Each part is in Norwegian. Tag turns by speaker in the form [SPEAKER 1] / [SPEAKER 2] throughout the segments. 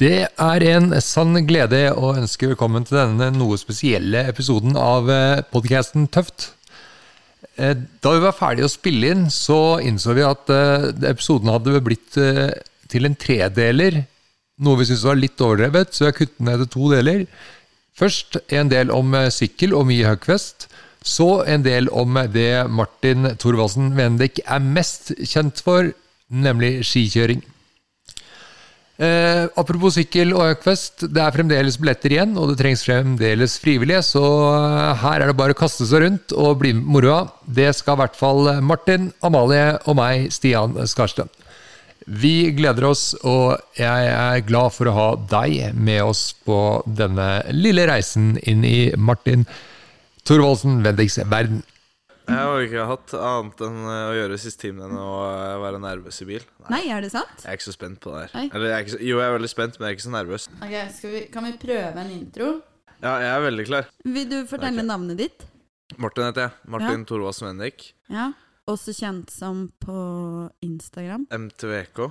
[SPEAKER 1] Det er en sann glede å ønske velkommen til denne noe spesielle episoden av podkasten Tøft. Eh, Da vi var ferdige å spille inn, så innså vi at eh, episoden hadde blitt eh, til en tredeler, noe vi syntes var litt overdrevet, så vi har kuttet ned til to deler. Først en del om eh, sykkel og mye høgfest, så en del om det Martin Thorvaldsen Vendek er mest kjent for, nemlig skikjøring. Eh, apropos sykkel og Økfest, det er fremdeles billetter igjen, og det trengs fremdeles frivillige, så eh, her er det bare å kaste seg rundt og bli med på moroa. Det skal i hvert fall eh, Martin, Amalie og meg, Stian Skarstø. Vi gleder oss, og jeg er glad for å ha deg med oss på denne lille reisen inn i Martin Thorvaldsen Wendigs verden.
[SPEAKER 2] Jeg har jo ikke hatt annet enn eh, å gjøre siste timen enn å eh, være nervøs i bil. Nei,
[SPEAKER 3] Nei, er det sant?
[SPEAKER 2] Jeg er ikke så spent på det her.
[SPEAKER 3] Nei.
[SPEAKER 2] Eller, jeg er ikke så, jo, jeg er veldig spent, men jeg er ikke så nervøs.
[SPEAKER 3] Ok, skal vi, Kan vi prøve en intro?
[SPEAKER 2] Ja, jeg er veldig klar.
[SPEAKER 3] Vil du fortelle
[SPEAKER 2] Ok.
[SPEAKER 3] navnet ditt?
[SPEAKER 2] Martin heter jeg. Martin Thorvaldsen Vendik.
[SPEAKER 3] Ja. Også kjent som på Instagram,
[SPEAKER 2] MTVK.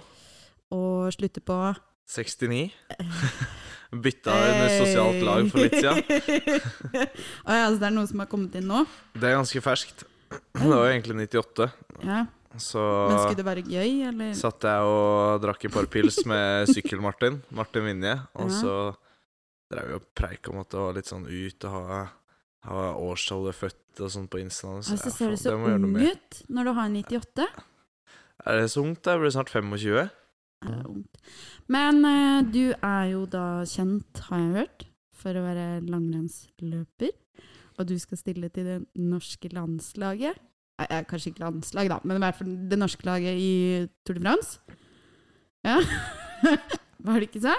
[SPEAKER 3] og slutter på
[SPEAKER 2] 69. Bytta under sosialt lag for litt siden.
[SPEAKER 3] Å ja, så det er noe som har kommet inn nå?
[SPEAKER 2] Det er ganske ferskt. Det var jo egentlig 98,
[SPEAKER 3] Ja.
[SPEAKER 2] så
[SPEAKER 3] Men skulle det være gøy, eller?
[SPEAKER 2] satt jeg og drakk et par pils med Sykkel-Martin, Martin Vinje, og
[SPEAKER 3] Ja.
[SPEAKER 2] så drev vi og preik om at det var litt sånn ut å ha, ha årstall du er født og sånn på Instagram.
[SPEAKER 3] Og Altså, så
[SPEAKER 2] ja,
[SPEAKER 3] ser
[SPEAKER 2] faen,
[SPEAKER 3] du
[SPEAKER 2] det
[SPEAKER 3] så
[SPEAKER 2] må jeg gjøre noe
[SPEAKER 3] ung
[SPEAKER 2] med.
[SPEAKER 3] ut når du har 98.
[SPEAKER 2] Er det så ungt? da? Jeg blir snart 25.
[SPEAKER 3] Det er ungt. Men eh, du er jo da kjent, har jeg hørt, for å være langrennsløper. Og du skal stille til det norske landslaget. Nei, eh, kanskje ikke landslag, da, men i hvert fall det norske laget i Tour de France. Ja. Var det ikke så?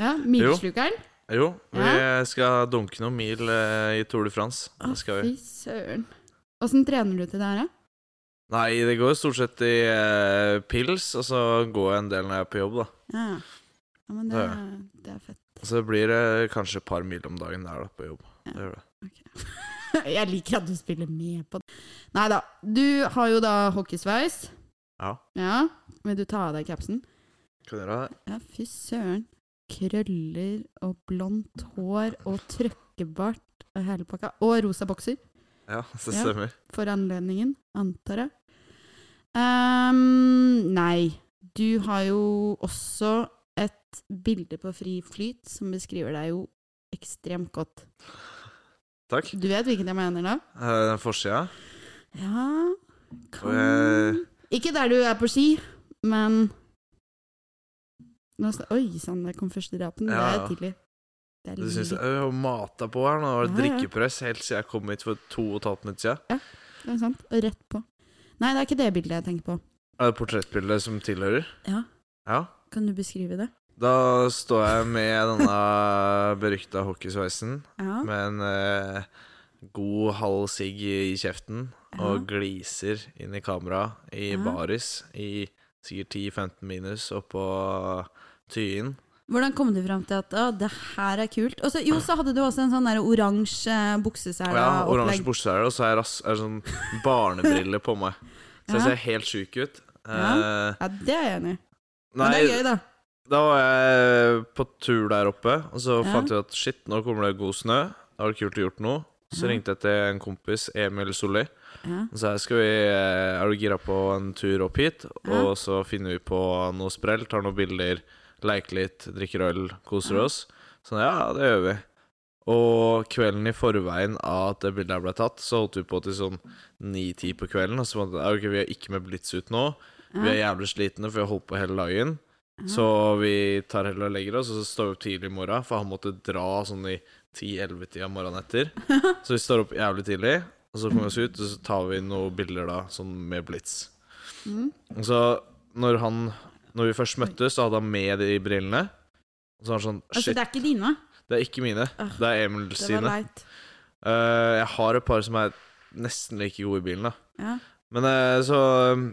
[SPEAKER 3] Ja, Milslukeren.
[SPEAKER 2] Jo, vi skal dunke noen mil eh, i Tour de France.
[SPEAKER 3] Å,
[SPEAKER 2] Det skal vi.
[SPEAKER 3] fy søren. Åssen trener du til det her, da?
[SPEAKER 2] Nei, det går stort sett i eh, pils, og så går jeg en del når jeg er på jobb, da.
[SPEAKER 3] Ja. ja, men det, det er fett.
[SPEAKER 2] Så det blir eh, kanskje et par mil om dagen der da, på jobb.
[SPEAKER 3] Ja.
[SPEAKER 2] Det gjør det.
[SPEAKER 3] Jeg liker at du spiller med på det. Nei da. Du har jo da hockeysveis.
[SPEAKER 2] Ja.
[SPEAKER 3] Ja, Vil du ta av deg capsen?
[SPEAKER 2] Kan dere ha det?
[SPEAKER 3] Ja, fy søren. Krøller og blondt hår og trøkkebart og hele pakka. Og rosa bokser,
[SPEAKER 2] Ja, det
[SPEAKER 3] Ja.
[SPEAKER 2] stemmer.
[SPEAKER 3] for anledningen, antar jeg. Ehm, nei. Du har jo også et bilde på Fri flyt som beskriver deg jo ekstremt godt.
[SPEAKER 2] Takk.
[SPEAKER 3] Du vet hvilken jeg mener, da?
[SPEAKER 2] Eh, Den forsida.
[SPEAKER 3] Ja kan...
[SPEAKER 2] jeg-
[SPEAKER 3] Ikke der du er på ski, men Nå sta- Oi sann, der kom første rapen.
[SPEAKER 2] Ja,
[SPEAKER 3] Det
[SPEAKER 2] ja.
[SPEAKER 3] er tidlig. Det er
[SPEAKER 2] Du syns
[SPEAKER 3] litt-
[SPEAKER 2] jeg har mata på her nå. Det var
[SPEAKER 3] Ja, ja.
[SPEAKER 2] drikkepress helt siden jeg kom hit for to og et halvt minutt siden.
[SPEAKER 3] det er sant. sånn, Og rett på. Nei, det er ikke det bildet jeg tenker på.
[SPEAKER 2] Er det portrettbildet som tilhører?
[SPEAKER 3] Ja.
[SPEAKER 2] Ja.
[SPEAKER 3] Kan du beskrive det?
[SPEAKER 2] Da står jeg med denne berykta hockeysveisen
[SPEAKER 3] Ja.
[SPEAKER 2] med en eh, god halv sigg i i kjeften og gliser inn i kamera i
[SPEAKER 3] Ja.
[SPEAKER 2] baris i sikkert 10-15 minus oppå Tyin.
[SPEAKER 3] Hvordan kom du fram til at å, det her er kult? Og så, jo, så hadde du også en sånn der oransje
[SPEAKER 2] Og
[SPEAKER 3] buksesele.
[SPEAKER 2] jeg har oransje
[SPEAKER 3] opplegg.
[SPEAKER 2] bukse her, og så har jeg ras- er sånn barnebriller på meg. Så jeg
[SPEAKER 3] Ja.
[SPEAKER 2] ser helt sjuk ut.
[SPEAKER 3] Ja.
[SPEAKER 2] Eh,
[SPEAKER 3] Ja, det er jeg enig i. Men det
[SPEAKER 2] nei,
[SPEAKER 3] er gøy, da.
[SPEAKER 2] Da var jeg på tur der oppe, og så
[SPEAKER 3] Ja.
[SPEAKER 2] fant jeg ut at shit, nå kommer det god snø. Da var det kult å gjort noe. Så
[SPEAKER 3] Ja.
[SPEAKER 2] ringte jeg til en kompis, Emil Solli,
[SPEAKER 3] Ja.
[SPEAKER 2] og sa skal vi, eh, er du gira på en tur opp hit, og så finner vi på noe sprell, tar noen bilder, leker litt, drikker øl, koser
[SPEAKER 3] Ja.
[SPEAKER 2] oss. Sånn, ja, det gjør vi. Og kvelden i forveien av at det bildet her ble tatt, så holdt vi på til sånn ni-ti på kvelden, og så fant vi ut, «Ja, ok, vi er ikke med blitz ut nå, vi er
[SPEAKER 3] Ja.
[SPEAKER 2] jævlig slitne, for vi har holdt på hele dagen.
[SPEAKER 3] Ja.
[SPEAKER 2] Så vi tar heller og legger oss, og så står vi opp tidlig i morgen, for han måtte dra sånn i 10-11-tida morgenen etter. Så vi står opp jævlig tidlig, og så kommer vi oss ut, og så tar vi noen bilder da, sånn med blitz.
[SPEAKER 3] Mm.
[SPEAKER 2] Og så når han Når vi først møttes, så hadde han med de brillene. Og så var han sånn
[SPEAKER 3] Altså,
[SPEAKER 2] Shit,
[SPEAKER 3] det er ikke dine.
[SPEAKER 2] det er ikke mine.
[SPEAKER 3] Ah,
[SPEAKER 2] Det er Emil
[SPEAKER 3] Det var
[SPEAKER 2] sine.
[SPEAKER 3] leit.
[SPEAKER 2] Eh, jeg har et par som er nesten like gode i bilen, da.
[SPEAKER 3] Ja.
[SPEAKER 2] Men eh, så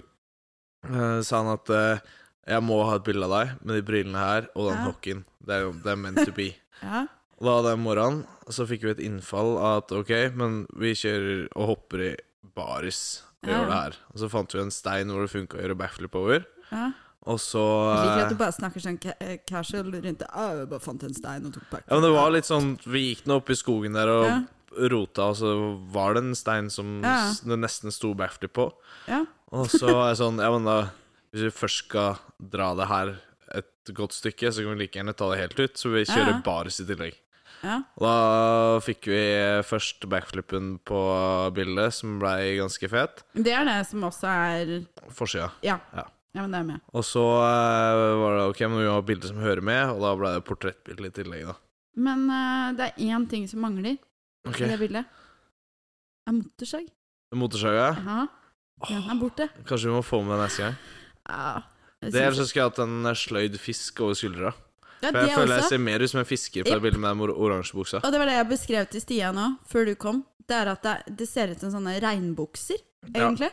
[SPEAKER 2] eh, sa han at eh, jeg må ha et bilde av deg med de brillene her og den
[SPEAKER 3] Ja.
[SPEAKER 2] hockeyen. Det er jo det er meant to be.
[SPEAKER 3] Ja.
[SPEAKER 2] Og da den morgenen så fikk vi et innfall av at ok, men vi kjører og hopper i baris og
[SPEAKER 3] Ja.
[SPEAKER 2] gjør det her. Og så fant vi en stein hvor det funka å gjøre backflip over.
[SPEAKER 3] Ja.
[SPEAKER 2] Og så
[SPEAKER 3] Jeg liker at
[SPEAKER 2] eh,
[SPEAKER 3] du bare snakker sånn ca eh, casual rundt det. «Å, jeg bare fant en stein og tok pakke.
[SPEAKER 2] Ja, men det var litt sånn Vi gikk nå opp i skogen der og
[SPEAKER 3] Ja.
[SPEAKER 2] rota, og så var det en stein som
[SPEAKER 3] Ja.
[SPEAKER 2] s- det nesten sto backflip på.
[SPEAKER 3] Ja.
[SPEAKER 2] Og så er jeg sånn Ja, men da Hvis vi først skal dra det her et godt stykke, så kan vi like gjerne ta det helt ut. Så vi kjører
[SPEAKER 3] Ja, ja.
[SPEAKER 2] baris i tillegg.
[SPEAKER 3] Ja.
[SPEAKER 2] Og da fikk vi først backflipen på bildet, som blei ganske fet.
[SPEAKER 3] Det er det som også er
[SPEAKER 2] Forsida.
[SPEAKER 3] Ja.
[SPEAKER 2] Ja.
[SPEAKER 3] Ja, men det er med.
[SPEAKER 2] Og så eh, var det ok, men vi må ha bilder som hører med, og da blei det portrettbilde i tillegg, da.
[SPEAKER 3] Men eh, det er én ting som mangler
[SPEAKER 2] Ok,
[SPEAKER 3] i det bildet. Det er motorsag.
[SPEAKER 2] Motorsaga.
[SPEAKER 3] Ja, den er borte.
[SPEAKER 2] Kanskje vi må få med det neste gang.
[SPEAKER 3] Ja, jeg
[SPEAKER 2] Det
[SPEAKER 3] synes-
[SPEAKER 2] Ellers så skulle jeg hatt en eh, sløyd fisk over skuldra. For
[SPEAKER 3] ja,
[SPEAKER 2] jeg
[SPEAKER 3] det
[SPEAKER 2] føler jeg
[SPEAKER 3] også.
[SPEAKER 2] ser mer ut som en fisker på det
[SPEAKER 3] Yep.
[SPEAKER 2] bildet med den or- oransje buksa.
[SPEAKER 3] Og det var det jeg beskrev til Stian nå, før du kom. Det er at det, det ser ut som sånne regnbukser,
[SPEAKER 2] Ja.
[SPEAKER 3] egentlig.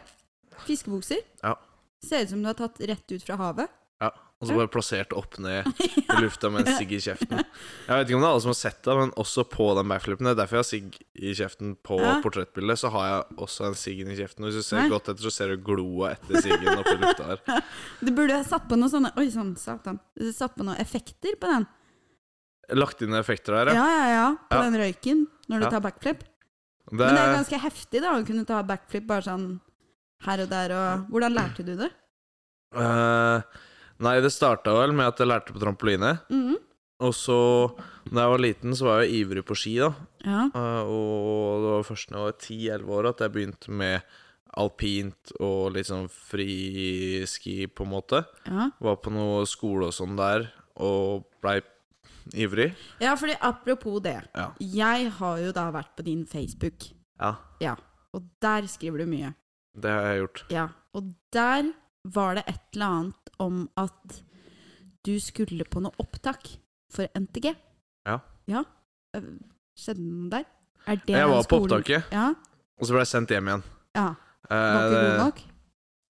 [SPEAKER 3] Fiskebukser.
[SPEAKER 2] Ja.
[SPEAKER 3] Ser ut som du har tatt rett ut fra havet.
[SPEAKER 2] Ja, og så bare plassert opp ned i lufta med en sigg i kjeften. Jeg vet ikke om det er alle som har sett det, men også på den backflipen. Det er derfor jeg har sigg i kjeften på
[SPEAKER 3] Ja.
[SPEAKER 2] portrettbildet. Så har jeg også en sigg i kjeften. Og hvis du ser
[SPEAKER 3] Nei.
[SPEAKER 2] godt etter, så ser du gloa etter siggen oppi lufta her.
[SPEAKER 3] Du burde ha satt på noe sånne Oi sann, satan. Du satt på noen effekter på den.
[SPEAKER 2] Lagt inn effekter her, ja.
[SPEAKER 3] Ja, ja, ja.
[SPEAKER 2] Ja.
[SPEAKER 3] På den røyken når du
[SPEAKER 2] Ja.
[SPEAKER 3] tar backflip.
[SPEAKER 2] Det,
[SPEAKER 3] Men det er ganske heftig, da, å kunne ta backflip bare sånn her og der og Hvordan lærte du det?
[SPEAKER 2] eh, nei, det starta vel med at jeg lærte på trampoline.
[SPEAKER 3] Mhm.
[SPEAKER 2] Og så, da jeg var liten, så var jeg jo ivrig på ski, da.
[SPEAKER 3] Ja.
[SPEAKER 2] Eh, og det var først da jeg var 10-11 år at jeg begynte med alpint og litt sånn friski, på en måte.
[SPEAKER 3] ja.
[SPEAKER 2] Var på noe skole og sånn der, og blei ivrig.
[SPEAKER 3] Ja, fordi apropos det.
[SPEAKER 2] Ja.
[SPEAKER 3] Jeg har jo da vært på din Facebook,
[SPEAKER 2] Ja,
[SPEAKER 3] og der skriver du mye.
[SPEAKER 2] det har jeg gjort.
[SPEAKER 3] Ja, og der var det et eller annet om at du skulle på noe opptak for NTG.
[SPEAKER 2] Ja.
[SPEAKER 3] Ja. eh, Skjedde det noe der? Er det
[SPEAKER 2] jeg
[SPEAKER 3] den
[SPEAKER 2] var på
[SPEAKER 3] skolen-
[SPEAKER 2] opptaket,
[SPEAKER 3] Ja,
[SPEAKER 2] og så blei jeg sendt hjem igjen.
[SPEAKER 3] ja. Var
[SPEAKER 2] Eh,
[SPEAKER 3] ikke god nok?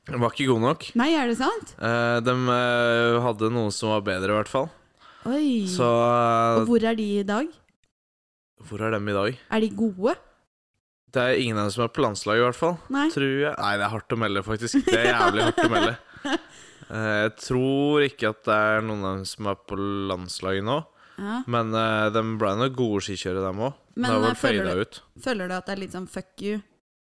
[SPEAKER 2] det- Var ikke god nok.
[SPEAKER 3] Nei, er det sant?
[SPEAKER 2] Eh, de eh, hadde noen som var bedre, i hvert fall.
[SPEAKER 3] Oi.
[SPEAKER 2] Så eh,
[SPEAKER 3] og hvor er de i dag?
[SPEAKER 2] hvor er dem i dag?
[SPEAKER 3] Er de gode?
[SPEAKER 2] Det er ingen av dem som er på landslaget, i hvert fall.
[SPEAKER 3] Nei.
[SPEAKER 2] Tror jeg Nei, det er hardt å melde, faktisk. Det er jævlig hardt å melde. Eh, Jeg tror ikke at det er noen av dem som er på landslaget nå.
[SPEAKER 3] Ja.
[SPEAKER 2] Men eh, de ble nå gode skikjørere, dem òg. Det
[SPEAKER 3] Men
[SPEAKER 2] har
[SPEAKER 3] eh,
[SPEAKER 2] vel
[SPEAKER 3] føler,
[SPEAKER 2] fada
[SPEAKER 3] du,
[SPEAKER 2] ut.
[SPEAKER 3] føler du at det er litt sånn fuck you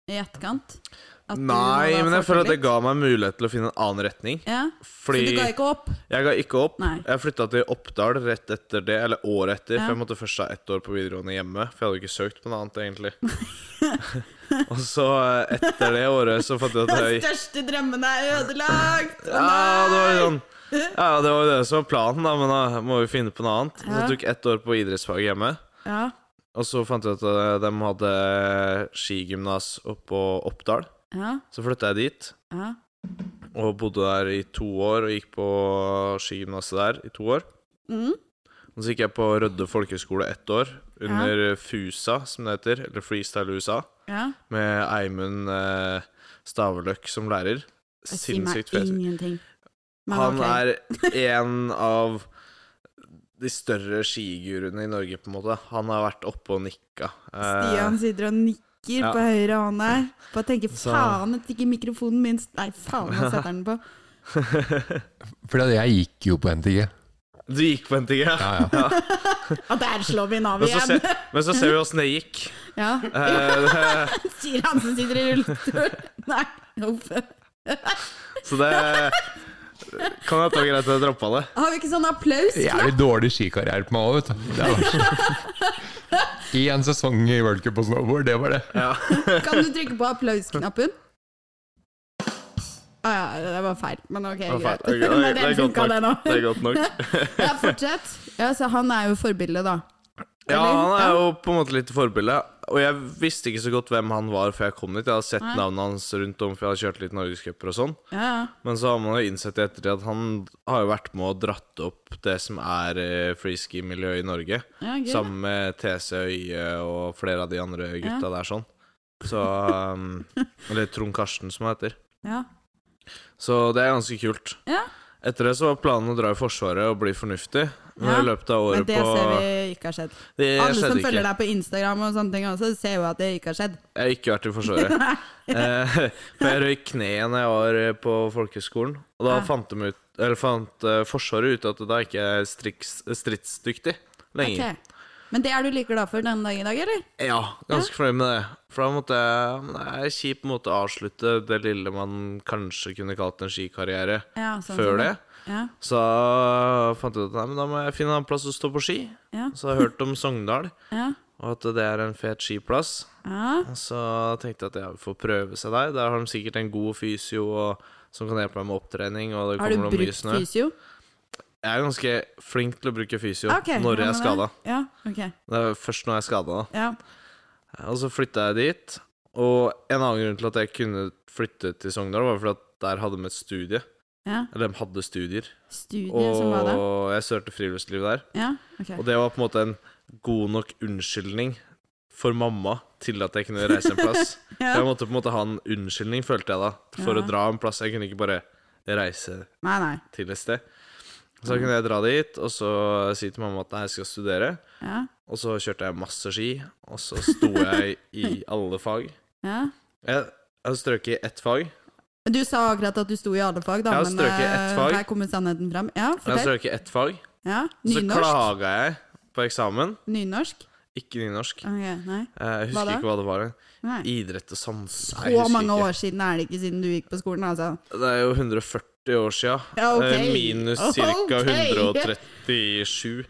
[SPEAKER 3] i etterkant? At du nå
[SPEAKER 2] Nei,
[SPEAKER 3] da
[SPEAKER 2] men jeg
[SPEAKER 3] får til
[SPEAKER 2] føler at det
[SPEAKER 3] litt?
[SPEAKER 2] ga meg mulighet til å finne en annen retning.
[SPEAKER 3] Ja, så
[SPEAKER 2] Fordi
[SPEAKER 3] du ga ikke opp?
[SPEAKER 2] jeg ga ikke opp.
[SPEAKER 3] Nei.
[SPEAKER 2] Jeg flytta til Oppdal rett etter det, eller året etter.
[SPEAKER 3] Ja.
[SPEAKER 2] For jeg måtte først ha ett år på videregående hjemme, for jeg hadde jo ikke søkt på noe annet, egentlig. Og så, eh, etter det året, så fant jeg ut at
[SPEAKER 3] Den
[SPEAKER 2] jeg
[SPEAKER 3] største drømmen er ødelagt! Å
[SPEAKER 2] Ja, det var
[SPEAKER 3] nei!
[SPEAKER 2] jo sånn Ja, det var jo det som var planen, da, men da må vi finne på noe annet. Så
[SPEAKER 3] Ja.
[SPEAKER 2] jeg tok ett år på idrettsfag hjemme,
[SPEAKER 3] Ja,
[SPEAKER 2] og så fant jeg ut at eh, de hadde skigymnas oppå Oppdal.
[SPEAKER 3] ja,
[SPEAKER 2] Så flytta jeg dit,
[SPEAKER 3] ja.
[SPEAKER 2] og bodde der i to år, og gikk på skigymnaset der i to år.
[SPEAKER 3] Mm.
[SPEAKER 2] Og så gikk jeg på Rødde folkehøgskole ett år, under FUSA, som det heter, eller Freestyle USA,
[SPEAKER 3] ja.
[SPEAKER 2] med Eimund eh, Staveløk som lærer.
[SPEAKER 3] Jeg sier meg
[SPEAKER 2] Sinnssykt fet.
[SPEAKER 3] ingenting. Men
[SPEAKER 2] Han
[SPEAKER 3] ok.
[SPEAKER 2] er en av de større skiguruene i Norge, på en måte. Han har vært oppe og nikka. Eh,
[SPEAKER 3] Stian sitter og nikker
[SPEAKER 2] ja.
[SPEAKER 3] på høyre hånd her. Bare tenker
[SPEAKER 2] Så-
[SPEAKER 3] 'faen at ikke mikrofonen min s- Nei, faen, han setter den på.
[SPEAKER 1] For jeg gikk jo på NTG.
[SPEAKER 2] du gikk på NTG, ja.
[SPEAKER 1] Ja, ja.
[SPEAKER 3] Og der slår vi nav
[SPEAKER 2] Men så,
[SPEAKER 3] igjen!
[SPEAKER 2] ser, men så ser vi åssen det gikk.
[SPEAKER 3] Ja,
[SPEAKER 2] Eh,
[SPEAKER 3] Sier han som sitter i rullestol. Nei, uff.
[SPEAKER 2] så det kan hende det var greit at jeg droppa det.
[SPEAKER 3] Har vi ikke sånn applaus?
[SPEAKER 1] Jævlig dårlig skikarriere på meg òg, vet du. Det er verst. Én sesong i World Cup på snowboard, det var det.
[SPEAKER 2] Ja.
[SPEAKER 3] Kan du trykke på applausknappen? Å ah, ja, det var feil. Men ok,
[SPEAKER 2] Det, var
[SPEAKER 3] greit.
[SPEAKER 2] feil.
[SPEAKER 3] Men
[SPEAKER 2] det,
[SPEAKER 3] den
[SPEAKER 2] er godt
[SPEAKER 3] funka, den
[SPEAKER 2] nok. det
[SPEAKER 3] òg.
[SPEAKER 2] er godt nok.
[SPEAKER 3] Ja, fortsett. Ja, så han er jo forbildet, da.
[SPEAKER 2] Ja,
[SPEAKER 3] Eller?
[SPEAKER 2] han er
[SPEAKER 3] Ja.
[SPEAKER 2] jo på en måte litt forbilde. Og jeg visste ikke så godt hvem han var før jeg kom dit. Jeg hadde sett
[SPEAKER 3] Nei.
[SPEAKER 2] navnet hans rundt om, for jeg hadde kjørt litt norgescuper og sånn.
[SPEAKER 3] Ja, ja.
[SPEAKER 2] Men så har man jo innsett i ettertid at han har jo vært med og dratt opp det som er eh, freeski-miljøet i Norge.
[SPEAKER 3] Ja, gøy.
[SPEAKER 2] Sammen med TC Øye og flere av de andre gutta
[SPEAKER 3] Ja.
[SPEAKER 2] der sånn. Så um, Eller Trond Karsten, som han heter.
[SPEAKER 3] Ja.
[SPEAKER 2] Så det er ganske kult.
[SPEAKER 3] Ja.
[SPEAKER 2] Etter det så var planen å dra i Forsvaret og bli fornuftig. Men
[SPEAKER 3] Ja,
[SPEAKER 2] i løpet av
[SPEAKER 3] Men
[SPEAKER 2] året
[SPEAKER 3] det
[SPEAKER 2] på
[SPEAKER 3] ser vi ikke har skjedd.
[SPEAKER 2] Det
[SPEAKER 3] Alle som
[SPEAKER 2] skjedde ikke. Mm.
[SPEAKER 3] følger deg på Instagram og sånne ting også, ser jo at det ikke har skjedd.
[SPEAKER 2] Jeg har ikke vært i Forsvaret. Eh, For jeg røyk kneet når jeg var eh, på folkehøgskolen. Og da
[SPEAKER 3] Ja.
[SPEAKER 2] fant de ut Eller fant eh, Forsvaret ut at det da ikke er striks, stridsdyktig lenger.
[SPEAKER 3] Ok. Men det er du like glad for denne dagen i dag, eller?
[SPEAKER 2] Ja, ganske fornøyd med det. For da måtte jeg men Det er en kjip måte å avslutte det lille man kanskje kunne kalt en skikarriere,
[SPEAKER 3] Ja, sånn
[SPEAKER 2] før
[SPEAKER 3] som
[SPEAKER 2] det.
[SPEAKER 3] Ja,
[SPEAKER 2] Så jeg fant jeg ut at nei, men da må jeg finne en plass å stå på ski.
[SPEAKER 3] ja,
[SPEAKER 2] Så jeg har hørt om Sogndal,
[SPEAKER 3] ja.
[SPEAKER 2] og at det er en fet skiplass.
[SPEAKER 3] ja.
[SPEAKER 2] Så tenkte jeg at jeg får prøve seg der. Der har de sikkert en god fysio og, som kan hjelpe meg med opptrening. Og det
[SPEAKER 3] Har du
[SPEAKER 2] kommer noe mye
[SPEAKER 3] brukt
[SPEAKER 2] snø.
[SPEAKER 3] fysio?
[SPEAKER 2] Jeg er ganske flink til å bruke fysio
[SPEAKER 3] Ok,
[SPEAKER 2] når
[SPEAKER 3] ja,
[SPEAKER 2] jeg er
[SPEAKER 3] men
[SPEAKER 2] skada.
[SPEAKER 3] da- Ja, ok.
[SPEAKER 2] Det er først når jeg er skada, da.
[SPEAKER 3] Ja.
[SPEAKER 2] Og så flytta jeg dit. Og en annen grunn til at jeg kunne flytte til Sogndal, var fordi at der hadde de et studie.
[SPEAKER 3] ja.
[SPEAKER 2] Eller de hadde studier.
[SPEAKER 3] Studiet som var det?
[SPEAKER 2] Og jeg søkte friluftsliv der.
[SPEAKER 3] Ja, ok.
[SPEAKER 2] Og det var på en måte en god nok unnskyldning for mamma til at jeg kunne reise en plass.
[SPEAKER 3] Ja.
[SPEAKER 2] Jeg måtte på en måte ha en unnskyldning, følte jeg da, for
[SPEAKER 3] Ja.
[SPEAKER 2] å dra en plass. Jeg kunne ikke bare reise
[SPEAKER 3] Nei, nei.
[SPEAKER 2] til et sted. Så kunne jeg dra dit, og så si til mamma at nei, jeg skal studere.
[SPEAKER 3] Ja,
[SPEAKER 2] Og så kjørte jeg masse ski, og så sto jeg i alle fag.
[SPEAKER 3] ja.
[SPEAKER 2] Jeg har strøket i ett fag.
[SPEAKER 3] Men Du sa akkurat at du sto i alle fag, da,
[SPEAKER 2] Jeg har
[SPEAKER 3] men
[SPEAKER 2] strøket i
[SPEAKER 3] eh,
[SPEAKER 2] ett fag.
[SPEAKER 3] her kommer sannheten fram. Ja,
[SPEAKER 2] Jeg har
[SPEAKER 3] fortell.
[SPEAKER 2] strøket i ett fag.
[SPEAKER 3] Ja,
[SPEAKER 2] Så
[SPEAKER 3] nynorsk?
[SPEAKER 2] klaga jeg på eksamen.
[SPEAKER 3] Nynorsk?
[SPEAKER 2] Ikke nynorsk.
[SPEAKER 3] Ok, nei.
[SPEAKER 2] Jeg
[SPEAKER 3] Hva
[SPEAKER 2] husker
[SPEAKER 3] da?
[SPEAKER 2] ikke hva det var.
[SPEAKER 3] nei.
[SPEAKER 2] Idrett og samfunn Nei, jeg
[SPEAKER 3] Så
[SPEAKER 2] husker
[SPEAKER 3] mange
[SPEAKER 2] ikke.
[SPEAKER 3] år siden er det ikke siden du gikk på skolen, altså.
[SPEAKER 2] Det er jo 140 år sia.
[SPEAKER 3] Ja, Ah, ok.
[SPEAKER 2] Eh, Minus ca.
[SPEAKER 3] Ok.
[SPEAKER 2] 137.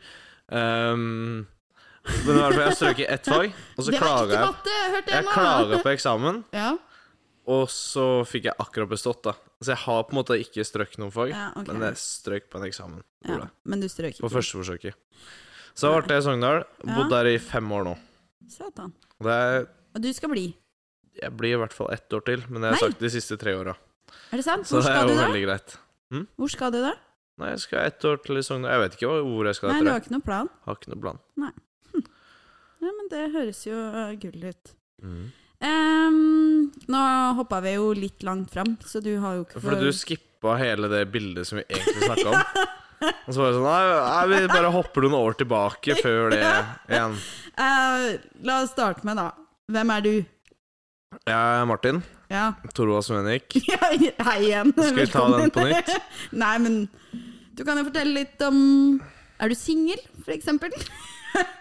[SPEAKER 2] Um, men i hvert fall, jeg strøk i ett fag, og så
[SPEAKER 3] det var
[SPEAKER 2] klaga
[SPEAKER 3] ikke
[SPEAKER 2] jeg.
[SPEAKER 3] matte, hørte jeg
[SPEAKER 2] Jeg
[SPEAKER 3] nå!
[SPEAKER 2] klaga på eksamen,
[SPEAKER 3] Ja,
[SPEAKER 2] og så fikk jeg akkurat bestått, da. Så jeg har på en måte ikke strøk noen fag,
[SPEAKER 3] ja, ok.
[SPEAKER 2] men jeg strøk på en eksamen.
[SPEAKER 3] ja,
[SPEAKER 2] Ola.
[SPEAKER 3] men du strøk
[SPEAKER 2] På
[SPEAKER 3] ikke.
[SPEAKER 2] første forsøket. Så jeg ble i Sogndal. Bodd der i fem år nå.
[SPEAKER 3] Satan.
[SPEAKER 2] Og Det er,
[SPEAKER 3] Og du skal bli.
[SPEAKER 2] jeg blir i hvert fall ett år til, men det har jeg
[SPEAKER 3] Nei.
[SPEAKER 2] sagt de siste tre åra.
[SPEAKER 3] Er det sant?
[SPEAKER 2] Så
[SPEAKER 3] Hvor
[SPEAKER 2] det er jo
[SPEAKER 3] skal du da?
[SPEAKER 2] veldig greit.
[SPEAKER 3] Hvor skal du da?
[SPEAKER 2] Nei, jeg skal ett år til i Sogndal. Jeg vet ikke hva- hvor jeg skal
[SPEAKER 3] Nei,
[SPEAKER 2] etter
[SPEAKER 3] du
[SPEAKER 2] det.
[SPEAKER 3] har ikke noen plan.
[SPEAKER 2] Har ikke noe plan.
[SPEAKER 3] Ja, men det høres jo eh, gull ut.
[SPEAKER 2] Mm.
[SPEAKER 3] Ehm, nå hoppa vi jo litt langt fram, så du har jo ikke
[SPEAKER 2] Fordi du skippa hele det bildet som vi egentlig snakka om. Og så var det sånn nei, nei, vi bare hopper noen år tilbake før det igjen.
[SPEAKER 3] Eh, La oss starte med, da. Hvem er du?
[SPEAKER 2] Jeg er Martin.
[SPEAKER 3] Ja.
[SPEAKER 2] Torvald Svenik.
[SPEAKER 3] Hei igjen.
[SPEAKER 2] Skal vi ta den
[SPEAKER 3] Velkommen.
[SPEAKER 2] på nytt?
[SPEAKER 3] Nei, men du kan jo fortelle litt om Er du singel, for eksempel?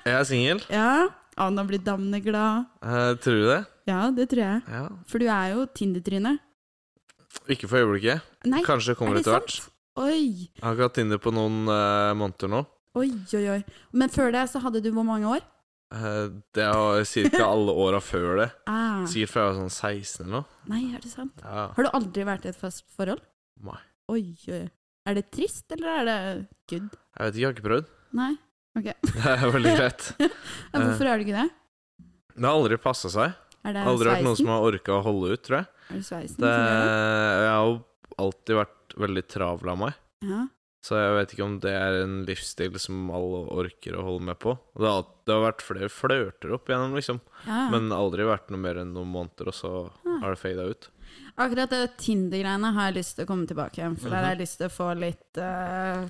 [SPEAKER 2] Jeg er singel.
[SPEAKER 3] Ja. Å, nå blir damene glad.
[SPEAKER 2] Eh, Tror du det?
[SPEAKER 3] Ja, det tror jeg.
[SPEAKER 2] Ja.
[SPEAKER 3] For du er jo Tinder-tryne.
[SPEAKER 2] Ikke for øyeblikket.
[SPEAKER 3] Nei,
[SPEAKER 2] Kanskje det
[SPEAKER 3] er
[SPEAKER 2] kommer
[SPEAKER 3] det
[SPEAKER 2] etter hvert.
[SPEAKER 3] sant? Oi,
[SPEAKER 2] Jeg har ikke hatt Tinder på noen eh, måneder nå.
[SPEAKER 3] oi, oi, oi. Men før det så hadde du hvor mange år?
[SPEAKER 2] Eh, det er ca. alle åra før det.
[SPEAKER 3] Ah,
[SPEAKER 2] Sikkert fra jeg var sånn 16 eller noe.
[SPEAKER 3] nei, er det sant?
[SPEAKER 2] Ja.
[SPEAKER 3] Har du aldri vært i et fast forhold?
[SPEAKER 2] Nei.
[SPEAKER 3] Oi, oi. oi. Er det trist, eller er det good?
[SPEAKER 2] Jeg vet ikke, jeg har ikke prøvd.
[SPEAKER 3] Nei. Ok.
[SPEAKER 2] Det er veldig greit. Eh,
[SPEAKER 3] Ja, Hvorfor er det ikke det?
[SPEAKER 2] Det har aldri passa seg.
[SPEAKER 3] Er det
[SPEAKER 2] Aldri vært
[SPEAKER 3] sveisen?
[SPEAKER 2] noen som har orka å holde ut, tror jeg.
[SPEAKER 3] Er det sveisen?
[SPEAKER 2] Det,
[SPEAKER 3] som gjør det?
[SPEAKER 2] Eh, jeg har jo alltid vært veldig travel av meg,
[SPEAKER 3] Ja.
[SPEAKER 2] så jeg vet ikke om det er en livsstil som alle orker å holde med på. Det har, det har vært flere flørter opp igjennom, liksom,
[SPEAKER 3] Ja. Ah.
[SPEAKER 2] men aldri vært noe mer enn noen måneder, og så har det fada ut.
[SPEAKER 3] Akkurat det Tinder-greiene har jeg lyst til å komme tilbake igjen, for der har jeg lyst til å få litt eh,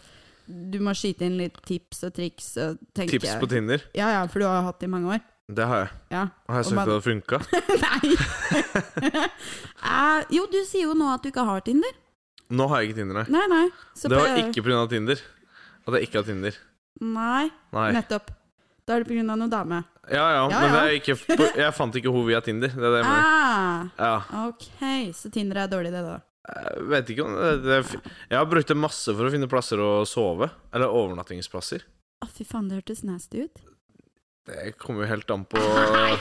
[SPEAKER 3] Du må skyte inn litt tips og triks. Og tenke-
[SPEAKER 2] Tips på Tinder,
[SPEAKER 3] Ja, ja, for du har jo hatt det i mange år.
[SPEAKER 2] det har jeg.
[SPEAKER 3] Ja.
[SPEAKER 2] Har jeg
[SPEAKER 3] Og
[SPEAKER 2] sagt
[SPEAKER 3] man-
[SPEAKER 2] at det har funka?
[SPEAKER 3] Nei! Eh, jo, du sier jo nå at du ikke har Tinder.
[SPEAKER 2] Nå har jeg ikke Tinder, nei.
[SPEAKER 3] Nei, nei. Så
[SPEAKER 2] Det var
[SPEAKER 3] prøv-
[SPEAKER 2] ikke pga. Tinder. At jeg ikke har Tinder.
[SPEAKER 3] Nei,
[SPEAKER 2] Nei.
[SPEAKER 3] nettopp. Da er det på grunn av noen dame.
[SPEAKER 2] Ja, ja,
[SPEAKER 3] Ja,
[SPEAKER 2] men det
[SPEAKER 3] ja.
[SPEAKER 2] er ikke, på- jeg fant ikke henne via Tinder. Det er det jeg mener.
[SPEAKER 3] Ah,
[SPEAKER 2] Ja.
[SPEAKER 3] ok, så Tinder er dårlig, det, da.
[SPEAKER 2] Jeg vet ikke om det, det Jeg har brukt det masse for å finne plasser å sove. Eller overnattingsplasser.
[SPEAKER 3] Å, fy faen, det hørtes nasty ut.
[SPEAKER 2] Det kommer jo helt an på
[SPEAKER 3] Nei,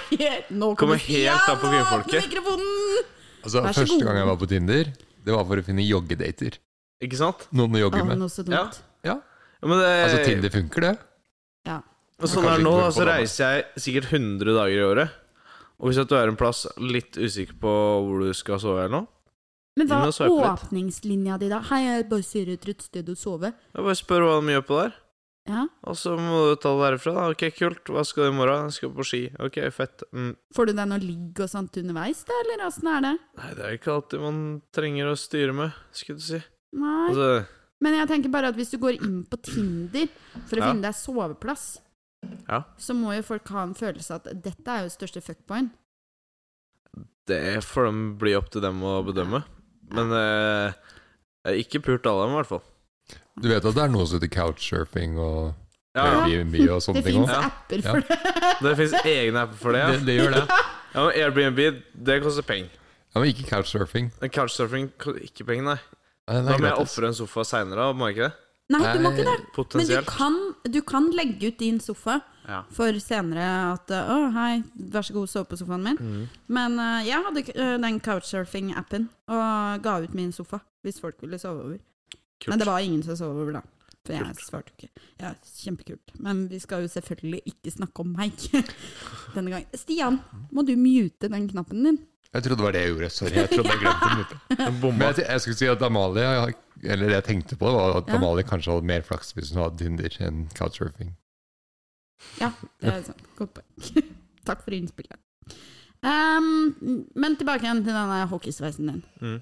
[SPEAKER 3] nå
[SPEAKER 2] Kommer
[SPEAKER 3] kommer
[SPEAKER 2] helt an på
[SPEAKER 3] Ja, nå
[SPEAKER 2] kvinnfolket.
[SPEAKER 3] åpner mikrofonen!
[SPEAKER 1] Altså,
[SPEAKER 3] Vær så
[SPEAKER 1] første
[SPEAKER 3] god.
[SPEAKER 1] gang jeg var på Tinder, det var for å finne joggedater.
[SPEAKER 2] Ikke sant?
[SPEAKER 1] Noen å jogge
[SPEAKER 3] Å,
[SPEAKER 1] med.
[SPEAKER 3] noe så dumt.
[SPEAKER 2] Ja. Ja, Men
[SPEAKER 1] Altså,
[SPEAKER 2] det,
[SPEAKER 1] Tinder funker, det.
[SPEAKER 2] og sånn
[SPEAKER 1] Kanskje
[SPEAKER 2] er det nå,
[SPEAKER 1] ikke
[SPEAKER 2] da,
[SPEAKER 1] på
[SPEAKER 2] så
[SPEAKER 1] damer.
[SPEAKER 2] reiser jeg sikkert 100 dager i året. Og hvis at du er en plass litt usikker på hvor du skal sove, eller noe,
[SPEAKER 3] Men hva
[SPEAKER 2] Inn og
[SPEAKER 3] er
[SPEAKER 2] sveipe litt.
[SPEAKER 3] åpningslinja di, da? Hei, jeg bare ser etter et sted å
[SPEAKER 2] jeg
[SPEAKER 3] sove.
[SPEAKER 2] bare spør hva de gjør på der.
[SPEAKER 3] Ja.
[SPEAKER 2] Og så må du ta det derifra. da. Ok, kult. Hva skal du i morgen? Jeg skal på ski. Ok, fett. Mm.
[SPEAKER 3] Får du deg noe ligg og sånt underveis, da, eller åssen er det?
[SPEAKER 2] Nei, det er ikke alltid man trenger å styre med, skulle du si.
[SPEAKER 3] Nei.
[SPEAKER 2] Altså,
[SPEAKER 3] Men jeg tenker bare at hvis du går inn på Tinder for å
[SPEAKER 2] Ja.
[SPEAKER 3] finne deg soveplass,
[SPEAKER 2] Ja.
[SPEAKER 3] så må jo folk ha en følelse at dette er jo største fuckboyen.
[SPEAKER 2] Det får de bli opp til dem å bedømme. Men eh, jeg har ikke pult alle dem, i hvert fall.
[SPEAKER 1] Du vet at det er noe som heter couchsurfing og
[SPEAKER 2] Ja, ja.
[SPEAKER 1] Airbnb og sånne
[SPEAKER 3] Det
[SPEAKER 1] ting
[SPEAKER 3] fins
[SPEAKER 1] òg?
[SPEAKER 2] også.
[SPEAKER 3] apper
[SPEAKER 1] Ja.
[SPEAKER 3] for det.
[SPEAKER 2] Det fins egne apper for det.
[SPEAKER 1] Det,
[SPEAKER 2] Ja.
[SPEAKER 1] det gjør det.
[SPEAKER 2] Ja, men Airbnb, det koster penger.
[SPEAKER 1] Ja, men ikke couchsurfing.
[SPEAKER 2] Men Couchsurfing koster ikke penger, nei.
[SPEAKER 1] Nei, det
[SPEAKER 2] Da
[SPEAKER 1] er
[SPEAKER 2] må jeg
[SPEAKER 1] gratis.
[SPEAKER 2] ofre en sofa seinere, må jeg ikke det?
[SPEAKER 3] Nei, du må ikke det. Men du
[SPEAKER 2] Potensielt.
[SPEAKER 3] kan, du kan legge ut din sofa
[SPEAKER 2] Eh, Ja.
[SPEAKER 3] for senere at eh, Å, hei, vær så god, sove på sofaen min.
[SPEAKER 2] Mm.
[SPEAKER 3] Men eh, jeg hadde eh, den couchsurfing-appen og ga ut min sofa hvis folk ville sove over.
[SPEAKER 2] Kult.
[SPEAKER 3] Men det var ingen som sov over, da. For jeg
[SPEAKER 2] Kult.
[SPEAKER 3] svarte jo ikke. Ja, kjempekult. Men vi skal jo selvfølgelig ikke snakke om meg denne gangen. Stian, må du mute den knappen din?
[SPEAKER 1] Jeg trodde det var det jeg gjorde. Sorry. jeg trodde jeg glemte den ute.
[SPEAKER 2] En
[SPEAKER 1] Men
[SPEAKER 2] bombe.
[SPEAKER 1] jeg, jeg skulle si at Amalie Eller det jeg tenkte på, var at
[SPEAKER 3] Ja.
[SPEAKER 1] Amalie kanskje hadde mer flaks hvis hun hadde Tinder enn couchsurfing.
[SPEAKER 3] Det er sant. Godt poeng. Takk for innspillet. Ehm, men tilbake igjen til denne hockeysveisen din.
[SPEAKER 2] Mm.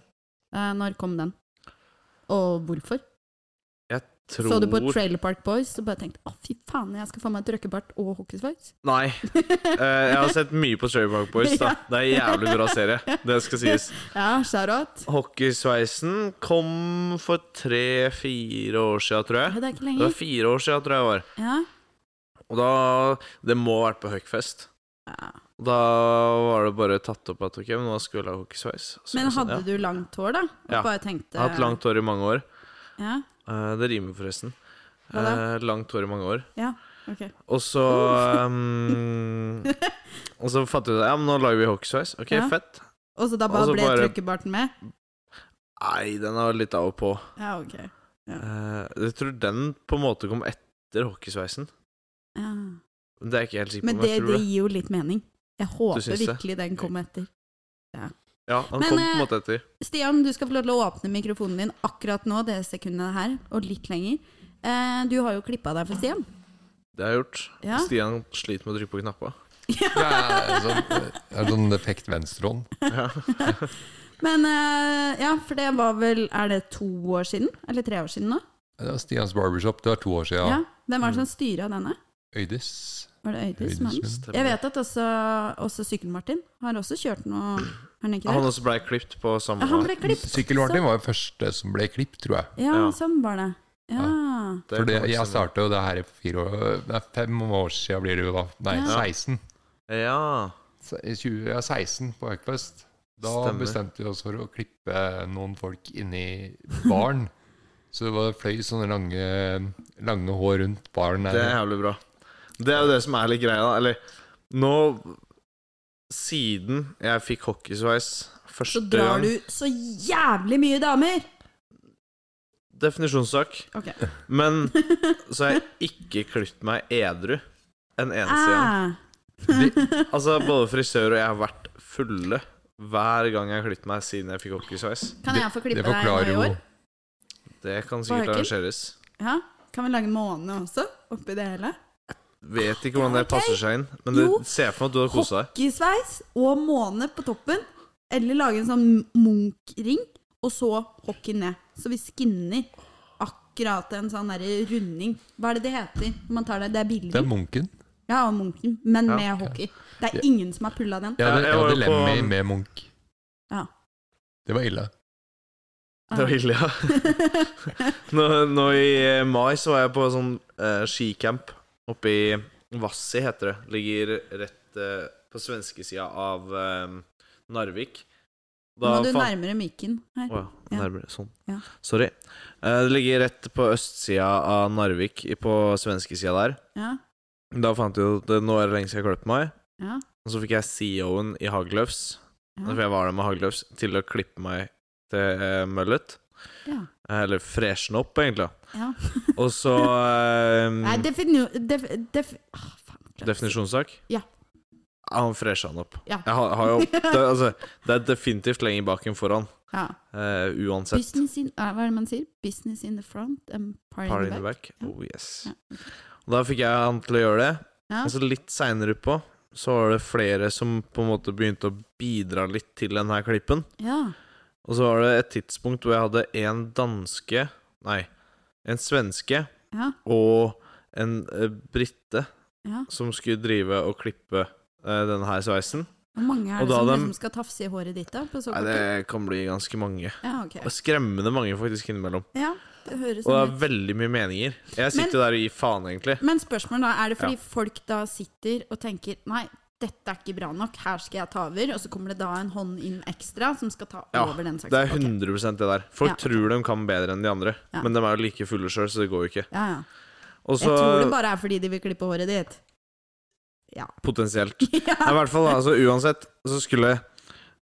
[SPEAKER 3] Eh, når kom den? Og hvorfor?
[SPEAKER 2] Tror
[SPEAKER 3] Så du på Trailer Park Boys og bare tenkte å fy faen, jeg skal få meg trøkkebart og hockeysveis?
[SPEAKER 2] Nei. Eh, jeg har sett mye på Stray Park Boys. da Det er en jævlig bra serie. Det skal sies.
[SPEAKER 3] Ja, skjærot.
[SPEAKER 2] Hockeysveisen kom for tre-fire år siden, tror jeg.
[SPEAKER 3] Det er ikke
[SPEAKER 2] Det
[SPEAKER 3] lenger.
[SPEAKER 2] var fire år siden, tror jeg det var.
[SPEAKER 3] Ja.
[SPEAKER 2] Og da Det må ha vært på Huckfest.
[SPEAKER 3] ja.
[SPEAKER 2] Og Da var det bare tatt opp at ok, men nå skal vi ha hockeysveis. Så
[SPEAKER 3] Men
[SPEAKER 2] jeg sa,
[SPEAKER 3] hadde
[SPEAKER 2] Sånn, ja.
[SPEAKER 3] du langt hår, da? Og
[SPEAKER 2] Ja.
[SPEAKER 3] bare tenkte
[SPEAKER 2] Jeg har hatt langt hår i mange år.
[SPEAKER 3] Ja,
[SPEAKER 2] Eh, det rimer, forresten.
[SPEAKER 3] Hva da?
[SPEAKER 2] Eh, langt hår i mange år.
[SPEAKER 3] ok.
[SPEAKER 2] Og så ehm, Og så fattet vi ut ja, men nå lager vi hockeysveis. Ok,
[SPEAKER 3] Ja.
[SPEAKER 2] fett.
[SPEAKER 3] Og så da bare
[SPEAKER 2] Altså
[SPEAKER 3] ble
[SPEAKER 2] bare-
[SPEAKER 3] trøkkebarten med?
[SPEAKER 2] Nei, den er litt av og på.
[SPEAKER 3] Ja, ok.
[SPEAKER 2] Eh, jeg tror den på en måte kom etter hockeysveisen.
[SPEAKER 3] Ja.
[SPEAKER 2] Men Det er jeg ikke helt sikker på.
[SPEAKER 3] Men
[SPEAKER 2] men
[SPEAKER 3] det,
[SPEAKER 2] jeg tror
[SPEAKER 3] det gir jo litt mening. Jeg håper
[SPEAKER 2] syns det?
[SPEAKER 3] virkelig den kom etter.
[SPEAKER 2] Ja, han
[SPEAKER 3] Men,
[SPEAKER 2] kom på
[SPEAKER 3] eh,
[SPEAKER 2] en måte etter.
[SPEAKER 3] Stian, du skal få lov til å åpne mikrofonen din akkurat nå, det sekundet her, og litt lenger. Eh, du har jo klippa deg for Stian.
[SPEAKER 2] Det har jeg gjort.
[SPEAKER 3] Ja. Mm.
[SPEAKER 2] Stian sliter med å trykke på knappa.
[SPEAKER 1] Det er sånn, det er sånn defekt venstrehånd.
[SPEAKER 2] Ja.
[SPEAKER 3] Men eh, ja, for det var vel Er det to år siden? Eller tre år siden nå?
[SPEAKER 1] Det var Stians barbershop. Det var to år siden.
[SPEAKER 3] Hvem
[SPEAKER 2] Mm.
[SPEAKER 3] var det som styra denne?
[SPEAKER 1] Øydis.
[SPEAKER 3] Var det Øydis?
[SPEAKER 1] Øydis,
[SPEAKER 3] som hadde den?
[SPEAKER 1] ja.
[SPEAKER 2] Stemmer.
[SPEAKER 3] Jeg vet at også, også Sykkel-Martin har også kjørt noe Er han ikke
[SPEAKER 2] Han
[SPEAKER 3] det?
[SPEAKER 2] også blei klipt på samme
[SPEAKER 3] Ja, Ah, han ble klippet.
[SPEAKER 1] Sykkel-Martin var jo første som ble klippet, tror jeg.
[SPEAKER 3] Sånn. Ja,
[SPEAKER 2] Ja.
[SPEAKER 3] sånn var det. Ja.
[SPEAKER 2] Det
[SPEAKER 1] For det,
[SPEAKER 2] kan
[SPEAKER 1] jeg
[SPEAKER 2] ikke stemme.
[SPEAKER 1] starta jo det her for fire år Nei, fem år siden blir det jo da. Nei,
[SPEAKER 3] Ja.
[SPEAKER 1] 16.
[SPEAKER 2] Ja.
[SPEAKER 1] Se- 20, ja, 16 på Økfest. Da
[SPEAKER 2] Stemmer.
[SPEAKER 1] bestemte vi oss for å klippe noen folk inni baren. Så det var fløy sånne lange, lange hår rundt baren.
[SPEAKER 2] Det er
[SPEAKER 1] Der.
[SPEAKER 2] jævlig bra. Det er jo det som er litt greia, da. Eller nå Siden jeg fikk hockeysveis
[SPEAKER 3] Så
[SPEAKER 2] første
[SPEAKER 3] drar
[SPEAKER 2] gang
[SPEAKER 3] du så jævlig mye damer!
[SPEAKER 2] Definisjonssak.
[SPEAKER 3] Ok.
[SPEAKER 2] Men så har jeg ikke klippet meg edru en eneste gang.
[SPEAKER 3] Ah,
[SPEAKER 2] Altså, både frisør og jeg har vært fulle hver gang jeg har klippet meg siden jeg fikk hockeysveis.
[SPEAKER 3] kan jeg få klippe
[SPEAKER 1] det
[SPEAKER 3] deg
[SPEAKER 1] forklarer
[SPEAKER 3] nå i
[SPEAKER 1] jo
[SPEAKER 3] år?
[SPEAKER 2] Det kan sikkert
[SPEAKER 3] Varken?
[SPEAKER 2] arrangeres.
[SPEAKER 3] Ja? Kan vi lage måne også, oppi det hele?
[SPEAKER 2] Vet ikke hvordan det
[SPEAKER 3] Ok.
[SPEAKER 2] passer seg inn, men det
[SPEAKER 3] Jo.
[SPEAKER 2] ser jeg for meg at du har kosa deg.
[SPEAKER 3] Hockeysveis og måne på toppen. Eller lage en sånn Munch-ring, og så hockey ned. Så vi skinner akkurat en sånn derre runding. Hva er det det heter når man tar det? Det er
[SPEAKER 1] Det er
[SPEAKER 3] bilder.
[SPEAKER 1] Munken.
[SPEAKER 3] Ja, og Munchen, men
[SPEAKER 2] Ja.
[SPEAKER 3] med hockey. Det er ingen som har pulla den.
[SPEAKER 1] Jeg hadde,
[SPEAKER 2] Ja, jeg
[SPEAKER 1] jeg
[SPEAKER 2] var
[SPEAKER 1] hadde
[SPEAKER 2] jo på-
[SPEAKER 1] lemmy med Munch.
[SPEAKER 3] Ja.
[SPEAKER 1] Det var ille.
[SPEAKER 2] Det var ille, ja. Nå, nå i eh, mai så var jeg på sånn eh, skicamp oppe i Vassi, heter det. Ligger rett eh, på svenskesida av eh, Narvik.
[SPEAKER 3] Nå må du
[SPEAKER 2] fant-
[SPEAKER 3] nærmere mikken her.
[SPEAKER 2] Å ja,
[SPEAKER 3] Ja.
[SPEAKER 2] nærmere sånn.
[SPEAKER 3] Ja.
[SPEAKER 2] Sorry. Eh, det ligger rett på østsida av Narvik, i- på svenskesida der.
[SPEAKER 3] Ja,
[SPEAKER 2] Da fant jeg ut at eh, nå er det lenge siden jeg har klippet meg.
[SPEAKER 3] ja,
[SPEAKER 2] Og så fikk jeg CEO-en i Hagløfs, for
[SPEAKER 3] ja.
[SPEAKER 2] jeg var der med Hagløfs, til å klippe meg til eh, møllet.
[SPEAKER 3] ja.
[SPEAKER 2] Eller freshen opp, egentlig.
[SPEAKER 3] Ja.
[SPEAKER 2] Og så eh,
[SPEAKER 3] Nei, definu... Def, def, ah, faen, klart.
[SPEAKER 2] Definisjonssak?
[SPEAKER 3] Ja.
[SPEAKER 2] Ja, han fresha han opp.
[SPEAKER 3] Ja.
[SPEAKER 2] Jeg har, har jo, det, altså, det er definitivt lenger bak enn foran.
[SPEAKER 3] Ja.
[SPEAKER 2] eh, uansett.
[SPEAKER 3] Business in, eh, hva er det man sier? Business in the front and party
[SPEAKER 2] Party
[SPEAKER 3] in the back.
[SPEAKER 2] back.
[SPEAKER 3] Ja.
[SPEAKER 2] Oh yes.
[SPEAKER 3] Ja,
[SPEAKER 2] Og da fikk jeg han til å gjøre det.
[SPEAKER 3] Ja.
[SPEAKER 2] Og så litt seinere på så var det flere som på en måte begynte å bidra litt til den her klippen.
[SPEAKER 3] Ja.
[SPEAKER 2] Og så var det et tidspunkt hvor jeg hadde en danske Nei, en svenske
[SPEAKER 3] Ja.
[SPEAKER 2] og en eh, brite
[SPEAKER 3] Ja.
[SPEAKER 2] som skulle drive og klippe eh, denne her sveisen.
[SPEAKER 3] Hvor mange er
[SPEAKER 2] Og
[SPEAKER 3] det
[SPEAKER 2] da
[SPEAKER 3] som
[SPEAKER 2] dem-
[SPEAKER 3] liksom skal tafse i håret ditt, da? På så
[SPEAKER 2] Nei,
[SPEAKER 3] kort
[SPEAKER 2] det
[SPEAKER 3] tid?
[SPEAKER 2] kan bli ganske mange.
[SPEAKER 3] Ja, ok.
[SPEAKER 2] Skremmende mange, faktisk, innimellom.
[SPEAKER 3] Ja,
[SPEAKER 2] Og
[SPEAKER 3] høres
[SPEAKER 2] det
[SPEAKER 3] sånn
[SPEAKER 2] er
[SPEAKER 3] ut.
[SPEAKER 2] veldig mye meninger. Jeg sitter der og gir faen, egentlig.
[SPEAKER 3] Men spørsmålet da, er det fordi
[SPEAKER 2] Ja.
[SPEAKER 3] folk da sitter og tenker Nei, dette er ikke bra nok, her skal jeg ta over. Og så kommer det da en hånd inn ekstra som skal ta
[SPEAKER 2] Ja,
[SPEAKER 3] over den saken.
[SPEAKER 2] Det er
[SPEAKER 3] Ok.
[SPEAKER 2] 100 det der. Folk
[SPEAKER 3] Ja.
[SPEAKER 2] tror de kan bedre enn de andre,
[SPEAKER 3] Ja.
[SPEAKER 2] men de er jo like fulle sjøl, så det går jo ikke.
[SPEAKER 3] Ja, ja.
[SPEAKER 2] Og
[SPEAKER 3] Jeg
[SPEAKER 2] så
[SPEAKER 3] tror det bare er fordi de vil klippe håret ditt. Ja.
[SPEAKER 2] potensielt.
[SPEAKER 3] ja.
[SPEAKER 2] Nei, I hvert fall, da, altså, uansett så skulle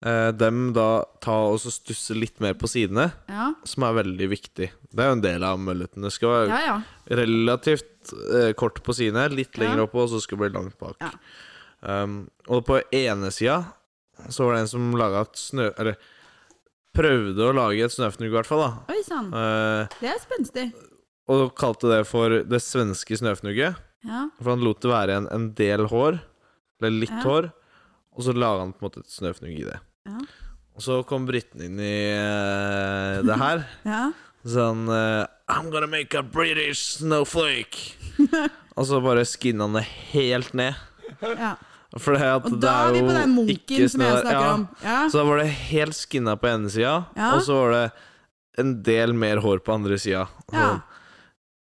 [SPEAKER 2] eh, dem da ta og så stusse litt mer på sidene,
[SPEAKER 3] Ja,
[SPEAKER 2] som er veldig viktig. Det er jo en del av mølleten. Det skal være
[SPEAKER 3] ja. ja.
[SPEAKER 2] relativt eh, kort på sidene, litt
[SPEAKER 3] Ja.
[SPEAKER 2] lenger opp, og så skal det bli langt bak.
[SPEAKER 3] Ja.
[SPEAKER 2] Um, og på ene sida så var det en som laga et snø... Eller prøvde å lage et snøfnugg, i hvert fall. da
[SPEAKER 3] Oi sann,
[SPEAKER 2] Eh,
[SPEAKER 3] det er spenstig.
[SPEAKER 2] og kalte det for det svenske snøfnugget.
[SPEAKER 3] Ja.
[SPEAKER 2] For han lot det være en, en del hår, eller litt
[SPEAKER 3] Ja.
[SPEAKER 2] hår, og så laga han på en måte et snøfnugg i det.
[SPEAKER 3] Ja.
[SPEAKER 2] Og så kom briten inn i eh, det her.
[SPEAKER 3] ja.
[SPEAKER 2] Sånn eh, I'm gonna make a British snowflake. og så bare skinna han det helt ned.
[SPEAKER 3] ja.
[SPEAKER 2] For det, at
[SPEAKER 3] Og
[SPEAKER 2] det
[SPEAKER 3] da er vi
[SPEAKER 2] jo
[SPEAKER 3] på den
[SPEAKER 2] ikke
[SPEAKER 3] munken som
[SPEAKER 2] snø
[SPEAKER 3] jeg
[SPEAKER 2] der.
[SPEAKER 3] snakker
[SPEAKER 2] Ja.
[SPEAKER 3] om. Ja.
[SPEAKER 2] Så da var det helt skinna på ene sida,
[SPEAKER 3] Ja.
[SPEAKER 2] og så var det en del mer hår på andre sida.
[SPEAKER 3] Ja.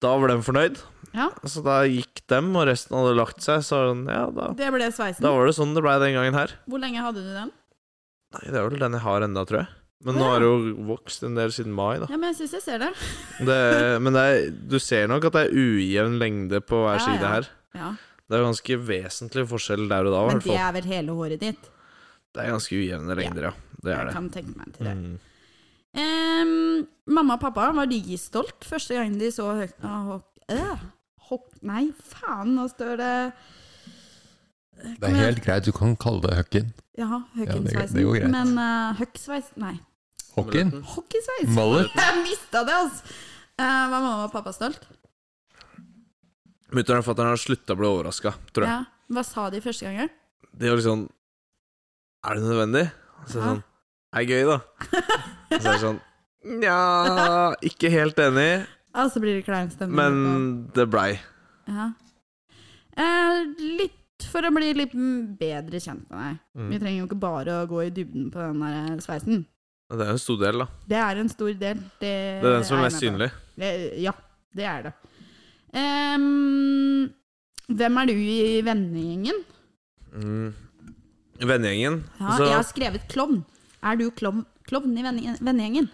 [SPEAKER 2] Da var de fornøyd,
[SPEAKER 3] Ja.
[SPEAKER 2] så da gikk dem, og resten hadde lagt seg. Så var det sånn, ja, da,
[SPEAKER 3] Det ble
[SPEAKER 2] da
[SPEAKER 3] sveisen.
[SPEAKER 2] var det sånn det blei den gangen her.
[SPEAKER 3] Hvor lenge hadde du den?
[SPEAKER 2] Nei, det er vel den jeg har enda, tror jeg. Men
[SPEAKER 3] Å,
[SPEAKER 2] nå
[SPEAKER 3] ja.
[SPEAKER 2] har det jo vokst en del siden mai, da.
[SPEAKER 3] Ja, men jeg syns jeg ser det.
[SPEAKER 2] Det, men det er, du ser nok at det er ujevn lengde på hver
[SPEAKER 3] Ja,
[SPEAKER 2] side
[SPEAKER 3] ja.
[SPEAKER 2] her.
[SPEAKER 3] Ja.
[SPEAKER 2] Det er ganske vesentlig forskjell der og da, i
[SPEAKER 3] Men
[SPEAKER 2] hvert
[SPEAKER 3] det
[SPEAKER 2] fall.
[SPEAKER 3] er vel hele håret ditt?
[SPEAKER 2] Det er ganske ujevne lengder, ja. Det
[SPEAKER 3] Jeg
[SPEAKER 2] er det.
[SPEAKER 3] kan tenke meg til det.
[SPEAKER 2] Mm.
[SPEAKER 3] Em, mamma og pappa var like stolt første gangen de så høk... ah, hok- øh, hok- nei, faen, nå står det
[SPEAKER 1] Det er helt greit, du kan kalle det høkken.
[SPEAKER 3] Ja,
[SPEAKER 1] Ja, det-
[SPEAKER 3] høkkensveisen.
[SPEAKER 1] det går greit.
[SPEAKER 3] men uh, høkksveis Nei,
[SPEAKER 1] Hokken?
[SPEAKER 3] hockeysveis!
[SPEAKER 1] Maller?
[SPEAKER 3] Jeg mista det, altså! Eh, var mamma og pappa stolt?
[SPEAKER 2] Mutter'n og fatter'n har slutta å bli overraska, tror jeg.
[SPEAKER 3] Ja. Hva sa de første gangen?
[SPEAKER 2] De var liksom Er det nødvendig? Og så er det sånn Er det gøy, da? Og så er det sånn Nja Ikke helt enig,
[SPEAKER 3] Ja, Ah, så blir det klein stemning.
[SPEAKER 2] men det blei.
[SPEAKER 3] ja. eh, Litt for å bli litt mm, bedre kjent med deg.
[SPEAKER 2] Mm.
[SPEAKER 3] Vi trenger jo ikke bare å gå i dybden på den der sveisen.
[SPEAKER 2] Og Det er jo en stor del, da.
[SPEAKER 3] Det er en stor del. Det,
[SPEAKER 2] Det er den som er mest
[SPEAKER 3] jeg med på.
[SPEAKER 2] synlig.
[SPEAKER 3] Det- Ja, det er det. Em, hvem er du i vennegjengen?
[SPEAKER 2] Mm. Vennegjengen.
[SPEAKER 3] Ja,
[SPEAKER 2] så
[SPEAKER 3] jeg har skrevet klovn. Er du klovn, klovn i venne- vennegjengen?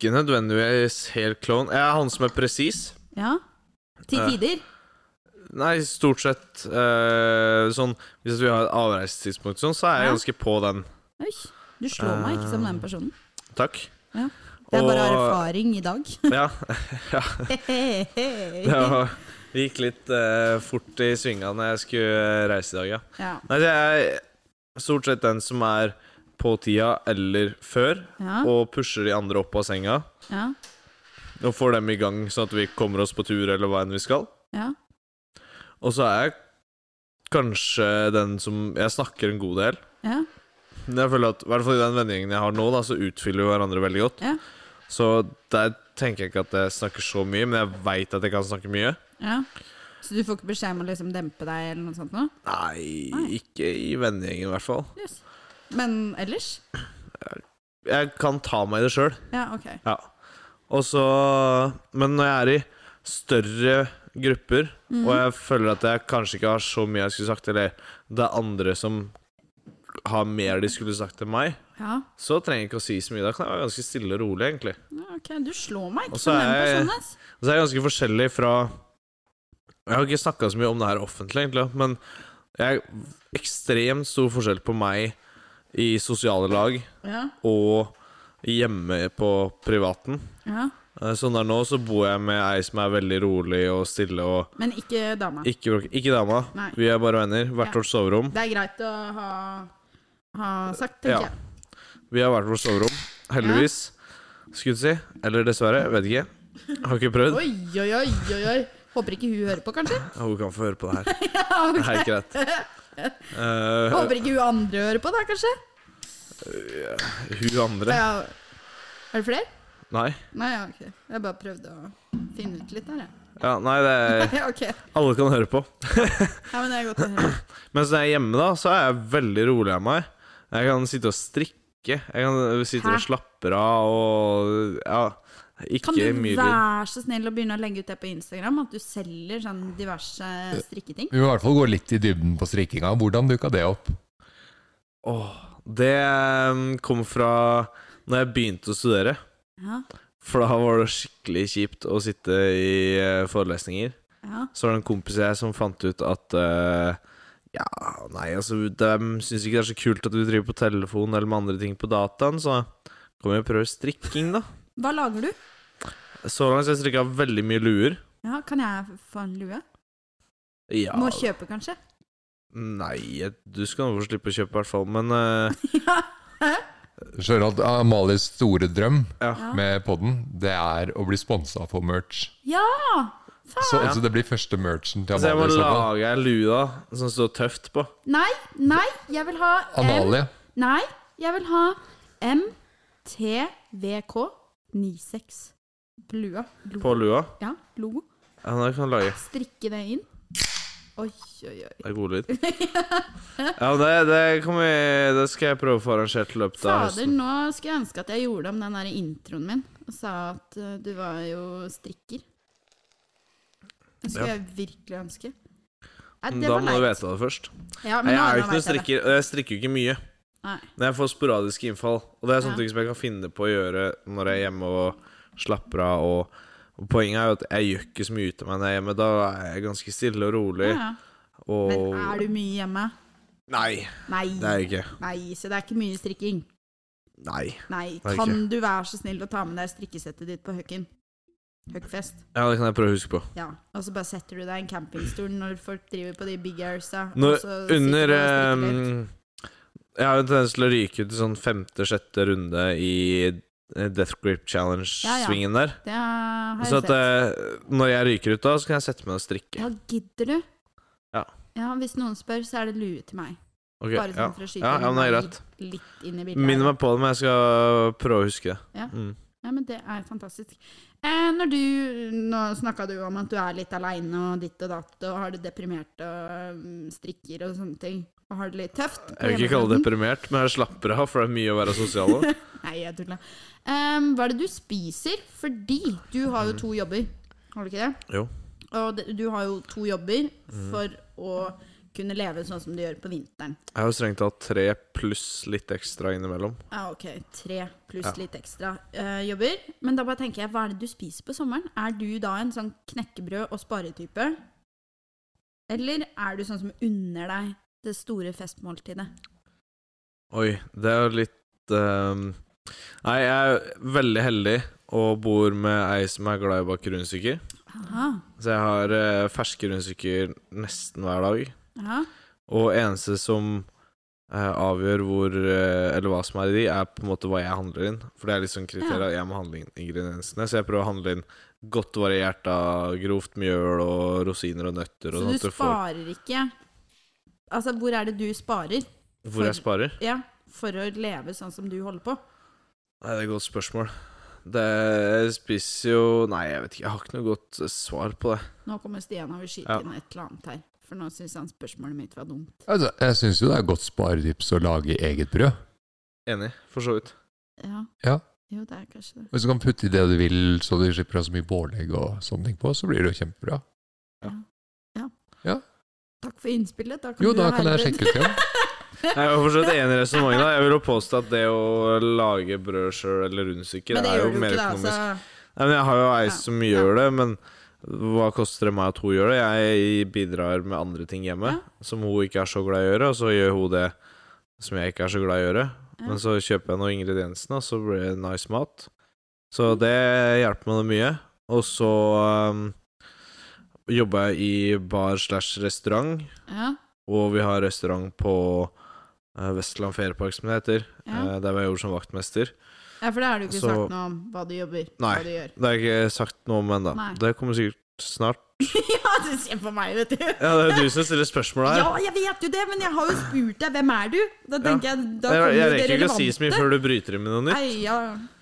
[SPEAKER 2] ikke nødvendigvis helt klovn. Jeg er han som er presis.
[SPEAKER 3] Ja. Til
[SPEAKER 2] Ja.
[SPEAKER 3] tider?
[SPEAKER 2] Nei, stort sett eh, sånn Hvis vi har et avreisetidspunkt sånn, så er jeg
[SPEAKER 3] Ja.
[SPEAKER 2] ganske på den.
[SPEAKER 3] Oi, du slår meg ikke som den personen.
[SPEAKER 2] Takk.
[SPEAKER 3] Ja. Det er bare
[SPEAKER 2] Eh. Og-
[SPEAKER 3] erfaring i dag.
[SPEAKER 2] Ja. ja. Det var, det gikk litt eh, fort i svinga når jeg skulle eh, reise i dag, ja.
[SPEAKER 3] ja.
[SPEAKER 2] Nei, så jeg er stort sett den som er på tida eller før,
[SPEAKER 3] Ja,
[SPEAKER 2] og pusher de andre opp av senga.
[SPEAKER 3] ja,
[SPEAKER 2] Og får dem i gang, sånn at vi kommer oss på tur eller hva enn vi skal.
[SPEAKER 3] ja.
[SPEAKER 2] Og så er jeg kanskje den som Jeg snakker en god del.
[SPEAKER 3] ja.
[SPEAKER 2] Men jeg føler at, i hvert fall i den vennegjengen jeg har nå, da, så utfyller vi hverandre veldig godt.
[SPEAKER 3] Ja.
[SPEAKER 2] Så der tenker jeg ikke at jeg snakker så mye, men jeg veit at jeg kan snakke mye.
[SPEAKER 3] ja. Så du får ikke beskjed om å liksom dempe deg eller noe sånt nå?
[SPEAKER 2] Nei,
[SPEAKER 3] Nei.
[SPEAKER 2] ikke i vennegjengen i hvert fall.
[SPEAKER 3] Yes. Men ellers?
[SPEAKER 2] Jeg kan ta meg i det sjøl.
[SPEAKER 3] Ja, ok.
[SPEAKER 2] Ja. Og så Men når jeg er i større grupper, og jeg føler at jeg kanskje ikke har så mye jeg skulle sagt, eller det er andre som har mer de skulle sagt til meg,
[SPEAKER 3] Ja,
[SPEAKER 2] så trenger jeg ikke å si så mye. Da kan jeg være ganske stille og rolig, egentlig.
[SPEAKER 3] ja, ok. Du slår meg
[SPEAKER 2] Og
[SPEAKER 3] ikke
[SPEAKER 2] så
[SPEAKER 3] som den
[SPEAKER 2] er jeg-
[SPEAKER 3] personen, ass.
[SPEAKER 2] Og så er jeg ganske forskjellig fra Jeg har ikke snakka så mye om det her offentlig, egentlig, men jeg er ekstremt stor forskjell på meg i sosiale lag
[SPEAKER 3] Ja,
[SPEAKER 2] og hjemme på privaten.
[SPEAKER 3] ja.
[SPEAKER 2] Eh, Sånn der nå så bor jeg med ei som er veldig rolig og stille og
[SPEAKER 3] Men ikke dama.
[SPEAKER 2] ikke, bråk- ikke dama.
[SPEAKER 3] Nei.
[SPEAKER 2] Vi er bare venner. Hvert
[SPEAKER 3] Ja.
[SPEAKER 2] vårt soverom.
[SPEAKER 3] Det er greit å ha, ha sagt,
[SPEAKER 2] Ja.
[SPEAKER 3] tenker jeg.
[SPEAKER 2] Vi har hvert vårt soverom. Heldigvis, skulle du si. Eller dessverre. Vet ikke. Har ikke prøvd.
[SPEAKER 3] Oi, oi, oi, oi, oi. Håper ikke hun hører på, kanskje?
[SPEAKER 2] Hun kan få høre på det her.
[SPEAKER 3] Ja,
[SPEAKER 2] Det er
[SPEAKER 3] ok.
[SPEAKER 2] ikke greit. Eh,
[SPEAKER 3] Håper ikke hun andre hører på, da, kanskje?
[SPEAKER 2] hun andre
[SPEAKER 3] Ja. Er det flere?
[SPEAKER 2] Nei.
[SPEAKER 3] Nei, ja, ok. Jeg bare prøvde å finne ut litt der, jeg.
[SPEAKER 2] Ja, nei, det er
[SPEAKER 3] Ja, ok.
[SPEAKER 2] Alle kan høre på.
[SPEAKER 3] Ja, men det er godt å høre.
[SPEAKER 2] Mens når jeg er hjemme, da, så er jeg veldig rolig av meg. Jeg kan sitte og strikke. Jeg kan sitte
[SPEAKER 3] Hæ?
[SPEAKER 2] og slapper av og Ja, Ikke
[SPEAKER 3] Kan du
[SPEAKER 2] myrlyd.
[SPEAKER 3] være så snill å begynne å legge ut det på Instagram? At du selger sånn diverse strikketing?
[SPEAKER 1] Vi må i hvert fall gå litt i dybden på strikkinga. Hvordan duka det opp?
[SPEAKER 2] Åh, det um, kom fra når jeg begynte å studere.
[SPEAKER 3] Ja,
[SPEAKER 2] For da var det skikkelig kjipt å sitte i eh, forelesninger.
[SPEAKER 3] ja.
[SPEAKER 2] Så var det en kompis jeg som fant ut at eh, Ja, nei, altså De syns ikke det er så kult at du driver på telefon eller med andre ting på dataen, så kan vi jo prøve strikking, da.
[SPEAKER 3] Hva lager du?
[SPEAKER 2] Så langt har jeg strikka veldig mye luer.
[SPEAKER 3] Ja, Kan jeg få en lue?
[SPEAKER 2] Ja
[SPEAKER 3] Må kjøpe, kanskje?
[SPEAKER 2] Nei, jeg- du skal nå få slippe å kjøpe, i hvert fall, men eh,
[SPEAKER 3] ja.
[SPEAKER 1] Skjønner at Amalies store drøm
[SPEAKER 3] Ja.
[SPEAKER 1] med podden, det er å bli sponsa for merch.
[SPEAKER 3] ja!
[SPEAKER 1] Så
[SPEAKER 3] Faen!
[SPEAKER 2] Ah, Ja.
[SPEAKER 1] altså, det blir første merchen til
[SPEAKER 2] Så altså, jeg må
[SPEAKER 1] Amalie. i så fall.
[SPEAKER 2] lage ei lue da, som står tøft på.
[SPEAKER 3] Nei, nei, jeg vil ha M...
[SPEAKER 1] Amalie.
[SPEAKER 3] Nei, jeg vil ha MTVK96. Blua.
[SPEAKER 2] På
[SPEAKER 3] Lo.
[SPEAKER 2] lua.
[SPEAKER 3] Ja, logo.
[SPEAKER 2] Ja, det kan jeg lage.
[SPEAKER 3] Strikke det inn. Oi, oi, oi.
[SPEAKER 2] Det er god lyd. Ja, det, det, kan vi, det skal jeg prøve å få arrangert i løpet av
[SPEAKER 3] Fader,
[SPEAKER 2] høsten.
[SPEAKER 3] nå skulle jeg ønske at jeg gjorde om den der introen min og sa at eh, du var jo strikker. Det skulle
[SPEAKER 2] Ja.
[SPEAKER 3] jeg virkelig ønske. Nei,
[SPEAKER 2] Men
[SPEAKER 3] det
[SPEAKER 2] Da
[SPEAKER 3] var
[SPEAKER 2] må du
[SPEAKER 3] leit.
[SPEAKER 2] vite det først.
[SPEAKER 3] Ja, men
[SPEAKER 2] Jeg
[SPEAKER 3] nå-
[SPEAKER 2] er
[SPEAKER 3] nå
[SPEAKER 2] jo ikke noe
[SPEAKER 3] vet jeg det.
[SPEAKER 2] strikker, og jeg strikker jo ikke mye.
[SPEAKER 3] Nei.
[SPEAKER 2] Men jeg får sporadiske innfall, og det er sånne
[SPEAKER 3] Ja.
[SPEAKER 2] ting som jeg kan finne på å gjøre når jeg er hjemme og slapper av. Og, og poenget er jo at jeg gjør ikke så mye ut av meg når jeg er hjemme. Da er jeg ganske stille og rolig.
[SPEAKER 3] Ja, ja.
[SPEAKER 2] Og
[SPEAKER 3] Men er du mye hjemme?
[SPEAKER 2] Nei,
[SPEAKER 3] Nei.
[SPEAKER 2] det er jeg ikke.
[SPEAKER 3] Nei, så det er ikke mye strikking.
[SPEAKER 2] Nei.
[SPEAKER 3] Nei,
[SPEAKER 2] Nei,
[SPEAKER 3] kan du være så snill å ta med deg strikkesettet ditt på Høkken? Høkkfest.
[SPEAKER 2] Ja, det kan jeg prøve å huske på.
[SPEAKER 3] Ja. Og så bare setter du deg i en campingstol når folk driver på de big airsa. og
[SPEAKER 2] Når,
[SPEAKER 3] så sitter
[SPEAKER 2] under
[SPEAKER 3] du og strikker
[SPEAKER 2] eh,
[SPEAKER 3] litt.
[SPEAKER 2] Jeg har jo en tendens til å ryke ut i sånn femte-sjette runde i eh, Death Grip Challenge-svingen der.
[SPEAKER 3] Det har jeg
[SPEAKER 2] Så at
[SPEAKER 3] sett.
[SPEAKER 2] eh, når jeg ryker ut da, så kan jeg sette meg ned og strikke.
[SPEAKER 3] Ja, gidder du?
[SPEAKER 2] Ja.
[SPEAKER 3] Hvis noen spør, så er det lue til meg.
[SPEAKER 2] Ok,
[SPEAKER 3] Bare sånn
[SPEAKER 2] ja.
[SPEAKER 3] for å skyte
[SPEAKER 2] Ja, ja, men det er
[SPEAKER 3] meg
[SPEAKER 2] greit.
[SPEAKER 3] litt inn i bildet.
[SPEAKER 2] Minn meg på det, men jeg skal prøve å huske det.
[SPEAKER 3] Ja.
[SPEAKER 2] Mm.
[SPEAKER 3] Ja, men det er fantastisk. Eh, når du, nå snakka du om at du er litt aleine og ditt og datt, og har det deprimert og mm, strikker og sånne ting, og har det litt tøft på
[SPEAKER 2] Jeg vil ikke kalle det
[SPEAKER 3] hjemmefronten.
[SPEAKER 2] deprimert, men jeg slapper av, for det er mye å være sosial om.
[SPEAKER 3] Nei, jeg tulla. Em, hva er det du spiser? Fordi du har jo to jobber, har du ikke det?
[SPEAKER 2] Jo.
[SPEAKER 3] Og det- du har jo to jobber
[SPEAKER 2] Mm.
[SPEAKER 3] for å kunne leve sånn som du gjør på vinteren.
[SPEAKER 2] Jeg har jo strengt tatt tre pluss litt ekstra innimellom.
[SPEAKER 3] Ja, Ah, ok. Tre pluss
[SPEAKER 2] Ja.
[SPEAKER 3] litt ekstra eh, jobber. Men da bare tenker jeg, hva er det du spiser på sommeren? Er du da en sånn knekkebrød- og sparetype? Eller er du sånn som unner deg det store festmåltidet?
[SPEAKER 2] Oi, det er jo litt ehm, Nei, jeg er veldig heldig og bor med ei som er glad i å bake rundstykker.
[SPEAKER 3] Aha.
[SPEAKER 2] Så jeg har eh, ferske rundstykker nesten hver dag.
[SPEAKER 3] Ja.
[SPEAKER 2] Og eneste som eh, avgjør hvor eh, Eller hva som er i de, er på en måte hva jeg handler inn. For det er liksom kriteriet at jeg må handle inn ingrediensene. Så jeg prøver å handle inn godt variert av grovt mjøl og rosiner og nøtter.
[SPEAKER 3] Så
[SPEAKER 2] Og
[SPEAKER 3] du
[SPEAKER 2] sånn at du får
[SPEAKER 3] sparer ikke Altså, hvor er det du sparer?
[SPEAKER 2] Hvor jeg sparer?
[SPEAKER 3] Ja, for å leve sånn som du holder på?
[SPEAKER 2] Nei, det er et godt spørsmål. Det jeg spiser jo Nei, jeg vet ikke. Jeg har ikke noe godt eh, svar på det.
[SPEAKER 3] Nå kommer Stian og vil skyte
[SPEAKER 2] Ja.
[SPEAKER 3] inn et eller annet her. For nå syns han spørsmålet mitt var dumt.
[SPEAKER 1] Altså, jeg syns jo det er godt sparetips å lage eget brød.
[SPEAKER 2] Enig, for så vidt.
[SPEAKER 3] Ja.
[SPEAKER 1] Ja.
[SPEAKER 3] Jo, det er kanskje det.
[SPEAKER 1] Hvis du kan putte i det du vil, så du slipper å ha så mye pålegg og sånne ting på, så blir det jo kjempebra.
[SPEAKER 3] Takk for innspillet. Da kan
[SPEAKER 1] Jo,
[SPEAKER 3] du
[SPEAKER 1] da
[SPEAKER 3] ha
[SPEAKER 1] kan jeg
[SPEAKER 3] herved-
[SPEAKER 1] sjekke ut igjen.
[SPEAKER 2] Jeg er jo for så vidt enig i resonnementet. da. Jeg vil jo påstå at det å lage brød sjøl eller rundstykker
[SPEAKER 3] Men det
[SPEAKER 2] er jo
[SPEAKER 3] gjør du jo
[SPEAKER 2] mer
[SPEAKER 3] ikke, da.
[SPEAKER 2] økonomisk.
[SPEAKER 3] Så
[SPEAKER 2] Nei, men jeg har jo ei
[SPEAKER 3] Ja,
[SPEAKER 2] som gjør det, men hva koster det meg at hun gjør det? Jeg bidrar med andre ting hjemme
[SPEAKER 3] Ja.
[SPEAKER 2] som hun ikke er så glad i å gjøre, og så gjør hun det som jeg ikke er så glad i å gjøre.
[SPEAKER 3] Ja.
[SPEAKER 2] Men så kjøper jeg noen ingrediensene, og så blir det nice mat. Så det hjelper meg mye. Og så um, jobber jeg i bar slash restaurant,
[SPEAKER 3] ja,
[SPEAKER 2] og vi har restaurant på eh, Vestland Feriepark, som det heter.
[SPEAKER 3] ja.
[SPEAKER 2] eh, Der var jeg gjort som vaktmester.
[SPEAKER 3] ja, for det har du ikke
[SPEAKER 2] så-
[SPEAKER 3] sagt noe om hva du jobber
[SPEAKER 2] Nei.
[SPEAKER 3] hva du gjør.
[SPEAKER 2] Det har jeg ikke sagt noe om ennå.
[SPEAKER 3] Nei.
[SPEAKER 2] Det kommer sikkert snart.
[SPEAKER 3] ja, du ser på meg, vet du.
[SPEAKER 2] Ja, det er jo du som stiller spørsmål her.
[SPEAKER 3] Ja, jeg vet jo det, men jeg har jo spurt deg hvem er du? Da tenker jeg, da
[SPEAKER 2] jeg,
[SPEAKER 3] kommer
[SPEAKER 2] jeg
[SPEAKER 3] jo det
[SPEAKER 2] rekker ikke å si så mye
[SPEAKER 3] relevante.
[SPEAKER 2] før du bryter inn med noe nytt.
[SPEAKER 3] Nei, ja.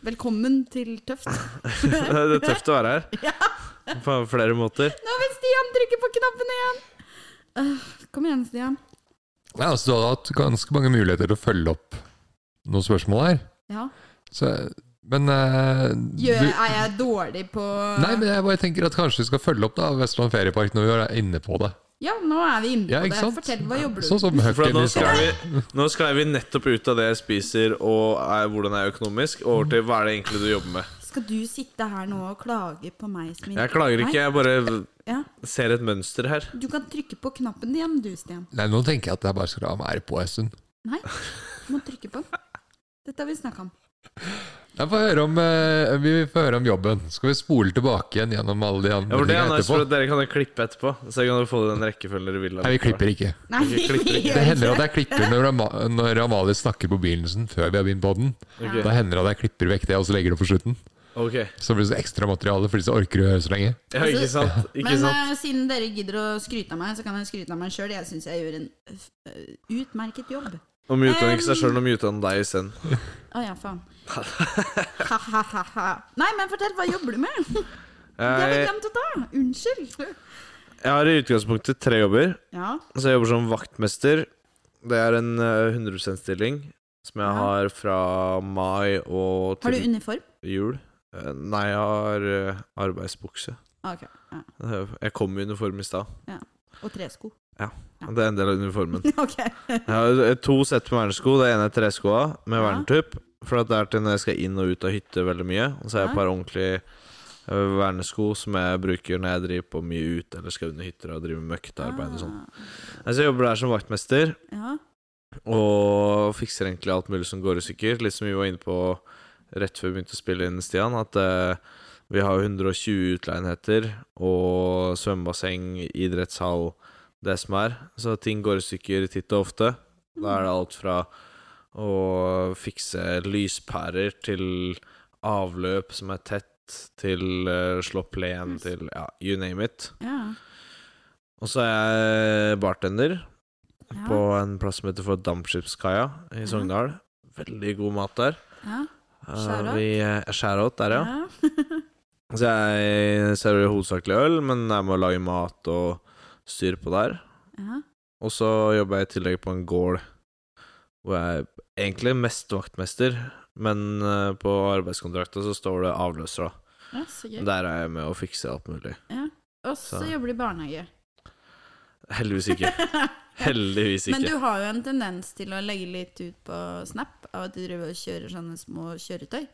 [SPEAKER 3] Velkommen til Tøft.
[SPEAKER 2] det er tøft å være her.
[SPEAKER 3] Ja.
[SPEAKER 2] På flere måter.
[SPEAKER 3] Nå vil Stian trykke på knappen igjen! Øh, kom igjen, Stian.
[SPEAKER 1] Nei, altså, du har hatt ganske mange muligheter til å følge opp noen spørsmål her.
[SPEAKER 3] Ja.
[SPEAKER 1] Så Men eh,
[SPEAKER 3] Gjør,
[SPEAKER 1] du,
[SPEAKER 3] er jeg dårlig på
[SPEAKER 1] Nei, men jeg bare tenker at kanskje vi skal følge opp da Vestland Feriepark når vi er inne på det.
[SPEAKER 3] Ja, nå er vi inne på
[SPEAKER 1] Ja, ikke
[SPEAKER 3] det.
[SPEAKER 1] sant?
[SPEAKER 3] Fortell, hva jobber du
[SPEAKER 1] Sånn som
[SPEAKER 2] For at
[SPEAKER 1] Høkken
[SPEAKER 2] nå
[SPEAKER 1] i
[SPEAKER 2] sklei
[SPEAKER 1] stad.
[SPEAKER 2] vi, nå sklei vi nettopp ut av det jeg spiser og er, hvordan jeg er økonomisk, og over til hva er det egentlig du jobber med.
[SPEAKER 3] Skal du sitte her nå og klage på meg som
[SPEAKER 2] Jeg klager ikke, jeg bare
[SPEAKER 3] Nei, ja.
[SPEAKER 2] ser et mønster her.
[SPEAKER 3] Du kan trykke på knappen igjen, du, Stian.
[SPEAKER 1] Nei, nå tenker jeg at jeg bare skal la være på en stund.
[SPEAKER 3] Nei, du må trykke på den. Dette har vi snakka om.
[SPEAKER 1] Jeg får høre om, eh, vi får høre om jobben. Skal vi spole tilbake igjen gjennom alle de
[SPEAKER 2] Ja,
[SPEAKER 1] andre
[SPEAKER 2] for det er
[SPEAKER 1] tingene
[SPEAKER 2] nice,
[SPEAKER 1] etterpå?
[SPEAKER 2] for at dere kan klippe etterpå. Så jeg kan få den rekkefølgen dere vil. ha.
[SPEAKER 1] Nei, vi klipper ikke.
[SPEAKER 3] Nei,
[SPEAKER 2] Ikke klipp det.
[SPEAKER 3] gjør
[SPEAKER 1] Det hender
[SPEAKER 3] ikke
[SPEAKER 1] at jeg klipper når, Ama når Amalie snakker på begynnelsen før vi har begynt på den.
[SPEAKER 2] Ok.
[SPEAKER 1] Da hender det at jeg klipper vekk det, og så legger det på slutten.
[SPEAKER 2] Ok,
[SPEAKER 1] Så blir det så ekstra materiale fordi så orker du å høre så lenge.
[SPEAKER 2] ja,
[SPEAKER 3] Altså,
[SPEAKER 2] ikke sant? Ikke
[SPEAKER 3] Men
[SPEAKER 2] sant?
[SPEAKER 3] eh, siden dere gidder å skryte av meg, så kan jeg skryte av meg sjøl. Jeg syns jeg gjør en eh, utmerket jobb.
[SPEAKER 2] Om mute ikke seg sjøl, om mute han deg isteden.
[SPEAKER 3] Å ja, faen. Ha-ha-ha. Nei, men fortell, hva jobber du med? Det har vi
[SPEAKER 2] Jeg,
[SPEAKER 3] glemt å ta. Unnskyld.
[SPEAKER 2] jeg har i utgangspunktet tre jobber.
[SPEAKER 3] Ja.
[SPEAKER 2] Så jeg jobber som vaktmester. Det er en eh, 100 %-stilling som jeg
[SPEAKER 3] Ja.
[SPEAKER 2] har fra mai og
[SPEAKER 3] Har du
[SPEAKER 2] til
[SPEAKER 3] uniform?
[SPEAKER 2] jul. Eh, Nei, jeg har eh, arbeidsbukse.
[SPEAKER 3] Ah, Ok. Ja.
[SPEAKER 2] Eh, Jeg kom i uniform i stad.
[SPEAKER 3] Og tresko. Ja.
[SPEAKER 2] Det er en del av uniformen.
[SPEAKER 3] Ok.
[SPEAKER 2] Jeg har eh, to sett med vernesko. Det ene er treskoa med
[SPEAKER 3] Ja.
[SPEAKER 2] vernetupp. For at det er til når jeg skal inn og ut av hytte veldig mye. Og så har jeg
[SPEAKER 3] Ja.
[SPEAKER 2] et par ordentlige eh, vernesko som jeg bruker når jeg driver på mye ut eller skal under hytter og driver med møkkearbeid og sånn.
[SPEAKER 3] Ah.
[SPEAKER 2] Nei, Så jeg jobber der som vaktmester
[SPEAKER 3] Ja.
[SPEAKER 2] og fikser egentlig alt mulig som går i stykker. Litt som vi var inne på rett før vi begynte å spille inn, Stian, at eh, vi har 120 utleienheter og svømmebasseng, idrettshall, det som er. Så ting går i stykker titt og ofte. Da er det alt fra å fikse lyspærer til avløp som er tett, til eh, slå plen, til ja, you name it.
[SPEAKER 3] ja.
[SPEAKER 2] Og så er jeg bartender
[SPEAKER 3] ja.
[SPEAKER 2] på en plass som heter for Dampskipskaia i Sogndal. Veldig god mat der.
[SPEAKER 3] ja.
[SPEAKER 2] Eh,
[SPEAKER 3] Shout-out.
[SPEAKER 2] Vi eh, Shout-out der, ja. Så jeg serverer hovedsakelig øl, men jeg må lage mat og styre på der.
[SPEAKER 3] ja.
[SPEAKER 2] Og så jobber jeg i tillegg på en gård hvor jeg egentlig er mest vaktmester, men eh, på arbeidskontrakta så står det avløser, da.
[SPEAKER 3] ja så gøy.
[SPEAKER 2] Der er jeg med å fikse alt mulig.
[SPEAKER 3] Og så
[SPEAKER 2] Så-
[SPEAKER 3] jobber du i barnehage.
[SPEAKER 2] Heldigvis ikke. Heldigvis
[SPEAKER 3] Men
[SPEAKER 2] ikke.
[SPEAKER 3] du har jo en tendens til å legge litt ut på Snap av at du driver og kjører sånne små kjøretøy.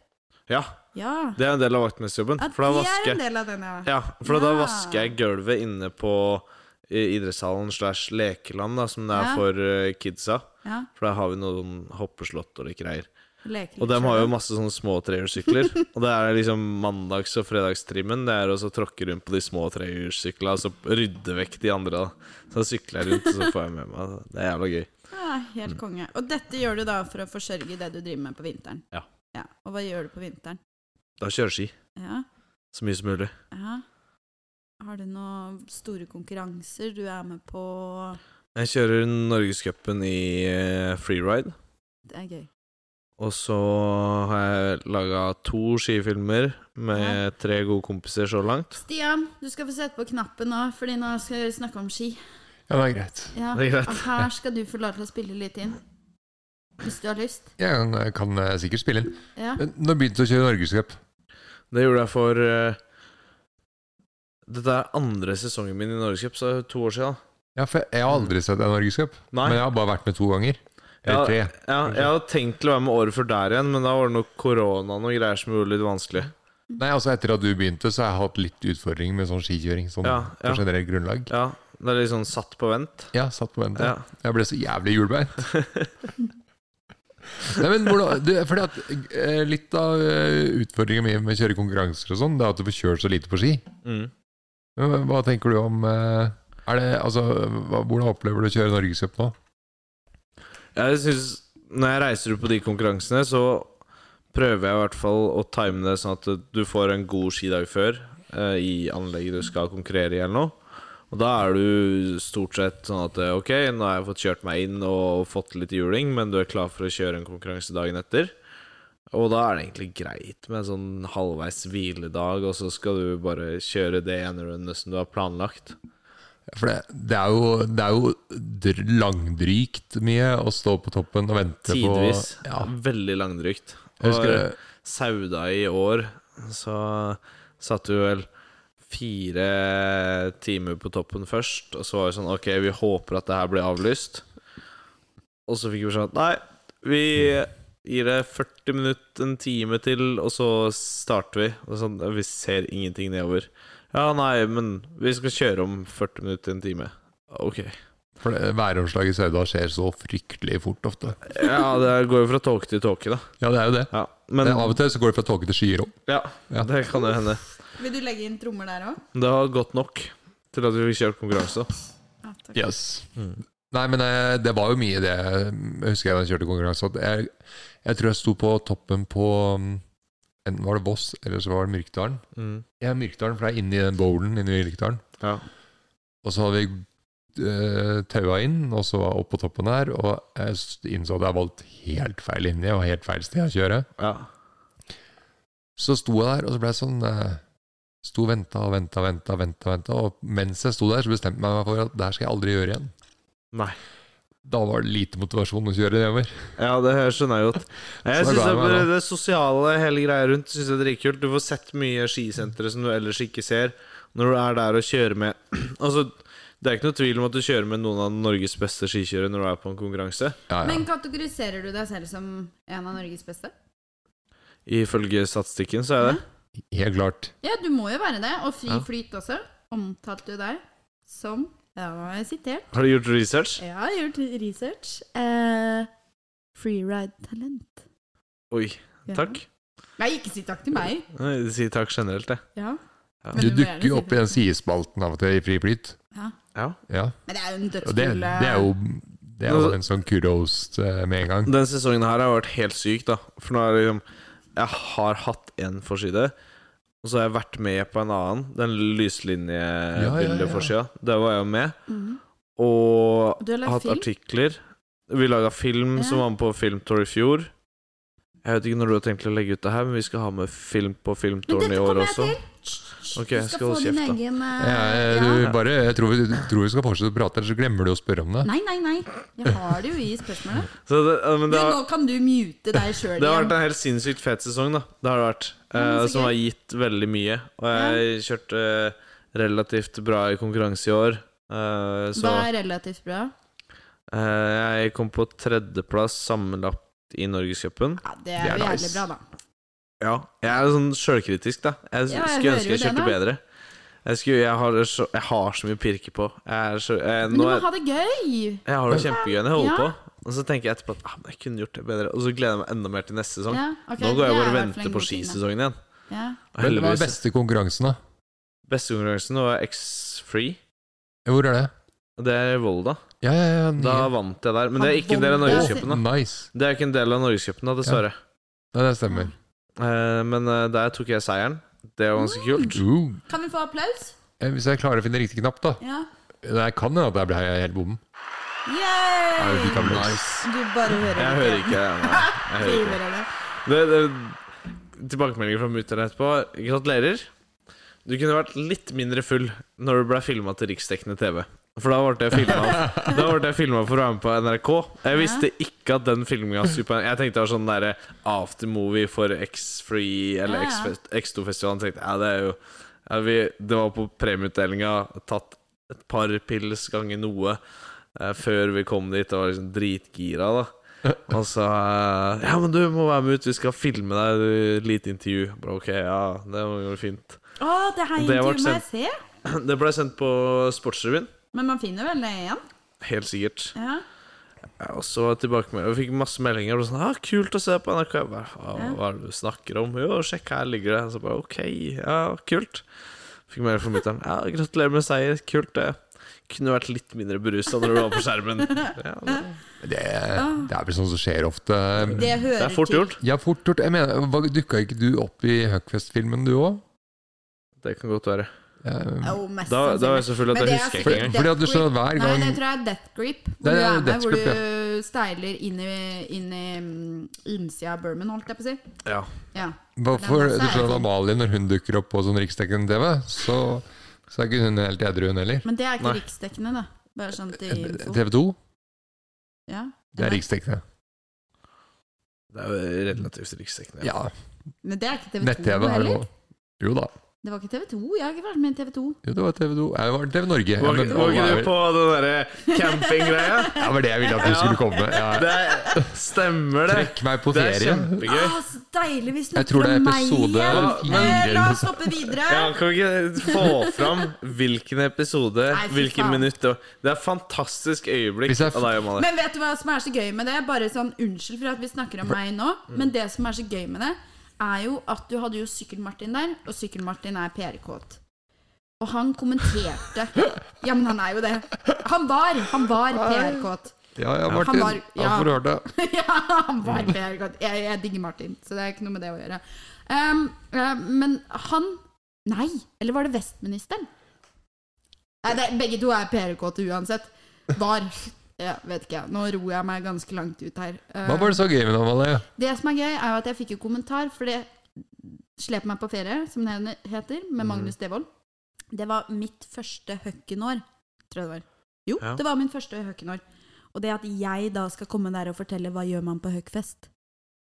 [SPEAKER 2] Ja,
[SPEAKER 3] Ja.
[SPEAKER 2] det er en del av vaktmesterjobben.
[SPEAKER 3] At
[SPEAKER 2] For da
[SPEAKER 3] det
[SPEAKER 2] vasker
[SPEAKER 3] er
[SPEAKER 2] jeg
[SPEAKER 3] en del av den, ja.
[SPEAKER 2] Ja, for da
[SPEAKER 3] Ja.
[SPEAKER 2] vasker jeg gulvet inne på eh, idrettshallen slash lekeland, da, som det er
[SPEAKER 3] Ja.
[SPEAKER 2] for eh, kidsa.
[SPEAKER 3] ja.
[SPEAKER 2] For der har vi noen hoppeslott og litt greier.
[SPEAKER 3] Leker
[SPEAKER 2] Og de har jo masse sånne små trehjulssykler. og det er liksom mandags- og fredagstrimmen. Det er å så tråkke rundt på de små trehjulssyklene og så rydde vekk de andre. da Så sykler jeg rundt, og så får jeg med meg det. Det er jævla gøy.
[SPEAKER 3] ja,
[SPEAKER 2] Mm.
[SPEAKER 3] Helt konge. Og dette gjør du da for å forsørge det du driver med på vinteren?
[SPEAKER 2] Ja.
[SPEAKER 3] Og hva gjør du på vinteren?
[SPEAKER 2] Da kjører ski
[SPEAKER 3] Ja.
[SPEAKER 2] så mye som mulig.
[SPEAKER 3] ja. Har du noen store konkurranser du er med på?
[SPEAKER 2] Jeg kjører Norgescupen i eh, freeride.
[SPEAKER 3] Det er gøy.
[SPEAKER 2] Og så har jeg laga to skifilmer med tre gode kompiser så langt.
[SPEAKER 3] Stian, du skal få sette på knappen nå, Fordi nå skal vi snakke om ski.
[SPEAKER 1] Ja, det er greit.
[SPEAKER 3] Ja.
[SPEAKER 2] Det er greit.
[SPEAKER 3] Og her skal du få lov til å spille litt inn. Hvis du har lyst.
[SPEAKER 1] Jeg kan, jeg kan eh, sikkert spille inn.
[SPEAKER 3] Ja.
[SPEAKER 1] Men Når begynte du å kjøre Norgescup?
[SPEAKER 2] Det gjorde jeg for eh, Dette er andre sesongen min i Norgescup, så det er to år siden.
[SPEAKER 1] Ja, for jeg har aldri sett en Norgescup,
[SPEAKER 2] Nei.
[SPEAKER 1] men jeg har bare vært med to ganger. Eller tre.
[SPEAKER 2] Ja, ja, jeg hadde tenkt til å være med året før der igjen, men da var det noe korona og noe greier som gjorde det litt vanskelig.
[SPEAKER 1] Nei, altså Etter at du begynte, så har jeg hatt litt utfordringer med sånn skikjøring. Sånn
[SPEAKER 2] Ja, ja.
[SPEAKER 1] på generelt grunnlag.
[SPEAKER 2] Ja, Det er litt sånn satt på vent.
[SPEAKER 1] Ja, satt på vent.
[SPEAKER 2] Ja.
[SPEAKER 1] Jeg ble så jævlig hjulbeint. Nei, men hvordan, du, fordi at eh, Litt av eh, utfordringen min med å kjøre konkurranser og sånn, det er at du får kjørt så lite på ski.
[SPEAKER 2] Mm.
[SPEAKER 1] Men Hva tenker du om eh, er det, altså, hva, Hvordan opplever du å kjøre Norgescup nå?
[SPEAKER 2] Jeg synes, Når jeg reiser ut på de konkurransene, så prøver jeg i hvert fall å time det sånn at du får en god skidag før eh, i anlegget du skal konkurrere i eller noe. Og da er du stort sett sånn at eh, ok, nå har jeg fått kjørt meg inn og fått litt juling, men du er klar for å kjøre en konkurranse dagen etter. Og da er det egentlig greit med en sånn halvveis hviledag, og så skal du bare kjøre det ene rundet som du har planlagt.
[SPEAKER 1] For det, det er jo, det er jo dr langdrygt mye å stå på toppen og vente
[SPEAKER 2] Tidvis
[SPEAKER 1] på ja.
[SPEAKER 2] veldig langdrygt.
[SPEAKER 1] Jeg husker det.
[SPEAKER 2] Sauda i år, så satt vi vel fire timer på toppen først. Og så var det sånn Ok, vi håper at det her blir avlyst. Og så fikk vi beskjed om at nei, vi gir det 40 minutter, en time til, og så starter vi. Og sånn, vi ser ingenting nedover. Ja, nei, men vi skal kjøre om 40 minutter til en time. Ok.
[SPEAKER 1] For det- Væromslaget i Sauda skjer så fryktelig fort ofte.
[SPEAKER 2] Ja, det går jo fra tåke til tåke, da.
[SPEAKER 1] Ja, det er jo det.
[SPEAKER 2] Ja, men
[SPEAKER 1] Av og til så går det fra tåke til skyer òg.
[SPEAKER 2] ja,
[SPEAKER 1] Ja.
[SPEAKER 2] det kan jo hende.
[SPEAKER 3] Vil du legge inn trommer der òg?
[SPEAKER 2] Det var godt nok til at vi fikk kjørt konkurranse.
[SPEAKER 3] Ja, takk.
[SPEAKER 1] Yes. Nei, men eh, det var jo mye det Jeg husker jeg da jeg kjørte konkurranse. At jeg, jeg tror jeg sto på toppen på mm, Enten var det Voss, eller så var det Myrkdalen. Jeg er Myrkdalen, for det er inni den bowlen inni Myrkdalen.
[SPEAKER 2] Mm. Ja.
[SPEAKER 1] Og så hadde vi eh, taua inn, og så var jeg opp på toppen der. Og jeg s- innså at jeg valgte helt feil linje og helt feil sted å kjøre.
[SPEAKER 2] Ja.
[SPEAKER 1] Så sto jeg der, og så ble jeg sånn eh, Sto og venta og venta og venta, venta, venta, og mens jeg sto der, så bestemte jeg meg for at det her skal jeg aldri gjøre igjen.
[SPEAKER 2] Nei.
[SPEAKER 1] Da var det lite motivasjon å kjøre nedover.
[SPEAKER 2] Ja, det skjønner jeg godt.
[SPEAKER 1] Så
[SPEAKER 2] Jeg
[SPEAKER 1] da
[SPEAKER 2] synes
[SPEAKER 1] ga jeg
[SPEAKER 2] det,
[SPEAKER 1] meg
[SPEAKER 2] det,
[SPEAKER 1] da.
[SPEAKER 2] det sosiale, hele greia rundt, synes jeg er dritkult. Du får sett mye skisentre som du ellers ikke ser, når du er der og kjører med Altså, det er ikke noe tvil om at du kjører med noen av Norges beste skikjørere når du er på en konkurranse,
[SPEAKER 1] Ja, ja.
[SPEAKER 3] Men kategoriserer du deg selv som en av Norges beste?
[SPEAKER 2] ifølge statistikken, så er det.
[SPEAKER 1] Helt klart.
[SPEAKER 3] Ja, du må jo være det. Og Fri
[SPEAKER 2] Ja.
[SPEAKER 3] Flyt også. Omtalte jo deg som Ja, nå har jeg sitert.
[SPEAKER 2] Har du gjort research?
[SPEAKER 3] Jeg har gjort research. Eh, Freeride-talent.
[SPEAKER 2] Oi.
[SPEAKER 3] Ja.
[SPEAKER 2] Takk.
[SPEAKER 3] Nei, ikke si takk til meg.
[SPEAKER 2] Nei, Si takk generelt, jeg.
[SPEAKER 3] Ja.
[SPEAKER 2] Ja.
[SPEAKER 3] Men
[SPEAKER 1] Du
[SPEAKER 3] må gjerne
[SPEAKER 1] dukker jo
[SPEAKER 3] si
[SPEAKER 1] opp i
[SPEAKER 3] det.
[SPEAKER 1] den sidespalten av og til i Fri flyt.
[SPEAKER 3] Ja.
[SPEAKER 2] Ja.
[SPEAKER 1] Ja.
[SPEAKER 3] Men det er jo en
[SPEAKER 1] Og det,
[SPEAKER 3] dødskul
[SPEAKER 1] det er jo det er jo en sånn kudos eh, med en gang.
[SPEAKER 2] Den sesongen her har vært helt syk, da. For nå er det liksom Jeg har hatt én forside, og så har jeg vært med på en annen. Den
[SPEAKER 1] ja, ja.
[SPEAKER 2] lyslinjebildeforsida. Der var jeg jo med.
[SPEAKER 3] Mhm.
[SPEAKER 2] Og
[SPEAKER 3] Du har lagd
[SPEAKER 2] hatt
[SPEAKER 3] film?
[SPEAKER 2] artikler. Vi laga film
[SPEAKER 3] Ja.
[SPEAKER 2] som var med på Filmtour i fjor. Jeg vet ikke når du har tenkt å legge ut det her, men vi skal ha med film på
[SPEAKER 3] Men
[SPEAKER 2] Filmtouren
[SPEAKER 3] dette
[SPEAKER 2] i år
[SPEAKER 3] kommer jeg
[SPEAKER 2] også.
[SPEAKER 3] til!
[SPEAKER 2] Ok,
[SPEAKER 3] du
[SPEAKER 2] jeg skal
[SPEAKER 3] skal få
[SPEAKER 2] holde
[SPEAKER 3] din
[SPEAKER 2] kjeft, da.
[SPEAKER 3] egen eh,
[SPEAKER 1] Ja, eh,
[SPEAKER 3] ja.
[SPEAKER 1] du, bare, jeg tror vi, tror vi skal fortsette å prate, ellers så glemmer du å spørre om det.
[SPEAKER 3] Nei, nei, nei. Jeg har det jo i spørsmålet.
[SPEAKER 2] Så det, ja, men
[SPEAKER 3] Du,
[SPEAKER 2] det, har,
[SPEAKER 3] nå kan du mute deg sjøl
[SPEAKER 2] det har
[SPEAKER 3] igjen.
[SPEAKER 2] vært en helt sinnssykt fet sesong, da. Det har det vært.
[SPEAKER 3] Ja, men
[SPEAKER 2] eh,
[SPEAKER 3] så
[SPEAKER 2] som
[SPEAKER 3] gøy.
[SPEAKER 2] har gitt veldig mye. Og jeg kjørte eh, relativt bra i konkurranse i år. Eh, så
[SPEAKER 3] Hva er relativt bra?
[SPEAKER 2] Eh, Jeg kom på tredjeplass sammenlagt i Norgescupen.
[SPEAKER 3] Ja, det
[SPEAKER 1] Det
[SPEAKER 3] er
[SPEAKER 1] er
[SPEAKER 3] jo jævlig
[SPEAKER 1] nice.
[SPEAKER 3] bra, da.
[SPEAKER 2] Ja. Jeg er sånn sjølkritisk, da. Jeg
[SPEAKER 3] Ja, jeg
[SPEAKER 2] skulle
[SPEAKER 3] hører
[SPEAKER 2] ønske jeg
[SPEAKER 3] jo det,
[SPEAKER 2] kjørte
[SPEAKER 3] da.
[SPEAKER 2] bedre. Jeg, skulle, jeg, har, så, jeg har så mye å pirke på. Jeg, er så, jeg,
[SPEAKER 3] Men du
[SPEAKER 2] nå
[SPEAKER 3] må
[SPEAKER 2] er,
[SPEAKER 3] ha det gøy!
[SPEAKER 2] jeg har det kjempegøy når jeg holder
[SPEAKER 3] Ja.
[SPEAKER 2] på, og så tenker jeg etterpå at ah, men jeg kunne gjort det bedre. Og så gleder jeg meg enda mer til neste sesong.
[SPEAKER 3] Ja, ok,
[SPEAKER 2] Sånn. nå går
[SPEAKER 3] det
[SPEAKER 2] jeg bare og
[SPEAKER 3] er i hvert fall en
[SPEAKER 2] venter
[SPEAKER 3] god
[SPEAKER 2] på
[SPEAKER 3] ting, da.
[SPEAKER 2] skisesongen igjen.
[SPEAKER 3] Ja.
[SPEAKER 2] Og
[SPEAKER 1] Men Hva er
[SPEAKER 2] Heldigvis.
[SPEAKER 1] beste konkurransen, da?
[SPEAKER 2] Beste konkurransen var X-Free.
[SPEAKER 1] Hvor er det?
[SPEAKER 2] Det er i Volda.
[SPEAKER 1] Ja, ja, ja.
[SPEAKER 2] Da
[SPEAKER 1] nye.
[SPEAKER 2] vant jeg der. Men det er ikke en del av
[SPEAKER 3] Han vant.
[SPEAKER 2] Norgescupen, da.
[SPEAKER 1] Nice.
[SPEAKER 2] Det er ikke en del av Norgescupen, da, dessverre.
[SPEAKER 1] Ja, det stemmer.
[SPEAKER 2] Eh, Men eh, der tok jeg seieren. Det var ganske kult.
[SPEAKER 1] Uh,
[SPEAKER 3] Kan vi få applaus?
[SPEAKER 1] eh, hvis jeg klarer å finne riktig knapp, da.
[SPEAKER 3] Ja.
[SPEAKER 1] Det kan hende at jeg ble helt bom. Ja, vi fikk
[SPEAKER 3] Yay!
[SPEAKER 1] applaus.
[SPEAKER 3] Du bare hører
[SPEAKER 2] Jeg hører ikke det. nei. Jeg hører ikke det.
[SPEAKER 3] Driver
[SPEAKER 2] det,
[SPEAKER 3] eller?
[SPEAKER 2] det tilbakemeldinger fra mutter'n etterpå. Gratulerer. Du kunne vært litt mindre full når du ble filma til riksdekkende TV. For da ble jeg filma Da ble jeg filmet for å være med på NRK. Jeg visste ikke at den filminga Jeg tenkte det var sånn derre aftermovie for X-Free eller
[SPEAKER 3] Ja, ja.
[SPEAKER 2] X-Fest- X2-festivalen. Tenkte jeg, ja, det er jo ja, vi, Det var på premieutdelinga, tatt et par pils ganger noe eh, før vi kom dit, og var liksom dritgira, da. Og så eh, Ja, men du må være med ut, vi skal filme deg, du, lite intervju. Jeg Bare, ok, ja, det var jo fint.
[SPEAKER 3] Å, det her
[SPEAKER 2] Og det ble
[SPEAKER 3] intervjuet må jeg
[SPEAKER 2] sendt.
[SPEAKER 3] se!
[SPEAKER 2] Det ble sendt på Sportsrevyen.
[SPEAKER 3] Men man finner vel det igjen?
[SPEAKER 2] Helt sikkert.
[SPEAKER 3] Ja.
[SPEAKER 2] Ja, og så tilbake med Jeg fikk masse meldinger. Og sånn, ah, 'Kult å se på NRK.' Jeg bare, ah, 'Hva er det du snakker om?' 'Jo, sjekk, her ligger det.' Så bare 'Ok, ja, kult'. Fikk melding fra mutter'n. 'Ja, gratulerer med seier. Kult, det.' Kunne vært litt mindre berusa når du var på skjermen. Ja, det,
[SPEAKER 1] Det, det er vel
[SPEAKER 3] Ah.
[SPEAKER 1] sånn som skjer ofte.
[SPEAKER 3] Det hører
[SPEAKER 2] Mm. det er fort gjort.
[SPEAKER 1] Ja, fort gjort. Jeg mener, hva- Dukka ikke du opp i Huckfest-filmen, du òg?
[SPEAKER 2] Det kan godt være.
[SPEAKER 1] Mm.
[SPEAKER 3] til Jo, mest
[SPEAKER 2] Da, da var
[SPEAKER 3] sannsynlig.
[SPEAKER 2] jeg selvfølgelig
[SPEAKER 3] Men
[SPEAKER 2] at
[SPEAKER 3] det
[SPEAKER 2] jeg
[SPEAKER 3] er
[SPEAKER 2] husker
[SPEAKER 1] For,
[SPEAKER 2] ikke
[SPEAKER 3] sikkert-
[SPEAKER 2] engang.
[SPEAKER 1] fordi at du skjønner hver
[SPEAKER 3] Nei,
[SPEAKER 1] gang
[SPEAKER 3] det tror jeg er death grip. Hvor
[SPEAKER 1] Det er
[SPEAKER 3] du er med,
[SPEAKER 1] death
[SPEAKER 3] hvor
[SPEAKER 1] grip,
[SPEAKER 3] du steiler inn i, inn i mm, innsida av Burman, holdt jeg på å si.
[SPEAKER 2] Ja.
[SPEAKER 3] Ja.
[SPEAKER 1] Hvorfor,
[SPEAKER 3] Den
[SPEAKER 1] du
[SPEAKER 3] også er
[SPEAKER 1] skjønner at
[SPEAKER 3] sånn.
[SPEAKER 1] Amalie, når hun dukker opp på sånn riksdekkende TV, så, så er ikke hun helt edru, hun heller.
[SPEAKER 3] Men det er ikke
[SPEAKER 2] Nei.
[SPEAKER 3] riksdekkende, da. Bare
[SPEAKER 1] Eh,
[SPEAKER 3] sånn til info.
[SPEAKER 1] TV 2,
[SPEAKER 3] Ja.
[SPEAKER 1] det er
[SPEAKER 3] Nei.
[SPEAKER 1] riksdekkende.
[SPEAKER 2] Det er jo relativt riksdekkende.
[SPEAKER 1] Ja,
[SPEAKER 3] Men det er ikke TV 2
[SPEAKER 1] nett-TV er det
[SPEAKER 3] heller.
[SPEAKER 1] også. Jo da.
[SPEAKER 3] Det var ikke TV 2. Jeg har ikke vært med i TV 2.
[SPEAKER 1] Jo, det var TV 2. Jeg var TV Norge. Ja,
[SPEAKER 2] Var
[SPEAKER 1] men,
[SPEAKER 2] var
[SPEAKER 1] alle er
[SPEAKER 2] ikke du
[SPEAKER 1] vel-
[SPEAKER 2] på den derre campinggreia?
[SPEAKER 1] Ja, det var det jeg ville at du
[SPEAKER 2] Ja.
[SPEAKER 1] skulle komme med. Ja.
[SPEAKER 2] Det er- stemmer, det.
[SPEAKER 1] Trekk meg på
[SPEAKER 2] Det er
[SPEAKER 1] ferie.
[SPEAKER 2] kjempegøy.
[SPEAKER 3] Å, Ah, så deilig! Vi
[SPEAKER 1] Jeg tror
[SPEAKER 3] snakker
[SPEAKER 1] det er
[SPEAKER 3] om meg
[SPEAKER 1] episode
[SPEAKER 2] Ja,
[SPEAKER 3] igjen!
[SPEAKER 1] fire.
[SPEAKER 2] men-
[SPEAKER 3] Eh, La oss hoppe videre!
[SPEAKER 2] Ja, kan vi ikke få fram hvilken episode,
[SPEAKER 3] Nei, fy
[SPEAKER 2] hvilken
[SPEAKER 3] faen.
[SPEAKER 2] minutt det var? Det er et fantastisk øyeblikk
[SPEAKER 1] Hvis jeg-
[SPEAKER 2] av deg og Amalie.
[SPEAKER 3] Men vet du hva som er så gøy med det? Bare sånn, Unnskyld for at vi snakker om meg nå, men det som er så gøy med det, er jo at du hadde jo Sykkel-Martin der, og Sykkel-Martin er PR-kåt. Og han kommenterte Ja, men han er jo det. Han var han var PR-kåt.
[SPEAKER 1] Ja, ja,
[SPEAKER 3] Han
[SPEAKER 1] Martin.
[SPEAKER 3] var-
[SPEAKER 1] Ja,
[SPEAKER 3] ja.
[SPEAKER 1] får du hørt det.
[SPEAKER 3] Ja, han var PR-kåt. Jeg, jeg digger Martin, så det er ikke noe med det å gjøre. Um, eh, men han Nei! Eller var det vestministeren? Nei, det, begge to er PR-kåte uansett. Var. Ja, vet ikke. jeg. Nå ror jeg meg ganske langt ut her. Eh,
[SPEAKER 1] Hva var det så gøy med det, Amalie?
[SPEAKER 3] Det som er gøy, er jo at jeg fikk jo kommentar, for det Slep meg på ferie, som det heter,
[SPEAKER 1] Mm.
[SPEAKER 3] med Magnus Devold. Det var mitt første høkkenår, tror jeg det var. Jo,
[SPEAKER 2] Ja.
[SPEAKER 3] det var min første høkkenår. Og det at jeg da skal komme der og fortelle hva gjør man på høkkfest,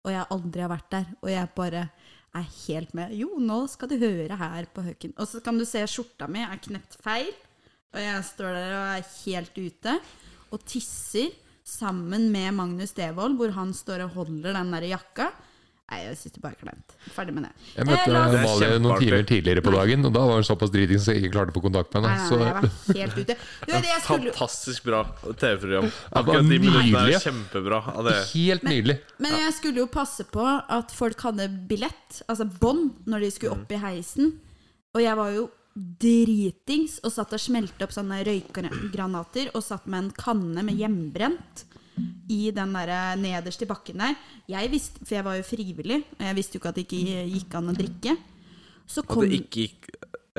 [SPEAKER 3] og jeg aldri har vært der, og jeg bare er helt med. Jo, nå skal du høre her på høkken. Og så kan du se skjorta mi er knept feil, og jeg står der og er helt ute, og tisser sammen med Magnus Devold, hvor han står og holder den der jakka. Nei, jeg synes det bare er kleint. Ferdig med det.
[SPEAKER 1] Jeg
[SPEAKER 3] Eh,
[SPEAKER 1] møtte
[SPEAKER 3] la oss-
[SPEAKER 2] Det er
[SPEAKER 1] Amalie noen
[SPEAKER 2] kjempeartig.
[SPEAKER 1] timer tidligere på dagen, og da var hun såpass driting så jeg ikke klarte å få kontakt med
[SPEAKER 3] Nei,
[SPEAKER 1] henne.
[SPEAKER 3] nei,
[SPEAKER 1] Så
[SPEAKER 3] nei, jeg var helt ute. Du, det jeg skulle...
[SPEAKER 2] Fantastisk bra TV-program.
[SPEAKER 1] var
[SPEAKER 2] Akkurat de minuttene
[SPEAKER 1] nydelig.
[SPEAKER 2] er kjempebra. av det.
[SPEAKER 1] helt nydelig.
[SPEAKER 3] Men jeg skulle jo passe på at folk hadde billett, altså bånd, når de
[SPEAKER 2] Mm.
[SPEAKER 3] skulle opp i heisen. Og jeg var jo dritings og satt og smelte opp sånne røykgranater og satt med en kanne med hjemmebrent i den der eh, nederst i bakken der. Jeg visste, For jeg var jo frivillig, og jeg visste jo ikke at det ikke gikk an å drikke. Så
[SPEAKER 2] At
[SPEAKER 3] kom
[SPEAKER 2] det ikke gikk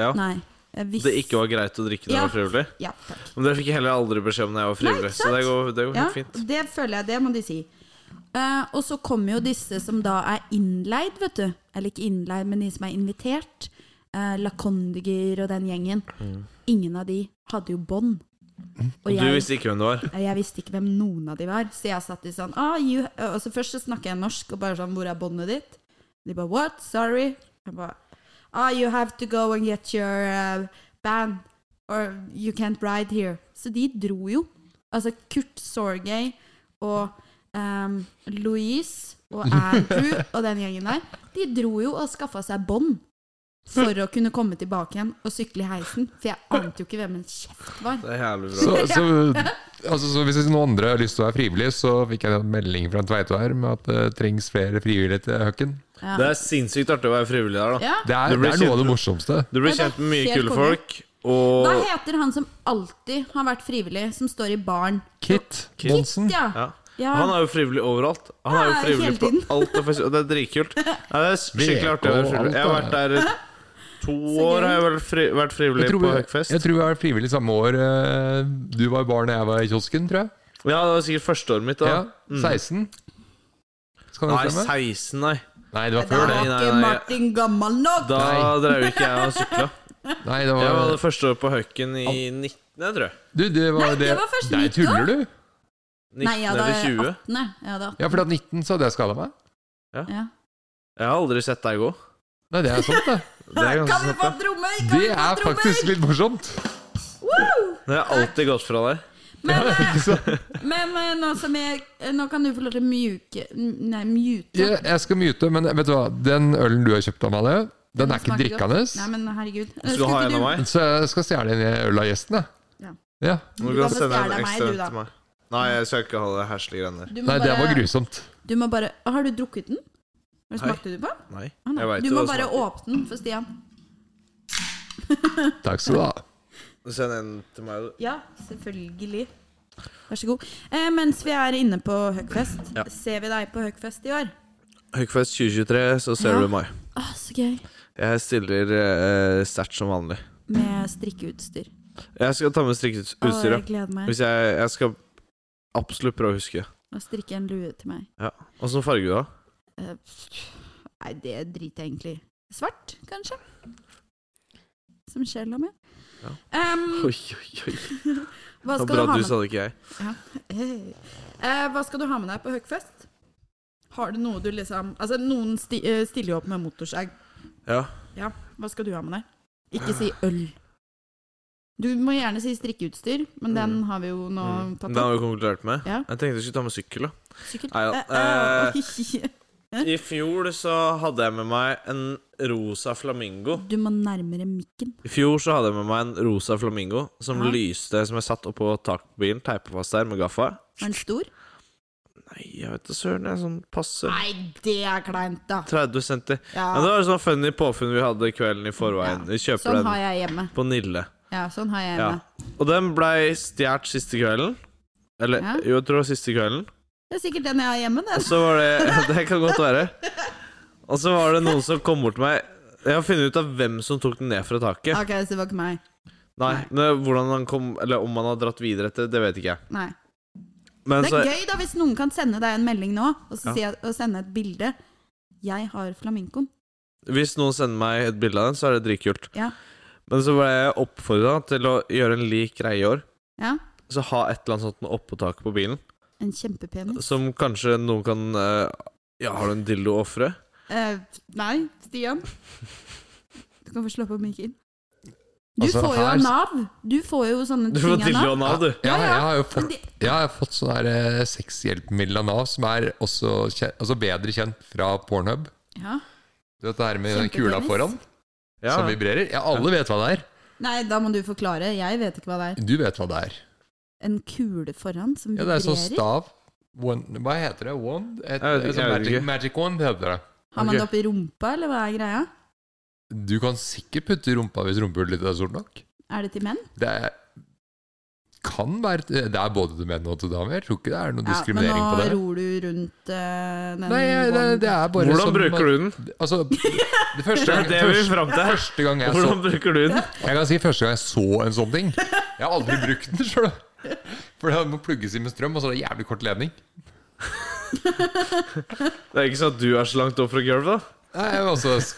[SPEAKER 2] Ja.
[SPEAKER 3] Nei. Jeg visste
[SPEAKER 2] Det ikke var greit å drikke når
[SPEAKER 3] Ja.
[SPEAKER 2] jeg var frivillig?
[SPEAKER 3] Ja, takk.
[SPEAKER 2] Men det fikk jeg heller aldri beskjed om når jeg var frivillig,
[SPEAKER 3] Nei, ikke
[SPEAKER 2] så det
[SPEAKER 3] sant?
[SPEAKER 2] går, det går helt fint.
[SPEAKER 3] Det føler jeg, det må de si. Eh, og så kommer jo disse som da er innleid, vet du. Eller ikke innleid, men de som er invitert. Eh, La Condiger og den gjengen. Ingen av de hadde jo bånd. Og
[SPEAKER 2] Mm. Du visste ikke hvem det var?
[SPEAKER 3] Eh, jeg visste ikke hvem noen av de var, så jeg satt i sånn ah, you, Og så først så snakket jeg norsk og bare sånn 'Hvor er båndet ditt?' De bare 'What? Sorry?' Jeg bare ah, 'You have to go and get your uh, band, or you can't ride here.' Så de dro jo. Altså Kurt Sorgay og um, Louise og Andrew og den gjengen der, de dro jo og skaffa seg bånd. For å kunne komme tilbake igjen og sykle i heisen. For jeg ante jo ikke hvem en kjeft var.
[SPEAKER 2] Det er jævlig bra.
[SPEAKER 1] Så, så, altså, så hvis noen andre har lyst til å være frivillig, så fikk jeg en melding fra Tveito her med at det trengs flere frivillige til Høkken.
[SPEAKER 3] Ja.
[SPEAKER 2] Det er sinnssykt artig å være frivillig der, da.
[SPEAKER 3] Ja.
[SPEAKER 1] Det er,
[SPEAKER 2] Du blir
[SPEAKER 1] det er noe av
[SPEAKER 2] kjent-
[SPEAKER 1] det morsomste.
[SPEAKER 2] Du blir
[SPEAKER 3] Ja, det er
[SPEAKER 2] kjent med mye
[SPEAKER 3] helt
[SPEAKER 2] kule
[SPEAKER 3] konge.
[SPEAKER 2] folk,
[SPEAKER 3] Hva
[SPEAKER 2] og
[SPEAKER 3] heter han som alltid har vært frivillig, som står i baren?
[SPEAKER 1] Kit
[SPEAKER 2] Kit,
[SPEAKER 1] Monsen.
[SPEAKER 3] Ja.
[SPEAKER 2] ja.
[SPEAKER 3] Ja.
[SPEAKER 2] Han er jo frivillig overalt. Han er jo
[SPEAKER 3] Ja,
[SPEAKER 2] frivillig
[SPEAKER 3] hele
[SPEAKER 2] på
[SPEAKER 3] tiden.
[SPEAKER 2] alt. Og fest- og det er dritkult. Nei, det er skikkelig artig å være frivillig. Jeg har vært der to år, har jeg vel fri, vært frivillig
[SPEAKER 1] Jeg tror,
[SPEAKER 2] på
[SPEAKER 1] vi,
[SPEAKER 2] Høgfest.
[SPEAKER 1] jeg tror vi var frivillig samme år eh, du var barn og jeg var i kiosken, tror jeg.
[SPEAKER 2] Ja, det var sikkert første året mitt, da. Mm.
[SPEAKER 1] Ja, 16. Skal
[SPEAKER 2] Nei,
[SPEAKER 1] det stemme?
[SPEAKER 2] 16, nei.
[SPEAKER 1] Nei, det var
[SPEAKER 3] Da
[SPEAKER 1] før
[SPEAKER 3] var
[SPEAKER 1] det.
[SPEAKER 2] Nei, nei,
[SPEAKER 3] ikke
[SPEAKER 2] nei.
[SPEAKER 3] Martin gammel nok!
[SPEAKER 2] Da
[SPEAKER 1] Nei.
[SPEAKER 2] drev ikke jeg og sykla.
[SPEAKER 1] Nei, det
[SPEAKER 2] Jeg var
[SPEAKER 1] var,
[SPEAKER 2] det første året på Høkken i 19, jeg tror jeg.
[SPEAKER 1] du, det var,
[SPEAKER 3] Nei, det var først
[SPEAKER 1] Nei,
[SPEAKER 3] nytt
[SPEAKER 1] tuller du?
[SPEAKER 2] 19
[SPEAKER 3] Nei, jeg hadde
[SPEAKER 2] eller 20.
[SPEAKER 3] 18. Jeg hadde 18.
[SPEAKER 1] Ja, for at 19 så hadde jeg skada meg.
[SPEAKER 3] Ja.
[SPEAKER 2] Jeg har aldri sett deg gå.
[SPEAKER 1] Nei, det er sant, det.
[SPEAKER 2] Det er ganske
[SPEAKER 3] Kan vi
[SPEAKER 2] sant,
[SPEAKER 3] få
[SPEAKER 2] da.
[SPEAKER 3] trommer? Kan
[SPEAKER 1] Det
[SPEAKER 3] vi få
[SPEAKER 1] er
[SPEAKER 3] trommer?
[SPEAKER 1] faktisk litt morsomt.
[SPEAKER 3] Woo!
[SPEAKER 2] Det har alltid gått fra deg.
[SPEAKER 3] Men, eh,
[SPEAKER 1] Ikke sant?
[SPEAKER 3] men eh, nå, som jeg, eh, nå kan du få lov til å mjuke Nei, mute.
[SPEAKER 1] Jeg, jeg skal mute, men vet du hva? Den ølen du har kjøpt, Amalie, den er ikke
[SPEAKER 3] smaker godt.
[SPEAKER 1] drikkende.
[SPEAKER 3] Nei, men herregud.
[SPEAKER 2] Skal du ha en av meg?
[SPEAKER 1] Så jeg skal stjele en øl av gjesten, jeg.
[SPEAKER 3] Ja.
[SPEAKER 1] Ja.
[SPEAKER 2] Du
[SPEAKER 3] Du
[SPEAKER 2] kan
[SPEAKER 3] kan få
[SPEAKER 2] sende en
[SPEAKER 3] stjele av meg,
[SPEAKER 2] ekstra
[SPEAKER 3] du, da.
[SPEAKER 2] til meg. Nei, jeg skal ikke ha det herslige greiene der.
[SPEAKER 3] Du må
[SPEAKER 1] Nei, det var
[SPEAKER 3] bare-
[SPEAKER 1] grusomt.
[SPEAKER 3] Du må bare Har du drukket den? Har du
[SPEAKER 2] Nei.
[SPEAKER 3] Smakte du på den?
[SPEAKER 2] Nei.
[SPEAKER 3] Å, nei.
[SPEAKER 2] Jeg vet
[SPEAKER 3] Du
[SPEAKER 2] jo
[SPEAKER 3] må
[SPEAKER 2] hva
[SPEAKER 3] bare
[SPEAKER 2] det smaker.
[SPEAKER 3] åpne den for Stian.
[SPEAKER 1] Takk skal du ha.
[SPEAKER 2] Send en til meg, du.
[SPEAKER 3] Ja, selvfølgelig. Vær så god. Eh, mens vi er inne på Høgfest,
[SPEAKER 2] Ja.
[SPEAKER 3] ser vi deg på Høgfest i år?
[SPEAKER 2] Høgfest 2023, så ser
[SPEAKER 3] Ja.
[SPEAKER 2] du meg.
[SPEAKER 3] Å, Ah, så gøy.
[SPEAKER 2] Jeg stiller eh, sterkt som vanlig.
[SPEAKER 3] Med strikkeutstyr.
[SPEAKER 2] Jeg skal ta med
[SPEAKER 3] Å,
[SPEAKER 2] strikkeutstyr.
[SPEAKER 3] jeg gleder meg.
[SPEAKER 2] Hvis jeg, jeg skal absolutt prøve å huske.
[SPEAKER 3] Og strikke en lue til meg.
[SPEAKER 2] Ja. Åssen farge du har du?
[SPEAKER 3] Eh, pff, nei, det driter jeg egentlig i. Svart, kanskje? Som sjela mi.
[SPEAKER 2] Ja.
[SPEAKER 3] Em,
[SPEAKER 2] Oi, oi, oi.
[SPEAKER 3] Mm. hva,
[SPEAKER 2] Det var
[SPEAKER 3] skal du
[SPEAKER 2] bra
[SPEAKER 3] ha
[SPEAKER 2] du
[SPEAKER 3] med?
[SPEAKER 2] sa det, ikke jeg.
[SPEAKER 3] Hei. Eh, hva skal du ha med deg på Høgfest? Har du noe du liksom Altså, noen sti, eh, stiller jo opp med motorsag.
[SPEAKER 2] Ja.
[SPEAKER 3] Ja, hva skal du ha med deg? Ikke si øl. Du må gjerne si strikkeutstyr, men den
[SPEAKER 2] Mm.
[SPEAKER 3] har vi jo nå
[SPEAKER 2] Mm.
[SPEAKER 3] tatt
[SPEAKER 2] Den har
[SPEAKER 3] opp.
[SPEAKER 2] vi konkludert med.
[SPEAKER 3] Ja.
[SPEAKER 2] Jeg tenkte jeg skulle ta med sykkel. da
[SPEAKER 3] Sykkel.
[SPEAKER 2] Nei, ja.
[SPEAKER 3] Eh, eh,
[SPEAKER 2] I fjor så hadde jeg med meg en rosa flamingo.
[SPEAKER 3] du må nærmere mikken.
[SPEAKER 2] I fjor så hadde jeg med meg en rosa flamingo som
[SPEAKER 3] Ja.
[SPEAKER 2] lyste, som jeg satt oppå takbilen, teipa fast der med gaffa.
[SPEAKER 3] Er den stor?
[SPEAKER 2] Nei, jeg vet da søren. Jeg er sånn passe
[SPEAKER 3] Nei, det er kleint, da.
[SPEAKER 2] 30 centi.
[SPEAKER 3] Ja,
[SPEAKER 2] Men det var sånn funny påfunn vi hadde kvelden i forveien. Vi kjøper
[SPEAKER 3] sånn
[SPEAKER 2] den
[SPEAKER 3] har jeg hjemme.
[SPEAKER 2] på Nille.
[SPEAKER 3] Ja, sånn har jeg
[SPEAKER 2] Ja.
[SPEAKER 3] hjemme.
[SPEAKER 2] Og den blei stjålet siste kvelden. Eller
[SPEAKER 3] Ja.
[SPEAKER 2] jo, jeg tror det var siste kvelden.
[SPEAKER 3] Det er sikkert den jeg har hjemme,
[SPEAKER 2] Og
[SPEAKER 3] den.
[SPEAKER 2] så var det Det kan godt være. Og så var det noen som kom bort til meg Jeg har funnet ut av hvem som tok den ned fra taket.
[SPEAKER 3] Ok, så det var ikke meg.
[SPEAKER 2] Nei, men hvordan han kom Eller om han har dratt videre etter, det vet ikke jeg.
[SPEAKER 3] Nei.
[SPEAKER 2] Men
[SPEAKER 3] Det
[SPEAKER 2] så
[SPEAKER 3] er gøy da hvis noen kan sende deg en melding nå, og så
[SPEAKER 2] Ja.
[SPEAKER 3] si at- og sende et bilde. Jeg har flaminkoen.
[SPEAKER 2] hvis noen sender meg et bilde av den, så er det dritkult.
[SPEAKER 3] Ja.
[SPEAKER 2] Men så ble jeg oppfordra til å gjøre en lik greie i år.
[SPEAKER 3] Ja,
[SPEAKER 2] Så ha et eller annet sånt noe oppå taket på bilen,
[SPEAKER 3] en kjempepenis.
[SPEAKER 2] som kanskje noen kan eh, Ja, har du en dildo å ofre?
[SPEAKER 3] Eh, nei, Stian. Du kan få slå på mikken. Du
[SPEAKER 1] Altså,
[SPEAKER 3] får jo
[SPEAKER 1] her-
[SPEAKER 3] av Nav. Du får jo sånne
[SPEAKER 2] Du
[SPEAKER 3] ting
[SPEAKER 2] får
[SPEAKER 3] av
[SPEAKER 2] dildo
[SPEAKER 3] Nav.
[SPEAKER 2] av Nav, du.
[SPEAKER 1] Ja,
[SPEAKER 3] Ja, ja.
[SPEAKER 1] jeg har jo
[SPEAKER 3] Men
[SPEAKER 1] fått,
[SPEAKER 3] det-
[SPEAKER 1] ja, jeg har fått sånn her eh, sexhjelpemiddel av Nav, som er også kje- altså bedre kjent fra Pornhub.
[SPEAKER 3] Ja.
[SPEAKER 1] Du vet det her med den kula
[SPEAKER 3] Kjempepenis.
[SPEAKER 1] foran,
[SPEAKER 2] Ja.
[SPEAKER 1] som vibrerer? Ja, alle vet hva det er.
[SPEAKER 3] Nei, da må du forklare. Jeg vet ikke hva det er.
[SPEAKER 1] Du vet hva det er.
[SPEAKER 3] En kule foran som
[SPEAKER 1] Ja, det er sånn
[SPEAKER 3] vibrerer.
[SPEAKER 1] stav. Wand- hva heter det? Wand? Et,
[SPEAKER 2] Jeg vet ikke,
[SPEAKER 1] sånn
[SPEAKER 2] jeg vet
[SPEAKER 1] magic,
[SPEAKER 2] ikke.
[SPEAKER 1] magic wand heter det.
[SPEAKER 3] Har man
[SPEAKER 2] Ok.
[SPEAKER 3] det oppi rumpa, eller hva er greia?
[SPEAKER 1] Du kan sikkert putte i rumpa hvis rumpehullet ditt er stort nok.
[SPEAKER 3] Er det til menn?
[SPEAKER 1] Det er, kan være Det er både til menn og til damer. Jeg tror ikke det er noe
[SPEAKER 3] Ja, men
[SPEAKER 1] diskriminering
[SPEAKER 3] nå
[SPEAKER 1] på det.
[SPEAKER 3] ror du rundt eh, den
[SPEAKER 1] Nei, det, det er bare
[SPEAKER 2] Hvordan bruker du den?
[SPEAKER 1] du Altså, det første
[SPEAKER 2] Det
[SPEAKER 1] gang,
[SPEAKER 2] er det vi vil
[SPEAKER 1] første,
[SPEAKER 2] fram til.
[SPEAKER 1] første gang jeg så
[SPEAKER 2] Hvordan bruker du den?
[SPEAKER 1] Jeg kan si første gang jeg så en sånn ting. Jeg har aldri brukt den sjøl. For det må plugges i med strøm, og så er det jævlig kort ledning.
[SPEAKER 2] Det er ikke sånn at du er så langt opp fra gulvet, da.
[SPEAKER 1] Nei, jeg må altså s-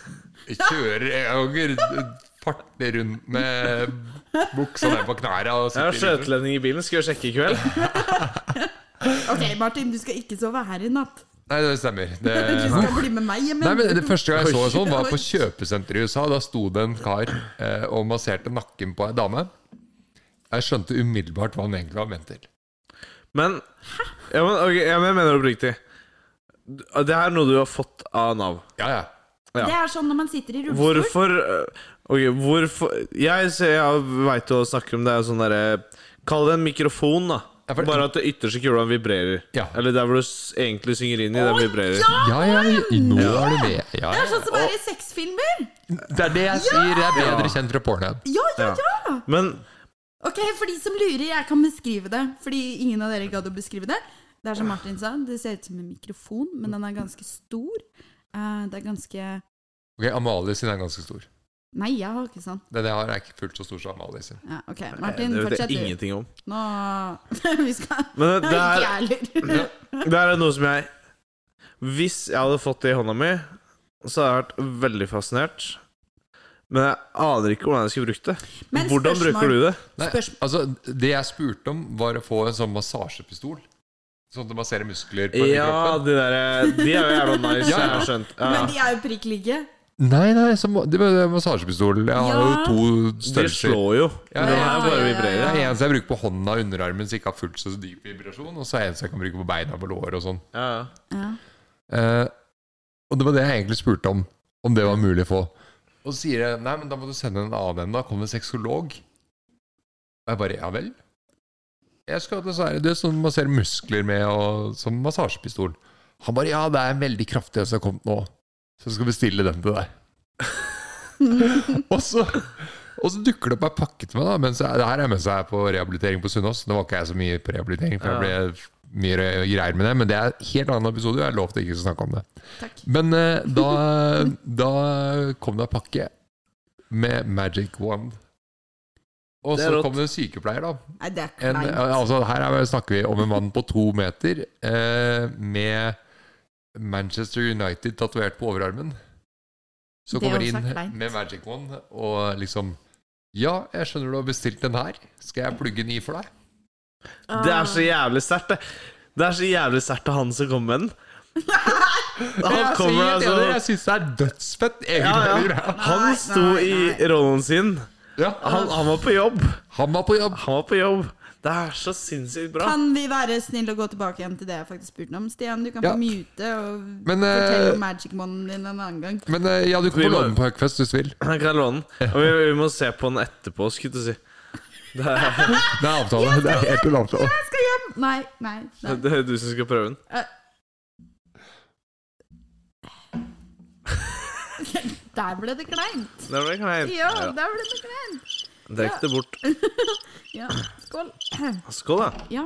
[SPEAKER 1] kjører Jeg kan ikke parte rundt med buksa ned på knærne og
[SPEAKER 2] Jeg
[SPEAKER 1] sitte i bilen.
[SPEAKER 2] har skjøtelending i bilen, skal jeg sjekke i kveld?
[SPEAKER 3] Ok, Martin, du skal ikke sove her i natt.
[SPEAKER 1] Nei, det stemmer. Det,
[SPEAKER 3] Du skal bli med meg hjem.
[SPEAKER 1] Eh, nei, men det første gang jeg så en sånn, var på kjøpesenteret i USA. Da sto det en kar eh, og masserte nakken på ei dame. Jeg skjønte umiddelbart hva han egentlig var ment til.
[SPEAKER 2] Men ja, men, ok, ja, men jeg mener oppriktig. Du- Det her er noe du har fått av Nav.
[SPEAKER 1] Ja, ja.
[SPEAKER 2] Ja.
[SPEAKER 3] Det er sånn når man sitter i rullestol.
[SPEAKER 2] Hvorfor øh, Ok, hvorfor Jeg, ser- jeg veit du snakker om det er sånn derre Kall det en mikrofon, da.
[SPEAKER 1] Ja, for-
[SPEAKER 2] Bare at det ytterste kula vibrerer.
[SPEAKER 1] Ja.
[SPEAKER 2] Eller der hvor du s- egentlig synger inn i, den vibrerer.
[SPEAKER 1] Ja, ja, nå er du med. Ja,
[SPEAKER 3] Det
[SPEAKER 1] ja.
[SPEAKER 3] er sånn som er i sexfilmer!
[SPEAKER 1] Det er det jeg sier. Jeg er bedre kjent fra pornhub.
[SPEAKER 3] Ja, ja,
[SPEAKER 2] Ja.
[SPEAKER 3] ja!
[SPEAKER 2] Men
[SPEAKER 3] Ok, for de som lurer, jeg kan beskrive det. Fordi ingen av dere gadd å beskrive det. Det er som Martin sa, det ser ut som en mikrofon, men den er ganske stor. Eh, det er ganske
[SPEAKER 1] Ok, Amalie sin er ganske stor.
[SPEAKER 3] Nei, jeg har ikke sånn.
[SPEAKER 1] Den jeg har, er ikke fullt så stor som Amalie sin.
[SPEAKER 3] Ja, ok,
[SPEAKER 2] det
[SPEAKER 3] Martin,
[SPEAKER 2] vet
[SPEAKER 3] fortsett
[SPEAKER 2] jeg
[SPEAKER 3] du.
[SPEAKER 2] ingenting om.
[SPEAKER 3] Nå Vi skal
[SPEAKER 2] Men det
[SPEAKER 3] Ikke jeg
[SPEAKER 2] er,
[SPEAKER 3] heller.
[SPEAKER 2] det her er noe som jeg Hvis jeg hadde fått det i hånda mi, så hadde jeg vært veldig fascinert. Men jeg aner ikke hvordan jeg skulle brukt det.
[SPEAKER 3] Men
[SPEAKER 2] hvordan
[SPEAKER 3] spørsmål.
[SPEAKER 2] bruker du det?
[SPEAKER 1] Nei,
[SPEAKER 3] Spørsmål.
[SPEAKER 1] altså, det jeg spurte om, var å få en sånn massasjepistol. Sånn at du masserer muskler på hele
[SPEAKER 2] Ja,
[SPEAKER 1] kroppen.
[SPEAKER 2] de der eh, De er jo jævla nice,
[SPEAKER 1] Ja, ja.
[SPEAKER 2] jeg har skjønt.
[SPEAKER 3] Men
[SPEAKER 2] Ja.
[SPEAKER 3] de er jo prikk like.
[SPEAKER 1] Nei, nei, så må, det var massasjepistol. Jeg har
[SPEAKER 3] Ja.
[SPEAKER 1] jo to
[SPEAKER 2] De
[SPEAKER 1] størrelser.
[SPEAKER 2] slår jo.
[SPEAKER 1] Ja,
[SPEAKER 2] Men Den
[SPEAKER 1] ja,
[SPEAKER 2] her bare
[SPEAKER 3] ja, ja,
[SPEAKER 1] Det
[SPEAKER 2] vibrerer.
[SPEAKER 1] er en som jeg bruker på hånda og underarmen, så ikke har fullt så dyp vibrasjon. Og så er det en som jeg kan bruke på beina på lår og sånn.
[SPEAKER 2] Ja, ja.
[SPEAKER 3] Ja.
[SPEAKER 1] Eh, og det var det jeg egentlig spurte om. Om det var mulig å få. Og så sier jeg nei, men da må du sende en annen en, da. Kom en sexolog. Og jeg bare ja vel? Jeg skal til Sverige, du vet, sånn masserer muskler med og som massasjepistol. Han bare ja, det er en veldig kraftig en som har kommet nå, så jeg skal bestille den til deg. og, så, og så dukker det opp ei pakke til meg, da. Mens jeg, det her er mens jeg er på rehabilitering på Sunnaas. Nå var ikke jeg så mye på rehabilitering, for
[SPEAKER 2] Ja.
[SPEAKER 1] jeg ble mye greier med det, men det er en helt annen episode, og jeg lovte ikke å snakke om det.
[SPEAKER 3] Takk.
[SPEAKER 1] Men eh, da, da kom det en pakke med Magic Wand. Og
[SPEAKER 2] Det
[SPEAKER 1] så
[SPEAKER 2] er rått.
[SPEAKER 1] kom det en sykepleier, da.
[SPEAKER 3] Nei, det er
[SPEAKER 1] En,
[SPEAKER 3] kleint.
[SPEAKER 1] altså, her er, snakker vi om en mann på to meter eh, med Manchester United tatovert på overarmen. Så
[SPEAKER 3] Det er
[SPEAKER 1] kommer
[SPEAKER 3] også
[SPEAKER 1] inn
[SPEAKER 3] kleint.
[SPEAKER 1] med Magic Wand og liksom Ja, jeg skjønner du har bestilt den her. Skal jeg plugge den i for deg?
[SPEAKER 2] Det er så jævlig sterkt, det. Det er så jævlig sterkt av han som kom med den. Han
[SPEAKER 1] Jeg
[SPEAKER 2] kommer
[SPEAKER 1] sier det,
[SPEAKER 2] altså
[SPEAKER 1] Jeg syns det er dødsfett,
[SPEAKER 2] Ja,
[SPEAKER 1] egentlig.
[SPEAKER 2] ja. Han sto
[SPEAKER 3] nei,
[SPEAKER 2] i
[SPEAKER 3] nei.
[SPEAKER 2] rollen sin.
[SPEAKER 1] Ja.
[SPEAKER 2] Han, han var på jobb.
[SPEAKER 1] Han var på jobb.
[SPEAKER 2] Han var på jobb. Det er så sinnssykt bra.
[SPEAKER 3] Kan vi være snille og gå tilbake igjen til det jeg faktisk spurte om? Stian, du kan
[SPEAKER 1] Ja.
[SPEAKER 3] få mute og
[SPEAKER 1] Men, eh,
[SPEAKER 3] fortelle om Magic Monden din en annen gang.
[SPEAKER 1] Men eh, ja, du kan
[SPEAKER 2] Vi
[SPEAKER 1] få
[SPEAKER 2] må-
[SPEAKER 1] låne den på Huckfest hvis du vil.
[SPEAKER 2] Han kan låne den. Og vi, vi må se på den etterpå, skulle jeg til å si. Det er,
[SPEAKER 1] Det er avtale. Det er helt en avtale.
[SPEAKER 3] Jeg skal hjem! Nei, nei. nei.
[SPEAKER 2] det er du som skal prøve den.
[SPEAKER 3] Eh. Der ble det kleint.
[SPEAKER 2] Det ble kleint.
[SPEAKER 3] Ja,
[SPEAKER 2] Ja,
[SPEAKER 3] der ble det kleint.
[SPEAKER 2] Drekk det bort.
[SPEAKER 3] Ja, skål.
[SPEAKER 2] Skål, da.
[SPEAKER 3] Ja.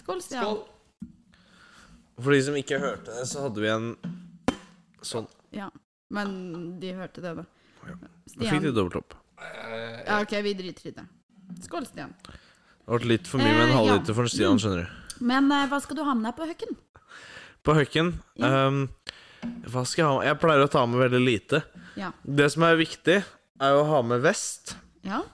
[SPEAKER 3] Skål, Stian.
[SPEAKER 2] For de som ikke hørte det, så hadde vi en sånn.
[SPEAKER 3] Ja. Men de hørte det, da.
[SPEAKER 2] Ja. Da fikk
[SPEAKER 3] Stian.
[SPEAKER 2] de dobbelt opp.
[SPEAKER 3] Ja, OK, vi driter i det. Skål, Stian.
[SPEAKER 2] Det ble litt for mye med en
[SPEAKER 3] Eh, ja.
[SPEAKER 2] halvliter for Stian, skjønner du.
[SPEAKER 3] Men eh, hva skal du ha med deg på høkken?
[SPEAKER 2] På høkken ehm, Hva skal jeg ha med? Jeg pleier å ta med veldig lite.
[SPEAKER 3] Ja.
[SPEAKER 2] Det som er viktig, er å ha med vest.
[SPEAKER 3] ja.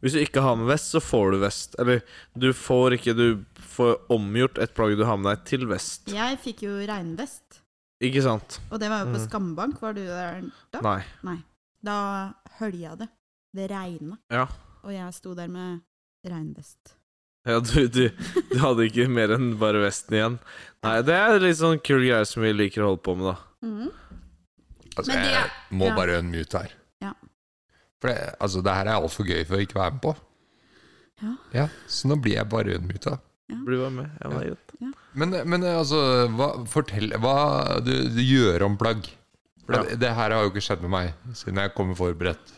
[SPEAKER 2] Hvis du ikke har med vest, så får du vest. Eller du får ikke Du får omgjort et plagg du har med deg, til vest.
[SPEAKER 3] Jeg fikk jo regnvest,
[SPEAKER 2] Ikke sant?
[SPEAKER 3] og det var jo på
[SPEAKER 2] Mm.
[SPEAKER 3] Skambank. Var du der da?
[SPEAKER 2] Nei.
[SPEAKER 3] Da hølja det. Det regna.
[SPEAKER 2] Ja.
[SPEAKER 3] Og jeg sto der med regnvest.
[SPEAKER 2] Ja, du, du, du hadde ikke mer enn bare vesten igjen. Nei, det er litt sånn kul greie som vi liker å holde på med, da.
[SPEAKER 3] Mhm.
[SPEAKER 1] Altså,
[SPEAKER 3] Men det-
[SPEAKER 1] jeg må
[SPEAKER 3] ja.
[SPEAKER 1] bare unmute her.
[SPEAKER 3] Ja.
[SPEAKER 1] For det, altså, det her er altfor gøy for å ikke være med på.
[SPEAKER 3] Ja.
[SPEAKER 1] så nå blir jeg bare unmuta.
[SPEAKER 2] Bli bare med. Ja, det er greit.
[SPEAKER 1] Men, men altså, hva, fortell hva du, du gjør om plagg. For det, det her har jo ikke skjedd med meg siden jeg kommer forberedt.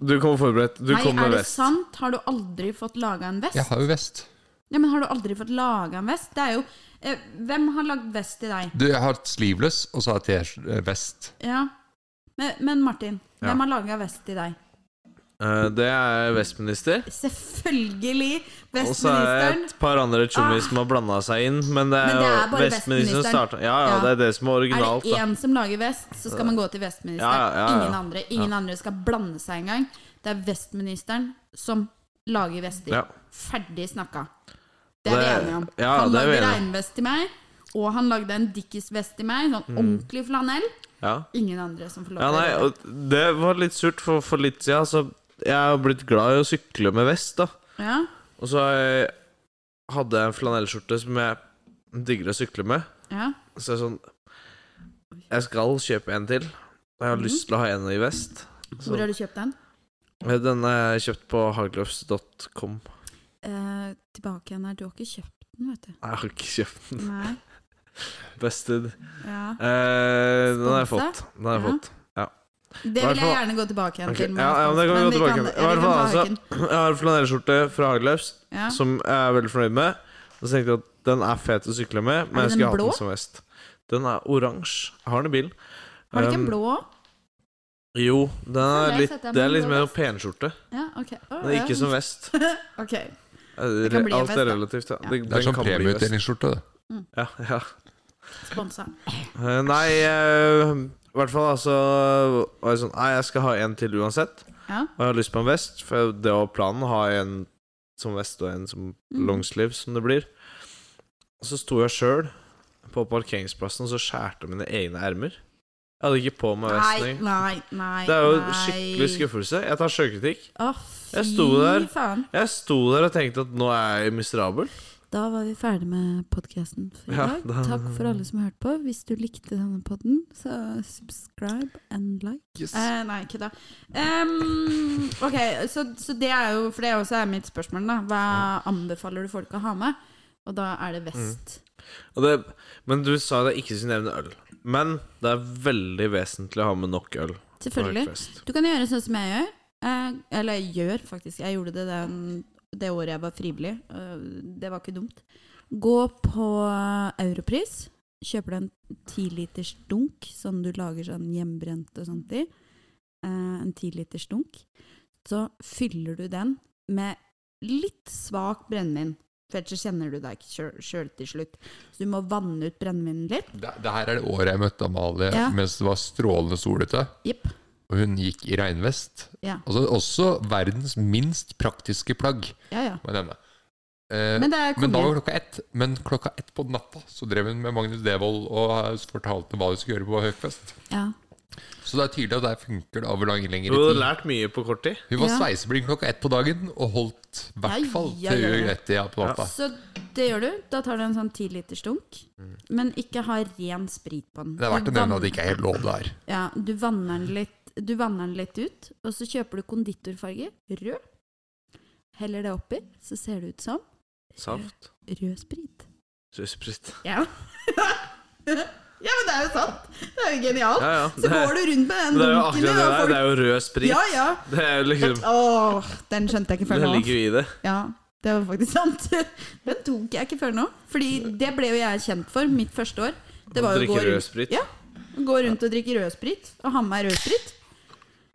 [SPEAKER 2] Du kommer forberedt. Du
[SPEAKER 3] Nei,
[SPEAKER 2] kommer
[SPEAKER 3] er
[SPEAKER 2] med
[SPEAKER 3] det
[SPEAKER 2] vest.
[SPEAKER 3] sant? Har du aldri fått laga en vest?
[SPEAKER 1] Jeg har jo vest.
[SPEAKER 3] Ja, men har du aldri fått laga en vest? Det er jo eh, Hvem har lagd vest til deg?
[SPEAKER 1] Du, jeg har et sleeveless, og så har jeg eh, T-vest.
[SPEAKER 3] Ja. Men, men Martin,
[SPEAKER 2] Ja.
[SPEAKER 3] hvem har laga vest til deg?
[SPEAKER 2] Eh, det er vestminister.
[SPEAKER 3] Selvfølgelig
[SPEAKER 2] Og så er det
[SPEAKER 3] vestministeren.
[SPEAKER 2] et par andre tjommier som har blanda seg inn. Men det er,
[SPEAKER 3] Men det
[SPEAKER 2] jo
[SPEAKER 3] er bare
[SPEAKER 2] vestministeren som
[SPEAKER 3] vestministeren.
[SPEAKER 2] starta Ja, ja,
[SPEAKER 3] Ja.
[SPEAKER 2] det er det som er
[SPEAKER 3] Er
[SPEAKER 2] originalt,
[SPEAKER 3] det
[SPEAKER 2] da.
[SPEAKER 3] én som lager vest, så skal man gå til
[SPEAKER 2] Ja,
[SPEAKER 3] vestministeren.
[SPEAKER 2] ja, ja, ja.
[SPEAKER 3] Ingen andre Ingen andre skal blande seg engang. Det er vestministeren som lager vester.
[SPEAKER 2] Ja.
[SPEAKER 3] Ferdig snakka. Det er vi
[SPEAKER 2] Det-
[SPEAKER 3] enige om.
[SPEAKER 2] ja,
[SPEAKER 3] han
[SPEAKER 2] det er vi
[SPEAKER 3] lagde
[SPEAKER 2] enige om.
[SPEAKER 3] regnvest til meg, og han lagde en Dickies-vest til meg. Sånn ordentlig flanell.
[SPEAKER 2] Ja.
[SPEAKER 3] Ingen andre som får lov
[SPEAKER 2] Mm. ja,
[SPEAKER 3] til
[SPEAKER 2] nei,
[SPEAKER 3] å gjøre det.
[SPEAKER 2] og det var litt surt, for for litt siden så Jeg har blitt glad i å sykle med vest, da.
[SPEAKER 3] Ja.
[SPEAKER 2] Og så har jeg- hadde jeg en flanellskjorte som jeg digger å sykle med.
[SPEAKER 3] Ja.
[SPEAKER 2] Så jeg er sånn Jeg skal kjøpe en til. Og jeg har lyst til å ha en i vest.
[SPEAKER 3] Hvor
[SPEAKER 2] Så,
[SPEAKER 3] har du kjøpt den?
[SPEAKER 2] den er kjøpt på hagløfs.com.
[SPEAKER 3] Eh, tilbake igjen her. Du har ikke kjøpt den, vet du.
[SPEAKER 2] Nei, Jeg har ikke kjøpt den.
[SPEAKER 3] Nei.
[SPEAKER 2] Beste eh,
[SPEAKER 3] Ja.
[SPEAKER 2] Den har jeg
[SPEAKER 3] Sponsa?
[SPEAKER 2] fått. Den har jeg
[SPEAKER 3] Ja.
[SPEAKER 2] fått.
[SPEAKER 3] Det
[SPEAKER 2] Hvert
[SPEAKER 3] vil jeg
[SPEAKER 2] fall-
[SPEAKER 3] gjerne gå tilbake igjen
[SPEAKER 2] Ok,
[SPEAKER 3] til.
[SPEAKER 2] ja, ja, men det kan vi gå tilbake
[SPEAKER 3] til.
[SPEAKER 2] til. I hvert fall, altså, Jeg har en flanellskjorte fra Hagløfs
[SPEAKER 3] Ja.
[SPEAKER 2] som jeg er veldig fornøyd med. Og så tenkte jeg at den er fet å sykle med, men
[SPEAKER 3] Er
[SPEAKER 2] jeg
[SPEAKER 3] det den
[SPEAKER 2] skulle hatt
[SPEAKER 3] blå?
[SPEAKER 2] den som vest. Den er oransje. Jeg har den i bilen.
[SPEAKER 3] Har du ikke en
[SPEAKER 2] Um,
[SPEAKER 3] blå òg?
[SPEAKER 2] Jo, den
[SPEAKER 3] Så
[SPEAKER 2] er
[SPEAKER 3] jeg
[SPEAKER 2] litt,
[SPEAKER 3] setter meg
[SPEAKER 2] det er
[SPEAKER 3] en
[SPEAKER 2] litt
[SPEAKER 3] blå
[SPEAKER 2] mer
[SPEAKER 3] vest.
[SPEAKER 2] penskjorte.
[SPEAKER 3] Ja, ok. Å,
[SPEAKER 2] Den er
[SPEAKER 3] ja.
[SPEAKER 2] ikke som vest.
[SPEAKER 3] Ok.
[SPEAKER 2] Eh,
[SPEAKER 3] kan bli en
[SPEAKER 2] Alt
[SPEAKER 3] vest,
[SPEAKER 2] er
[SPEAKER 3] da.
[SPEAKER 2] relativt, ja.
[SPEAKER 3] Ja.
[SPEAKER 2] Den-
[SPEAKER 1] Det
[SPEAKER 2] den
[SPEAKER 1] er sånn
[SPEAKER 2] kan bli vest.
[SPEAKER 1] premieutdelingsskjorte. det.
[SPEAKER 2] Ja, ja.
[SPEAKER 3] Sponsa.
[SPEAKER 2] Eh, Nei, eh, i hvert fall altså var jeg sånn Nei, jeg skal ha en til uansett.
[SPEAKER 3] Ja.
[SPEAKER 2] Og jeg har lyst på en vest, for det var planen. Å ha en som vest og en som
[SPEAKER 3] Mm.
[SPEAKER 2] longsleeve, som det blir. Og så sto jeg sjøl på parkeringsplassen og så skjærte mine egne ermer. Jeg hadde ikke på meg
[SPEAKER 3] Nei,
[SPEAKER 2] vesten.
[SPEAKER 3] nei, nei.
[SPEAKER 2] Det er jo
[SPEAKER 3] nei.
[SPEAKER 2] skikkelig skuffelse. Jeg tar sjølkritikk.
[SPEAKER 3] Å,
[SPEAKER 2] Jeg
[SPEAKER 3] fy
[SPEAKER 2] sto der.
[SPEAKER 3] faen.
[SPEAKER 2] Jeg sto der og tenkte at nå er jeg miserabel.
[SPEAKER 3] Da var vi ferdig med podkasten for i
[SPEAKER 2] Ja,
[SPEAKER 3] dag.
[SPEAKER 2] da-
[SPEAKER 3] Takk for alle som hørte på. Hvis du likte denne podden, så subscribe and like. Eh, nei, kødda. Ehm, ok, så, så det er jo For det også er mitt spørsmål, da. Hva anbefaler du folk å ha med? Og da er det
[SPEAKER 2] Mm.
[SPEAKER 3] vest.
[SPEAKER 2] Og det, men du sa det ikke skulle nevne øl. Men det er veldig vesentlig å ha med nok øl. på
[SPEAKER 3] Selvfølgelig.
[SPEAKER 2] Hackfest.
[SPEAKER 3] Du kan gjøre sånn som jeg gjør. Eh, eller jeg gjør, faktisk. Jeg gjorde det den, det året jeg var frivillig. Eh, det var ikke dumt. Gå på Europris. Kjøper deg en tiliters dunk, sånn du lager sånn hjemmebrent og sånt i. Eh, en tiliters dunk. Så fyller du den med litt svak brennevin. For ellers så kjenner du deg ikke sjøl til slutt. Så du må vanne ut brennevinen litt.
[SPEAKER 1] Det, det her er det året jeg møtte Amalie
[SPEAKER 3] Ja.
[SPEAKER 1] mens det var strålende sol ute.
[SPEAKER 3] Jepp.
[SPEAKER 1] Og hun gikk i regnvest.
[SPEAKER 3] Ja.
[SPEAKER 1] Altså, også verdens minst praktiske plagg,
[SPEAKER 3] Ja, ja.
[SPEAKER 1] må jeg nevne. Eh,
[SPEAKER 3] Men det er
[SPEAKER 1] men da var
[SPEAKER 3] kongen.
[SPEAKER 1] klokka ett. Men klokka ett på natta så drev hun med Magnus Devold og eh, fortalte hva hun skulle gjøre på Høgfest.
[SPEAKER 3] Ja.
[SPEAKER 1] Så det er tydelig at der funker det over lang,
[SPEAKER 2] Du
[SPEAKER 1] lengre
[SPEAKER 2] har
[SPEAKER 1] tid.
[SPEAKER 2] lært mye på kort tid.
[SPEAKER 1] Hun var
[SPEAKER 3] Ja.
[SPEAKER 1] sveiseblind klokka ett på dagen og holdt i hvert
[SPEAKER 3] Ja,
[SPEAKER 1] fall
[SPEAKER 3] ja,
[SPEAKER 1] til
[SPEAKER 3] ja, ja.
[SPEAKER 1] ett ja, på natta.
[SPEAKER 3] Så det gjør du. Da tar du en sånn ti liters dunk. Men ikke ha ren sprit på den.
[SPEAKER 1] Mm. Det er verdt
[SPEAKER 3] Du
[SPEAKER 1] å nevne
[SPEAKER 3] vann-
[SPEAKER 1] at det ikke er helt lov der.
[SPEAKER 3] Ja, du vanner den litt, du vanner den litt ut, og så kjøper du konditorfarge, rød. Heller det oppi, så ser det ut som
[SPEAKER 2] Saft.
[SPEAKER 3] rød sprit.
[SPEAKER 2] Rødsprit.
[SPEAKER 3] Ja. ja, men det er jo sant! Det er jo genialt!
[SPEAKER 2] Ja, ja.
[SPEAKER 3] Så
[SPEAKER 2] Det,
[SPEAKER 3] går
[SPEAKER 2] er-
[SPEAKER 3] du rundt med den
[SPEAKER 2] det er jo
[SPEAKER 3] dunken,
[SPEAKER 2] akkurat det
[SPEAKER 3] og
[SPEAKER 2] der. Det
[SPEAKER 3] folk
[SPEAKER 2] er jo rød sprit.
[SPEAKER 3] Ja, ja!
[SPEAKER 2] Det er jo liksom
[SPEAKER 3] Åh, den skjønte jeg ikke før
[SPEAKER 2] Det
[SPEAKER 3] nå.
[SPEAKER 2] ligger jo i det.
[SPEAKER 3] Ja, det var faktisk sant. Den tok jeg ikke før nå. Fordi det ble jo jeg kjent for mitt første år. Det var jo å gå
[SPEAKER 2] Drikke rød
[SPEAKER 3] rundt,
[SPEAKER 2] sprit.
[SPEAKER 3] Ja. gå rundt og drikke rødsprit. Og ha med meg rødsprit.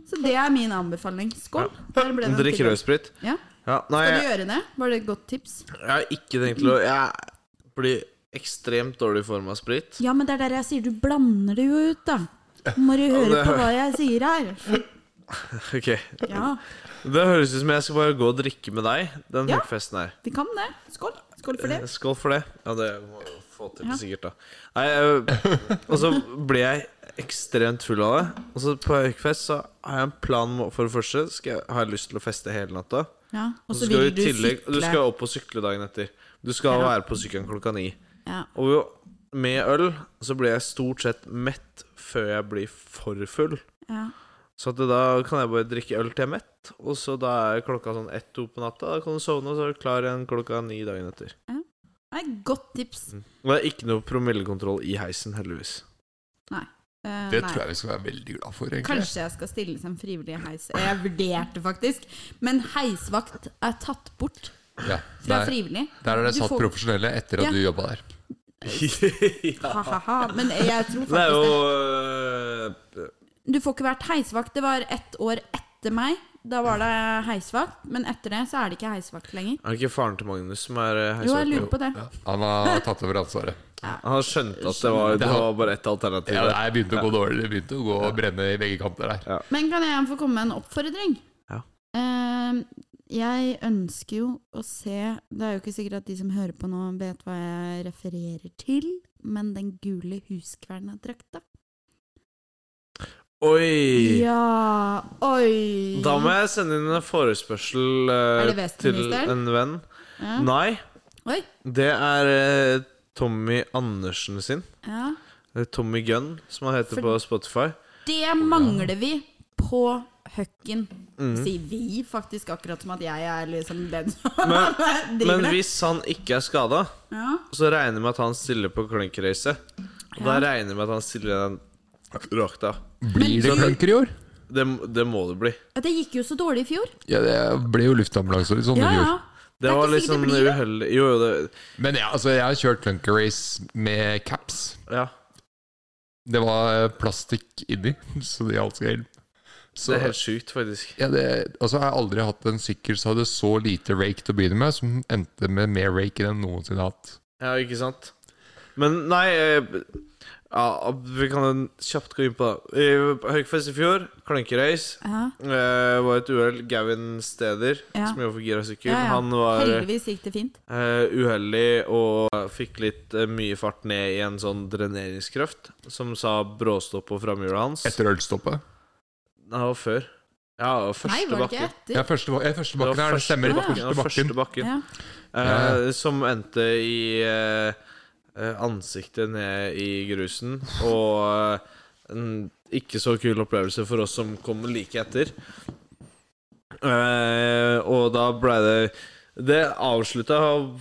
[SPEAKER 3] Så det er min anbefaling. Skål. Der ble den
[SPEAKER 2] Drikke
[SPEAKER 3] til.
[SPEAKER 2] rød sprit.
[SPEAKER 3] Ja.
[SPEAKER 2] Ja. Nei,
[SPEAKER 3] Skal du
[SPEAKER 2] jeg,
[SPEAKER 3] gjøre det? Var det et godt tips?
[SPEAKER 2] jeg har ikke tenkt til å Jeg blir ekstremt dårlig i form av sprit.
[SPEAKER 3] Ja, men det er der jeg sier du blander det jo ut, da. Nå må du høre
[SPEAKER 2] det-
[SPEAKER 3] på hva jeg sier her.
[SPEAKER 2] Ok
[SPEAKER 3] Ja,
[SPEAKER 2] Det høres ut som jeg skal bare gå og drikke med deg den
[SPEAKER 3] Ja.
[SPEAKER 2] festen her. Eh,
[SPEAKER 3] vi kan det. Skål. Skål for det.
[SPEAKER 2] Skål for det. Ja, det må jeg få til
[SPEAKER 3] Ja.
[SPEAKER 2] sikkert, da. Nei, jeg, og så ble jeg ekstremt full av det. Og så på Høykfest så har jeg en plan om å- For det første skal jeg, har jeg lyst til å feste hele natta.
[SPEAKER 3] Ja. Og
[SPEAKER 2] Og
[SPEAKER 3] så
[SPEAKER 2] så
[SPEAKER 3] vil
[SPEAKER 2] skal du
[SPEAKER 3] du
[SPEAKER 2] i tillegg Du
[SPEAKER 3] sykle.
[SPEAKER 2] skal opp og sykle dagen etter. Du skal
[SPEAKER 3] Ja.
[SPEAKER 2] være på sykkelen klokka ni.
[SPEAKER 3] Ja.
[SPEAKER 2] Og jo, med øl så blir jeg stort sett mett før jeg blir for full.
[SPEAKER 3] Ja.
[SPEAKER 2] Så at det da kan jeg bare drikke øl til jeg er mett, og så da er klokka sånn ett-to på natta. Da kan du sovne, og så er du klar igjen klokka ni dagen etter.
[SPEAKER 3] Nei, godt tips.
[SPEAKER 2] Og det er ikke noe promillekontroll i heisen, heldigvis.
[SPEAKER 3] Eh,
[SPEAKER 1] Det
[SPEAKER 3] nei.
[SPEAKER 1] tror jeg vi skal være veldig glad for, egentlig.
[SPEAKER 3] Kanskje jeg skal stille som frivillig i heis. Jeg vurderte faktisk. Men heisvakt er tatt bort
[SPEAKER 1] Ja.
[SPEAKER 3] fra
[SPEAKER 1] Der,
[SPEAKER 3] frivillig.
[SPEAKER 1] der er det
[SPEAKER 3] Du
[SPEAKER 1] satt
[SPEAKER 3] får-
[SPEAKER 1] profesjonelle etter
[SPEAKER 3] Ja.
[SPEAKER 1] at du jobba der.
[SPEAKER 2] ja.
[SPEAKER 3] Ha-ha-ha. Men jeg tror
[SPEAKER 2] Det er
[SPEAKER 3] faktisk
[SPEAKER 2] jo
[SPEAKER 3] det.
[SPEAKER 2] øh,
[SPEAKER 3] Du får ikke vært heisvakt. Det var ett år etter meg. Da var det heisvakt. Men etter det så er det ikke heisvakt lenger.
[SPEAKER 2] Er det ikke faren til Magnus som er øh,
[SPEAKER 3] Jo, jeg
[SPEAKER 2] heisvakt?
[SPEAKER 3] lurer på det.
[SPEAKER 1] Han har tatt over ansvaret.
[SPEAKER 2] Han skjønte at det var, det var bare ett alternativ.
[SPEAKER 1] Ja,
[SPEAKER 2] der.
[SPEAKER 1] det begynte å gå dårlig. Det begynte å gå og brenne i begge kanter der.
[SPEAKER 3] Men kan jeg få komme med en oppfordring?
[SPEAKER 2] Ja.
[SPEAKER 3] Eh, jeg ønsker jo å se Det er jo ikke sikkert at de som hører på nå, vet hva jeg refererer til, men den gule huskvernadrakta.
[SPEAKER 2] Oi!
[SPEAKER 3] Ja Oi!
[SPEAKER 2] Da må jeg sende inn en forespørsel eh,
[SPEAKER 3] Er det
[SPEAKER 2] til
[SPEAKER 3] Westministeren?
[SPEAKER 2] en venn.
[SPEAKER 3] ja.
[SPEAKER 2] Nei,
[SPEAKER 3] Oi.
[SPEAKER 2] det er eh, Tommy Andersen sin.
[SPEAKER 3] Ja.
[SPEAKER 2] Det er Tommy Gunn, som han heter
[SPEAKER 3] For-
[SPEAKER 2] på Spotify.
[SPEAKER 3] Det mangler vi på høkken.
[SPEAKER 2] Mhm.
[SPEAKER 3] Sier vi faktisk akkurat som at jeg er liksom den som
[SPEAKER 2] Men-
[SPEAKER 3] driver
[SPEAKER 2] Men
[SPEAKER 3] det.
[SPEAKER 2] hvis han ikke er skada,
[SPEAKER 3] Ja.
[SPEAKER 2] så regner jeg med at han stiller på klunkracet. Og da
[SPEAKER 3] Ja.
[SPEAKER 2] regner jeg med at han stiller i den drakta.
[SPEAKER 1] Blir det klunker i år?
[SPEAKER 2] Det, det må det bli.
[SPEAKER 3] Ja, Det gikk jo så dårlig i fjor.
[SPEAKER 1] Ja, det ble jo luftambulanse i sommer
[SPEAKER 3] Ja,
[SPEAKER 1] i
[SPEAKER 3] ja.
[SPEAKER 1] fjor.
[SPEAKER 2] Det,
[SPEAKER 3] er
[SPEAKER 2] var
[SPEAKER 3] ikke
[SPEAKER 2] litt
[SPEAKER 3] sikkert
[SPEAKER 2] sånn
[SPEAKER 3] det blir det.
[SPEAKER 2] uheldig Jo, jo, det
[SPEAKER 1] Men ja, altså, jeg har kjørt clunker race med caps.
[SPEAKER 2] Ja.
[SPEAKER 1] Det var eh, plastikk inni, så det gjaldt ikke helt.
[SPEAKER 2] Det
[SPEAKER 1] Så,
[SPEAKER 2] er helt sjukt, faktisk.
[SPEAKER 1] ja, det, altså, jeg har aldri hatt en sykkel som hadde så lite rake til å begynne med, som endte med mer rake enn jeg noensinne har hatt.
[SPEAKER 2] Ja, ikke sant? Men nei eh, ja, Vi kan kjapt gå inn på det. Eh, Høgfest i fjor, klunkerace.
[SPEAKER 3] Ja.
[SPEAKER 2] Eh, var et uhell. Gavin Steder,
[SPEAKER 3] Ja.
[SPEAKER 2] som jobber for Gira Sykkel,
[SPEAKER 3] Ja, ja.
[SPEAKER 2] han var
[SPEAKER 3] Heldigvis gikk det fint.
[SPEAKER 2] eh, uheldig og fikk litt eh, mye fart ned i en sånn dreneringskraft som sa bråstopp på framhjulet hans.
[SPEAKER 1] Etter ølstoppet.
[SPEAKER 2] Nei, det var før. Ja, det var
[SPEAKER 3] Nei,
[SPEAKER 2] første
[SPEAKER 3] var det ikke
[SPEAKER 2] bakken.
[SPEAKER 1] Ja,
[SPEAKER 3] etter?
[SPEAKER 1] første, ba- eh, første bakken
[SPEAKER 2] var
[SPEAKER 1] her, det
[SPEAKER 2] første
[SPEAKER 1] stemmer.
[SPEAKER 3] bakken,
[SPEAKER 2] Det var
[SPEAKER 1] Første bakken.
[SPEAKER 2] første bakken.
[SPEAKER 3] Ja.
[SPEAKER 1] Ja,
[SPEAKER 2] Eh, som endte i eh, eh, ansiktet ned i grusen. Og eh, en ikke så kul opplevelse for oss som kom like etter. Eh, og da ble det Det avslutta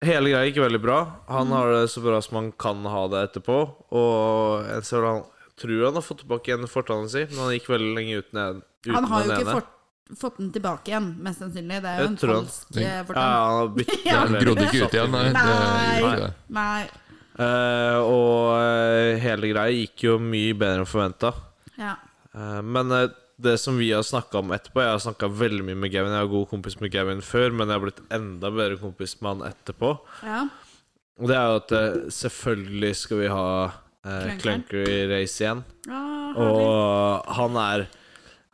[SPEAKER 2] Hele greia gikk veldig bra. Han har det så bra som han kan ha det etterpå. Og jeg tror han, tror han har fått tilbake igjen fortanna si, men han gikk veldig lenge uten, en- uten
[SPEAKER 3] Han har jo
[SPEAKER 2] den
[SPEAKER 3] ikke
[SPEAKER 2] ene.
[SPEAKER 3] fått, fått den tilbake igjen, mest sannsynlig. Det er
[SPEAKER 2] Jeg
[SPEAKER 3] jo en
[SPEAKER 2] tror han-
[SPEAKER 3] falsk eh,
[SPEAKER 2] Ja,
[SPEAKER 3] fortann.
[SPEAKER 2] han har byttet
[SPEAKER 3] Ja.
[SPEAKER 1] Den grodde ikke ut igjen, nei. Det
[SPEAKER 3] Nei.
[SPEAKER 1] gjorde ikke det.
[SPEAKER 3] Nei.
[SPEAKER 2] Eh, og eh, hele greia gikk jo mye bedre enn forventa.
[SPEAKER 3] Ja.
[SPEAKER 2] men eh, det som vi har snakka om etterpå Jeg har snakka veldig mye med Gavin. Jeg var god kompis med Gavin før, men jeg har blitt enda bedre kompis med han etterpå.
[SPEAKER 3] ja.
[SPEAKER 2] Og det er jo at eh, selvfølgelig skal vi ha uh,
[SPEAKER 3] Clunker.
[SPEAKER 2] Clunkery Race igjen.
[SPEAKER 3] Ah, herlig.
[SPEAKER 2] Og han er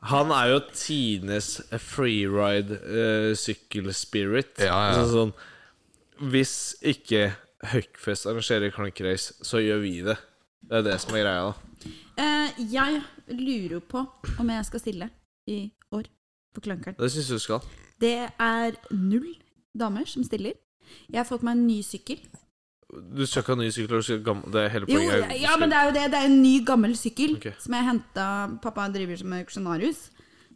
[SPEAKER 2] Han er jo tidenes freeride-sykkelspirit.
[SPEAKER 1] Ja, ja.
[SPEAKER 2] altså, sånn, hvis ikke Høgfest arrangerer klankerace, så gjør vi det. Det er det som er greia. da
[SPEAKER 3] Eh, jeg lurer jo på om jeg skal stille i år på Klankeren.
[SPEAKER 2] Det syns jeg du skal.
[SPEAKER 3] Det er null damer som stiller. Jeg har fått meg en ny sykkel.
[SPEAKER 2] Du skal ikke ha ny sykkel. Du skal ha gammel, det er hele
[SPEAKER 3] Jo,
[SPEAKER 2] poenget. er-
[SPEAKER 3] ja, men det er jo det. Det er en ny, gammel sykkel
[SPEAKER 2] Ok.
[SPEAKER 3] som jeg henta Pappa driver som auksjonarius,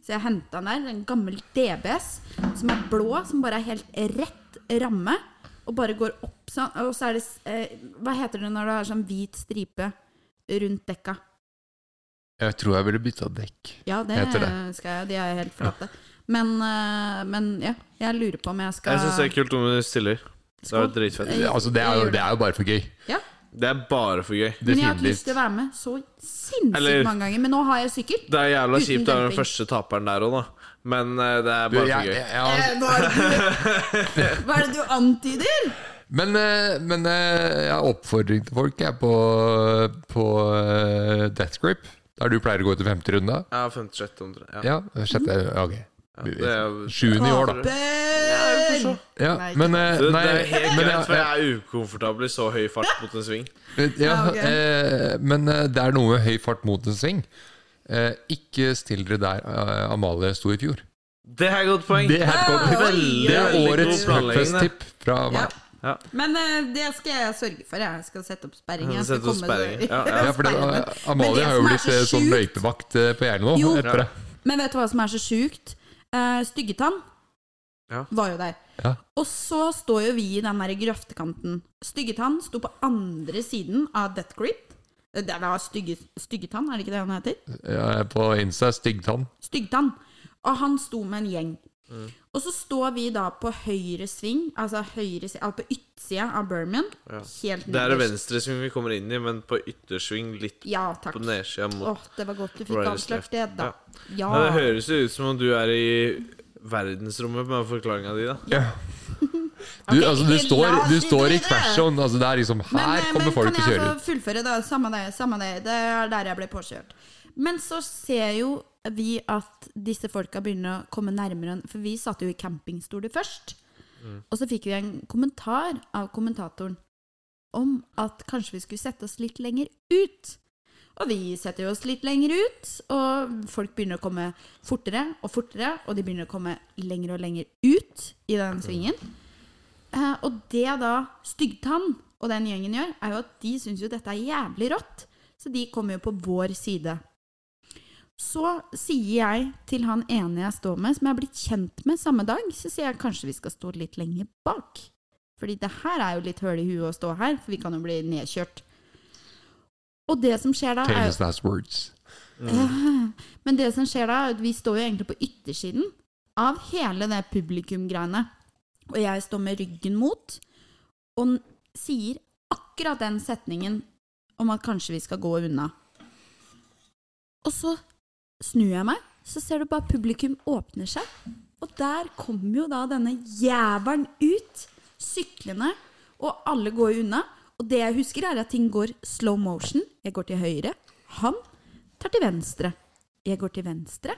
[SPEAKER 3] så jeg henta den der. det er En gammel DBS som er blå, som bare er helt rett ramme. Og bare går opp sånn. Og så er det s- eh, Hva heter det når det er sånn hvit stripe rundt dekka?
[SPEAKER 1] Jeg tror jeg ville bytta dekk.
[SPEAKER 3] Ja, det
[SPEAKER 1] Heter
[SPEAKER 3] skal jeg. De er helt flate. Men, eh, men ja, jeg lurer på om jeg skal
[SPEAKER 2] Jeg syns det er kult om du stiller. Det er
[SPEAKER 3] Skål.
[SPEAKER 2] dritfett.
[SPEAKER 3] Jeg-
[SPEAKER 1] Altså, det er, jo,
[SPEAKER 3] jeg gjør
[SPEAKER 1] det er jo bare for gøy.
[SPEAKER 3] Ja.
[SPEAKER 2] Det er bare for gøy.
[SPEAKER 3] Men jeg har ikke lyst til
[SPEAKER 1] Definitivt.
[SPEAKER 3] å være med så sinnssykt
[SPEAKER 2] Eller-
[SPEAKER 3] mange ganger. Men nå har jeg sykkel.
[SPEAKER 2] Det er jævla
[SPEAKER 3] Uten
[SPEAKER 2] kjipt å være den
[SPEAKER 3] demping.
[SPEAKER 2] første taperen der òg, da. Men eh, det er
[SPEAKER 1] Du,
[SPEAKER 2] bare
[SPEAKER 1] jeg,
[SPEAKER 2] for gøy.
[SPEAKER 1] jeg, jeg,
[SPEAKER 3] Eh, Hva er det du, hva er det du antyder?
[SPEAKER 1] Men, eh, men eh, jeg har oppfordring til folk jeg, på, på eh, Death Grip, der du pleier å gå til femte runde.
[SPEAKER 2] Ja, 56 omtrent. Ja.
[SPEAKER 1] Ja, sjette
[SPEAKER 3] Mhm.
[SPEAKER 1] Ok.
[SPEAKER 2] Ja, det er-
[SPEAKER 1] Sjuende i år, da.
[SPEAKER 2] Jeg får
[SPEAKER 3] Bøll!
[SPEAKER 2] se.
[SPEAKER 1] Ja,
[SPEAKER 3] Nei,
[SPEAKER 1] men eh,
[SPEAKER 2] Det,
[SPEAKER 1] Nei,
[SPEAKER 2] det er helt
[SPEAKER 1] men
[SPEAKER 2] greit,
[SPEAKER 1] jeg-
[SPEAKER 2] for jeg er ukomfortabel i så høy fart mot en sving.
[SPEAKER 1] ja,
[SPEAKER 3] Ja, ok.
[SPEAKER 1] eh, men eh, det er noe med høy fart mot en sving. Eh, ikke still dere der eh, Amalie sto i fjor.
[SPEAKER 2] Det er et godt poeng.
[SPEAKER 1] Det er, et godt-
[SPEAKER 2] Veldig,
[SPEAKER 1] det er
[SPEAKER 2] veldig god
[SPEAKER 1] årets
[SPEAKER 2] planlegging, det.
[SPEAKER 1] Hugfest-tipp fra
[SPEAKER 3] Ja.
[SPEAKER 1] meg.
[SPEAKER 2] Ja.
[SPEAKER 3] Men eh, det skal jeg sørge for. Jeg skal sette opp sperring. Jeg skal
[SPEAKER 2] Sette opp
[SPEAKER 3] komme-
[SPEAKER 2] sperring. Ja, ja.
[SPEAKER 1] Ja, for det,
[SPEAKER 3] Sperre, men- men det
[SPEAKER 1] Amalie har jo
[SPEAKER 3] som er
[SPEAKER 1] blitt
[SPEAKER 3] så
[SPEAKER 1] eh, sånn
[SPEAKER 3] sjukt-
[SPEAKER 1] løypevakt eh, på Jernet nå.
[SPEAKER 3] Jo.
[SPEAKER 1] Etter det.
[SPEAKER 3] Men vet du hva som er så sjukt? Eh, Styggetann
[SPEAKER 2] Ja.
[SPEAKER 3] var jo der.
[SPEAKER 1] Ja.
[SPEAKER 3] Og så står jo vi i den der grøftekanten. Styggetann sto på andre siden av Death Grip. Eh, Det er da stygge, Styggetann, er det ikke det han heter?
[SPEAKER 1] Ja, på Insta Styggtann.
[SPEAKER 3] Styggtann. Og han sto med en gjeng.
[SPEAKER 2] Mm.
[SPEAKER 3] Og så står vi da på høyre sving, altså høyre si- altså på utsida av Berman.
[SPEAKER 2] Ja.
[SPEAKER 3] Helt
[SPEAKER 2] Det er en
[SPEAKER 3] nederst.
[SPEAKER 2] venstresving vi kommer inn i, men på yttersving litt
[SPEAKER 3] Ja, takk.
[SPEAKER 2] på
[SPEAKER 3] Åh,
[SPEAKER 2] nedsida mot
[SPEAKER 3] det var godt du fikk
[SPEAKER 2] Right is
[SPEAKER 3] avslørt
[SPEAKER 2] left.
[SPEAKER 3] det, da. Ja.
[SPEAKER 2] Det høres jo ut som om du er i verdensrommet med forklaringa di, da.
[SPEAKER 1] Du,
[SPEAKER 3] Ok,
[SPEAKER 1] altså, du,
[SPEAKER 3] la
[SPEAKER 1] står,
[SPEAKER 3] oss
[SPEAKER 1] du
[SPEAKER 3] ikke
[SPEAKER 1] står i
[SPEAKER 3] drive.
[SPEAKER 1] crash zone. Altså, det er liksom Her
[SPEAKER 3] eh,
[SPEAKER 1] kommer folk og
[SPEAKER 3] Kan jeg
[SPEAKER 1] kjører ut.
[SPEAKER 3] få fullføre, da? Samme det, samme det. Det er der jeg ble påkjørt. Men så ser jo vi at disse folka begynner å komme nærmere, for vi satt jo i campingstoler først.
[SPEAKER 1] Mm.
[SPEAKER 3] Og så fikk vi en kommentar av kommentatoren om at kanskje vi skulle sette oss litt lenger ut. Og vi setter jo oss litt lenger ut, og folk begynner å komme fortere og fortere, og de begynner å komme lenger og lenger ut i den svingen. Eh, og det da Styggtann og den gjengen gjør, er jo at de syns jo dette er jævlig rått, så de kommer jo på vår side. Så sier jeg til han ene jeg står med, som jeg er blitt kjent med samme dag, så sier jeg kanskje vi skal stå litt lenger bak. Fordi det her er jo litt høl i huet å stå her, for vi kan jo bli nedkjørt. Og det som skjer da, er jo
[SPEAKER 1] Famous last words.
[SPEAKER 3] men det som skjer da, er at vi står jo egentlig på yttersiden av hele det publikumgreiene. Og jeg står med ryggen mot og n- sier akkurat den setningen om at kanskje vi skal gå unna. Og så snur jeg meg, så ser du bare publikum åpner seg. Og der kommer jo da denne jævelen ut, syklende, og alle går jo unna. Og det jeg husker, er at ting går slow motion. Jeg går til høyre, han tar til venstre. Jeg går til venstre,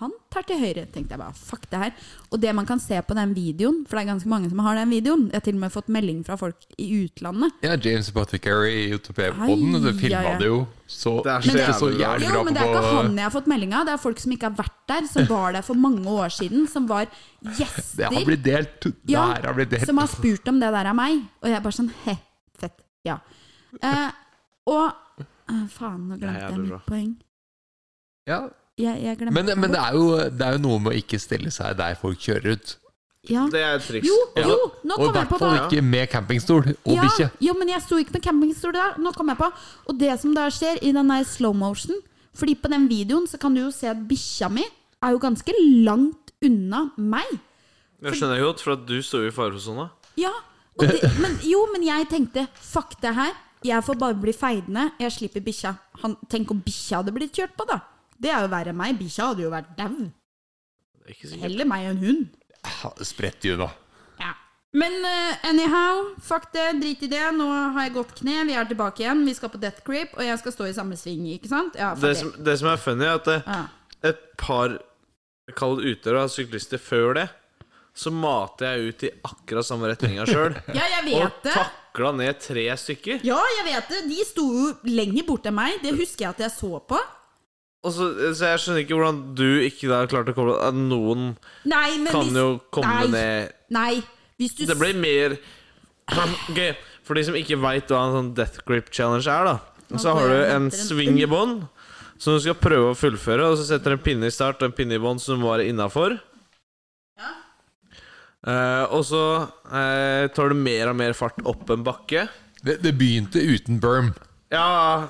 [SPEAKER 3] han tar til høyre. Tenkte jeg bare, fuck det her. Og det man kan se på den videoen, for det er ganske mange som har den videoen, jeg har til og med fått melding fra folk i utlandet,
[SPEAKER 1] Ja, James Butticary i UTP-poden. Du
[SPEAKER 3] Ai,
[SPEAKER 1] filma
[SPEAKER 3] ja, ja.
[SPEAKER 1] det jo så
[SPEAKER 2] Det er så
[SPEAKER 1] ikke så,
[SPEAKER 2] jævlig bra.
[SPEAKER 1] jævlig
[SPEAKER 3] Jo,
[SPEAKER 1] bra
[SPEAKER 3] men det er ikke
[SPEAKER 1] på
[SPEAKER 3] han jeg har fått melding av. Det er folk som ikke har vært der, som var der for mange år siden. Som var gjester.
[SPEAKER 1] Det har blitt delt. Det
[SPEAKER 3] Ja,
[SPEAKER 1] her har blitt delt.
[SPEAKER 3] Som har spurt om det der av meg. Og jeg er bare sånn He, fett. Ja. Eh, og eh, Faen, nå
[SPEAKER 2] Det er
[SPEAKER 3] glemte jeg
[SPEAKER 2] jævlig
[SPEAKER 3] mitt
[SPEAKER 2] bra.
[SPEAKER 3] poeng.
[SPEAKER 1] Ja.
[SPEAKER 3] Jeg, jeg glemte
[SPEAKER 1] Men, men det, er jo, det er jo noe med å ikke stille seg der folk kjører ut.
[SPEAKER 3] ja.
[SPEAKER 2] Det er et triks.
[SPEAKER 3] Jo,
[SPEAKER 1] Ja.
[SPEAKER 3] jo, nå
[SPEAKER 1] Og i
[SPEAKER 3] kom jeg
[SPEAKER 1] hvert
[SPEAKER 3] på
[SPEAKER 1] fall
[SPEAKER 3] det.
[SPEAKER 2] da.
[SPEAKER 1] ikke med campingstol og
[SPEAKER 3] Ja,
[SPEAKER 1] bikkje.
[SPEAKER 3] jo, men jeg sto ikke med campingstol der. Nå kom jeg på. Og det som da skjer i den der slow motion Fordi på den videoen så kan du jo se at bikkja mi er jo ganske langt unna meg.
[SPEAKER 2] Jeg skjønner jo godt, for sånn, at du står jo i faresona.
[SPEAKER 3] Ja, og det, men, jo, men jeg tenkte Fuck det her, jeg får bare bli feidende Jeg slipper bikkja Han, Tenk om bikkja hadde blitt kjørt på da Det er jo verre enn meg, bikkja hadde jo vært dau
[SPEAKER 2] Det er Ikke sikkert.
[SPEAKER 3] Heller meg enn hund
[SPEAKER 1] Ja, Spredt unna.
[SPEAKER 3] ja. Men eh, anyhow, fuck det, drit i det Nå har jeg gått kne, vi er tilbake igjen Vi skal på death grip, og jeg skal stå i samme sving Ikke sant? Ja,
[SPEAKER 2] Det
[SPEAKER 3] fuck
[SPEAKER 2] som,
[SPEAKER 3] det
[SPEAKER 2] det som er funny, er at det,
[SPEAKER 3] ja.
[SPEAKER 2] et par kall det utøvere av syklister før det, så mater jeg ut i akkurat samme retninga sjøl.
[SPEAKER 3] Ja, jeg
[SPEAKER 2] Og
[SPEAKER 3] vet det!
[SPEAKER 2] takla ned tre stykker.
[SPEAKER 3] Ja, jeg vet det! De sto jo lenger bort enn meg. Det husker jeg at jeg så på.
[SPEAKER 2] Og så, så jeg skjønner ikke hvordan du ikke da klarte å komme at Noen
[SPEAKER 3] Nei, men
[SPEAKER 2] kan
[SPEAKER 3] hvis
[SPEAKER 2] jo komme
[SPEAKER 3] Nei.
[SPEAKER 2] ned
[SPEAKER 3] Nei, hvis du
[SPEAKER 2] Det blir mer gøy. For de som ikke veit hva en sånn death grip challenge er, da, så
[SPEAKER 3] går
[SPEAKER 2] har du
[SPEAKER 3] jeg og
[SPEAKER 2] en
[SPEAKER 3] henter en
[SPEAKER 2] sving i bånd som du skal prøve å fullføre, og så setter du en pinne i start og en pinne i bånd som må være innafor.
[SPEAKER 3] Ja.
[SPEAKER 2] Eh, og så eh, tar du mer og mer fart opp en bakke.
[SPEAKER 1] Det, det begynte uten berm.
[SPEAKER 2] Ja,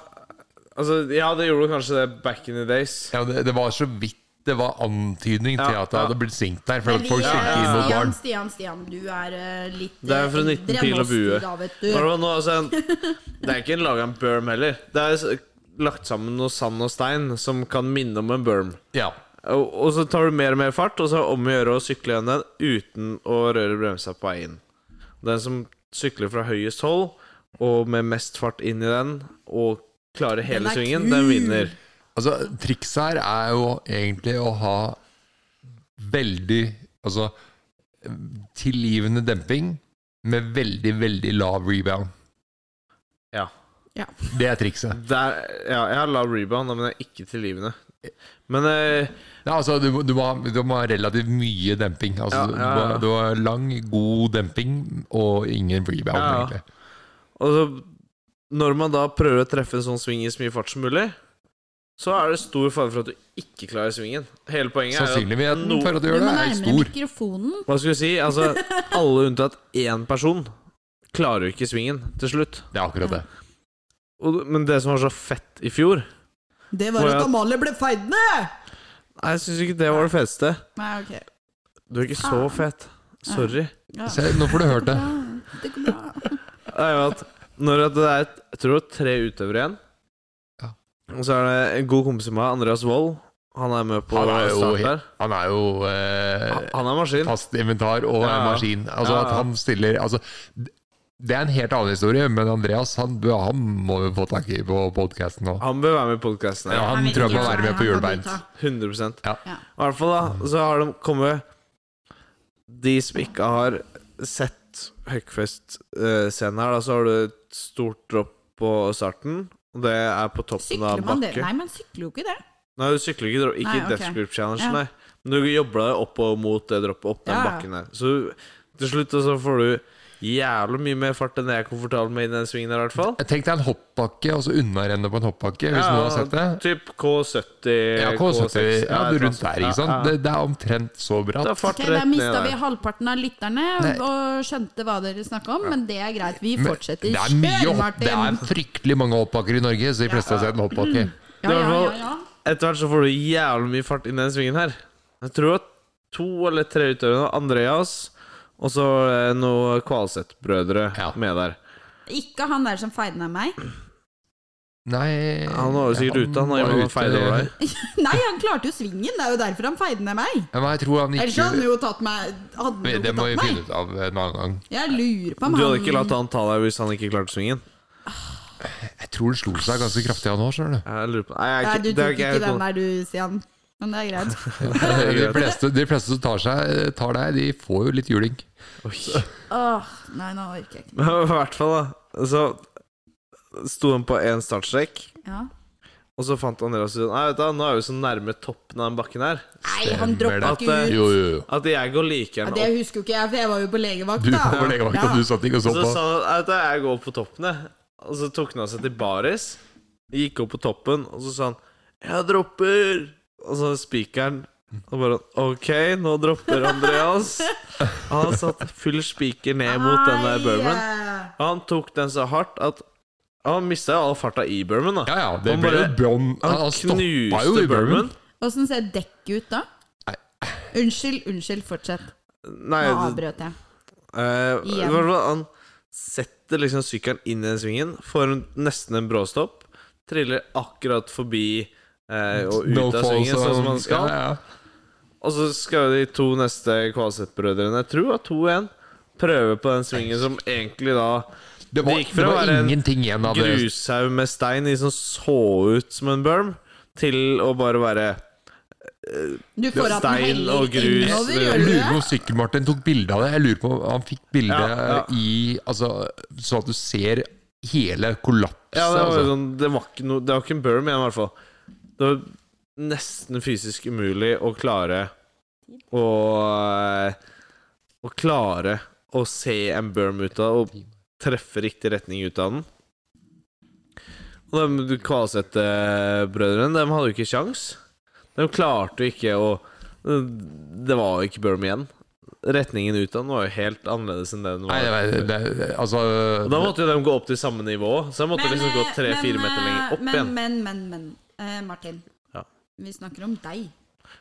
[SPEAKER 2] altså Ja, det gjorde du kanskje det back in the days.
[SPEAKER 1] Ja, det, det var så vidt det var antydning til
[SPEAKER 2] Ja,
[SPEAKER 1] at det
[SPEAKER 2] ja.
[SPEAKER 1] hadde blitt sinkt der. For
[SPEAKER 3] Men
[SPEAKER 1] at
[SPEAKER 3] vi,
[SPEAKER 1] folk
[SPEAKER 3] eh,
[SPEAKER 1] skylte inn mot
[SPEAKER 3] Stian,
[SPEAKER 1] barn.
[SPEAKER 3] Stian, Stian, du er eh, litt
[SPEAKER 2] Det er fra
[SPEAKER 3] eh,
[SPEAKER 2] 19
[SPEAKER 3] eldre enn
[SPEAKER 2] pil og
[SPEAKER 3] oss,
[SPEAKER 2] bue.
[SPEAKER 3] du Da, vet
[SPEAKER 2] Hva er
[SPEAKER 3] du.
[SPEAKER 2] det nå? Altså, en, det er ikke en laga en berm heller. Det er s- lagt sammen noe sand og stein som kan minne om en berm.
[SPEAKER 1] Ja.
[SPEAKER 2] Og, og så tar du mer og mer fart, og så er det om å gjøre å sykle igjen den uten å røre bremsa på veien. Den som sykler fra høyest hold og med mest fart inn i den, og klarer hele
[SPEAKER 3] Den er
[SPEAKER 2] svingen,
[SPEAKER 3] kul.
[SPEAKER 2] den vinner.
[SPEAKER 1] Altså, trikset her er jo egentlig å ha veldig Altså tilgivende demping med veldig, veldig lav rebound.
[SPEAKER 2] Ja.
[SPEAKER 1] Det er trikset.
[SPEAKER 2] Der, ja, jeg har lav rebound, men jeg er ikke tilgivende. Men eh,
[SPEAKER 1] Ja, altså, du, må- du, må, ha- du må ha relativt mye demping. Altså,
[SPEAKER 2] Ja, ja, ja.
[SPEAKER 1] Du, må, du må ha lang, god demping og ingen rebound,
[SPEAKER 2] Ja, ja.
[SPEAKER 1] egentlig.
[SPEAKER 2] Og så, når man da prøver å treffe en sånn sving i så mye fart som mulig, så er det stor fare for at du ikke klarer svingen. Hele poenget er jo
[SPEAKER 1] Sannsynligheten
[SPEAKER 2] no-
[SPEAKER 1] for at du
[SPEAKER 3] Du
[SPEAKER 1] gjør
[SPEAKER 3] må
[SPEAKER 1] det, er
[SPEAKER 3] nærmere
[SPEAKER 1] stor.
[SPEAKER 3] mikrofonen.
[SPEAKER 2] Hva skal vi si? Altså, alle unntatt én person klarer jo ikke svingen til slutt.
[SPEAKER 1] Det er akkurat det.
[SPEAKER 2] Og, men det som var så fett i fjor
[SPEAKER 3] Det
[SPEAKER 2] var Må jeg- at
[SPEAKER 3] Amalie ble feidende!
[SPEAKER 2] Nei, jeg syns ikke det var det feteste.
[SPEAKER 3] Nei, ok.
[SPEAKER 2] Du er ikke så fet. Sorry.
[SPEAKER 3] Ja.
[SPEAKER 1] Se, nå får du hørt det.
[SPEAKER 3] Det går bra.
[SPEAKER 2] Det er jo at når at det er jeg tror det er tre utøvere igjen
[SPEAKER 1] Ja.
[SPEAKER 2] Og så er det en god kompis av meg, Andreas Wold. Han er med på
[SPEAKER 1] Han er jo
[SPEAKER 2] start
[SPEAKER 1] helt-
[SPEAKER 2] der.
[SPEAKER 1] Han er jo eh,
[SPEAKER 2] Han- Han er maskin.
[SPEAKER 1] fast inventar og en
[SPEAKER 2] Ja, ja.
[SPEAKER 1] maskin. Altså
[SPEAKER 2] Ja,
[SPEAKER 1] at
[SPEAKER 2] ja.
[SPEAKER 1] han stiller altså, Det er en helt annen historie, men Andreas han, han må vi få tak i på podkasten nå.
[SPEAKER 2] Han bør være med i podkasten.
[SPEAKER 1] Ja, han
[SPEAKER 3] vet
[SPEAKER 1] tror jeg
[SPEAKER 3] ikke
[SPEAKER 1] må
[SPEAKER 3] hva
[SPEAKER 1] være med
[SPEAKER 3] han
[SPEAKER 1] på
[SPEAKER 3] kan
[SPEAKER 1] julebein.
[SPEAKER 3] godta.
[SPEAKER 2] 100
[SPEAKER 1] Ja.
[SPEAKER 2] I hvert fall da, så har de kommet De som ikke har sett Høgfest-scenen her, da, så har du et stort dropp på starten. Og det er på toppen av
[SPEAKER 3] Sykler
[SPEAKER 2] en
[SPEAKER 3] man det?
[SPEAKER 2] bakke. Nei.
[SPEAKER 3] Nei, man sykler jo ikke det.
[SPEAKER 2] du sykler ikke dropp. Ikke
[SPEAKER 3] Nei, ok.
[SPEAKER 2] Death Group Challenge,
[SPEAKER 3] Ja.
[SPEAKER 2] nei. Men du jobber deg oppover mot det droppet, opp den
[SPEAKER 3] Ja, ja.
[SPEAKER 2] bakken der. Så til slutt så får du jævlig mye mer fart enn jeg er komfortabel med i den svingen her, i hvert fall.
[SPEAKER 1] Jeg tenkte en hoppbakke, og så unnarennet på en hoppbakke, hvis noen har sett det.
[SPEAKER 2] Typ K70,
[SPEAKER 1] Ja, K70, ja, du rundt der, ikke sant.
[SPEAKER 2] Ja,
[SPEAKER 1] Det, det er omtrent så
[SPEAKER 2] Da
[SPEAKER 1] bratt.
[SPEAKER 2] fart
[SPEAKER 3] Ok,
[SPEAKER 2] rett
[SPEAKER 3] Da
[SPEAKER 2] ned
[SPEAKER 3] mista
[SPEAKER 2] der.
[SPEAKER 3] vi halvparten av lytterne
[SPEAKER 1] Nei.
[SPEAKER 3] og skjønte hva dere snakka om, men det er greit. Vi
[SPEAKER 1] Men
[SPEAKER 3] fortsetter.
[SPEAKER 1] det er mye
[SPEAKER 3] Kjør,
[SPEAKER 1] hopp, det er
[SPEAKER 3] Martin!
[SPEAKER 1] fryktelig mange hoppbakker i Norge, så de fleste har sett en hoppbakke.
[SPEAKER 2] Mm.
[SPEAKER 3] Ja, ja, ja, ja.
[SPEAKER 2] Etter hvert så får du jævlig mye fart inn i den svingen her. Jeg tror at to eller tre utøvere, Andreas og så eh, noen Kvalseth-brødre
[SPEAKER 1] Ja.
[SPEAKER 2] med der.
[SPEAKER 3] Ikke han der som feidna meg.
[SPEAKER 1] Nei
[SPEAKER 2] Han var jo sikkert ute, han har
[SPEAKER 1] var
[SPEAKER 2] jo
[SPEAKER 1] ute-
[SPEAKER 2] feil over deg.
[SPEAKER 3] Nei, han klarte jo svingen. Det er jo derfor han feidna meg.
[SPEAKER 1] Ja, Men jeg tror han
[SPEAKER 3] Ellers hadde
[SPEAKER 2] sånn
[SPEAKER 1] ikke
[SPEAKER 3] han jo tatt meg. Hadde han jo
[SPEAKER 1] Det
[SPEAKER 3] ikke
[SPEAKER 1] må vi
[SPEAKER 3] tatt meg.
[SPEAKER 1] finne ut av en annen gang.
[SPEAKER 3] Jeg lurer på
[SPEAKER 2] Du
[SPEAKER 3] om
[SPEAKER 2] hadde ikke latt han ta deg hvis han ikke klarte svingen?
[SPEAKER 1] Jeg tror det slo seg ganske kraftig han òg, skjønner du.
[SPEAKER 2] Jeg lurer på Nei, jeg,
[SPEAKER 3] Nei,
[SPEAKER 2] er
[SPEAKER 3] du
[SPEAKER 2] ikke- det er
[SPEAKER 3] tok ikke
[SPEAKER 2] jeg-
[SPEAKER 3] den der du, Stian. Men det er greit.
[SPEAKER 1] De fleste, de fleste som tar, seg, eh, tar deg, de får jo litt juling.
[SPEAKER 2] Oi.
[SPEAKER 3] Åh, nei, nå orker jeg ikke.
[SPEAKER 2] Men I hvert fall, da. Så sto han på én startstrekk,
[SPEAKER 3] Ja.
[SPEAKER 2] og så fant Andreas ut Nei, vet du, hva, nå er vi så nærme toppen av den bakken her
[SPEAKER 3] Nei,
[SPEAKER 1] Stemmer
[SPEAKER 3] han droppa
[SPEAKER 2] det.
[SPEAKER 3] ikke ut.
[SPEAKER 1] Jo, jo, jo.
[SPEAKER 2] at jeg går like
[SPEAKER 3] Ja,
[SPEAKER 2] gjerne
[SPEAKER 3] det
[SPEAKER 2] opp.
[SPEAKER 3] husker jo ikke jeg, for jeg var jo på legevakt.
[SPEAKER 1] Du
[SPEAKER 3] da.
[SPEAKER 1] var på legevakta,
[SPEAKER 3] Ja.
[SPEAKER 1] du satt ikke og så
[SPEAKER 2] Så
[SPEAKER 1] på.
[SPEAKER 2] Altså, sa han at «Vet du, jeg går opp på toppen, jeg. Og så tok han av seg til baris, gikk opp på toppen, og så sa han 'Jeg dropper'. Og så spikeren og bare 'Ok, nå dropper Andreas'. Han satt full spiker ned mot den der bermen.
[SPEAKER 3] Nei,
[SPEAKER 2] Og han tok den så hardt at Han mista jo all farta i bermen, da.
[SPEAKER 1] Ja, ja, det
[SPEAKER 2] Han
[SPEAKER 1] ble jo
[SPEAKER 2] bare-
[SPEAKER 1] brom...
[SPEAKER 2] Han,
[SPEAKER 1] Han stoppa jo
[SPEAKER 2] knuste
[SPEAKER 1] i bermen.
[SPEAKER 2] bermen.
[SPEAKER 3] eh, Åssen ser dekk ut da?
[SPEAKER 1] Nei.
[SPEAKER 3] Unnskyld, unnskyld, fortsett.
[SPEAKER 2] Nei,
[SPEAKER 3] Nå
[SPEAKER 2] det-
[SPEAKER 3] avbrøt jeg.
[SPEAKER 2] Eh,
[SPEAKER 3] Igjen.
[SPEAKER 2] i hvert fall, han setter liksom sykkelen inn i den svingen, får en- nesten en bråstopp, triller akkurat forbi eh, og ut av svingen, sånn som han skal.
[SPEAKER 1] altså. Ja,
[SPEAKER 2] Og så skal de to neste Kvalseth-brødrene, jeg tror det var to igjen, prøve på den svingen som egentlig da
[SPEAKER 1] ja. Det var,
[SPEAKER 2] Det gikk fra
[SPEAKER 1] det
[SPEAKER 2] å
[SPEAKER 1] var
[SPEAKER 2] være en
[SPEAKER 1] ingenting igjen av det.
[SPEAKER 2] grushaug med stein i som så ut som en berm, til å bare være
[SPEAKER 3] Du får at den
[SPEAKER 2] Stein
[SPEAKER 3] heller
[SPEAKER 2] og grus,
[SPEAKER 3] innover,
[SPEAKER 2] det-
[SPEAKER 1] Jeg
[SPEAKER 3] gjør
[SPEAKER 1] eh,
[SPEAKER 3] du
[SPEAKER 1] lurer på
[SPEAKER 3] det?
[SPEAKER 1] om Sykkel-Martin tok bilde av det. Jeg lurer på om han fikk bilde
[SPEAKER 2] Ja, ja.
[SPEAKER 1] i Altså, sånn at du ser hele kollapset.
[SPEAKER 2] Ja, det var,
[SPEAKER 1] altså.
[SPEAKER 2] sånn, det var ikke noe Det var ikke en burn, men i hvert fall Det var nesten fysisk umulig å klare å eh, Å klare å se en berm ut av og treffe riktig retning ut av den. Og de Kvalseth-brødrene, de hadde jo ikke kjangs. De klarte jo ikke å Det var jo ikke berm igjen. Retningen ut av den var jo helt annerledes enn det den var.
[SPEAKER 1] Nei, det, det, det, altså
[SPEAKER 2] Og da måtte jo de gå opp til samme nivå, så de måtte liksom gå
[SPEAKER 3] eh,
[SPEAKER 2] tre-fire
[SPEAKER 3] men,
[SPEAKER 2] meter
[SPEAKER 3] eh,
[SPEAKER 2] lenger opp
[SPEAKER 3] men,
[SPEAKER 2] igjen.
[SPEAKER 3] Men, men, men. Eh, Martin.
[SPEAKER 2] Ja.
[SPEAKER 3] Vi snakker om deg.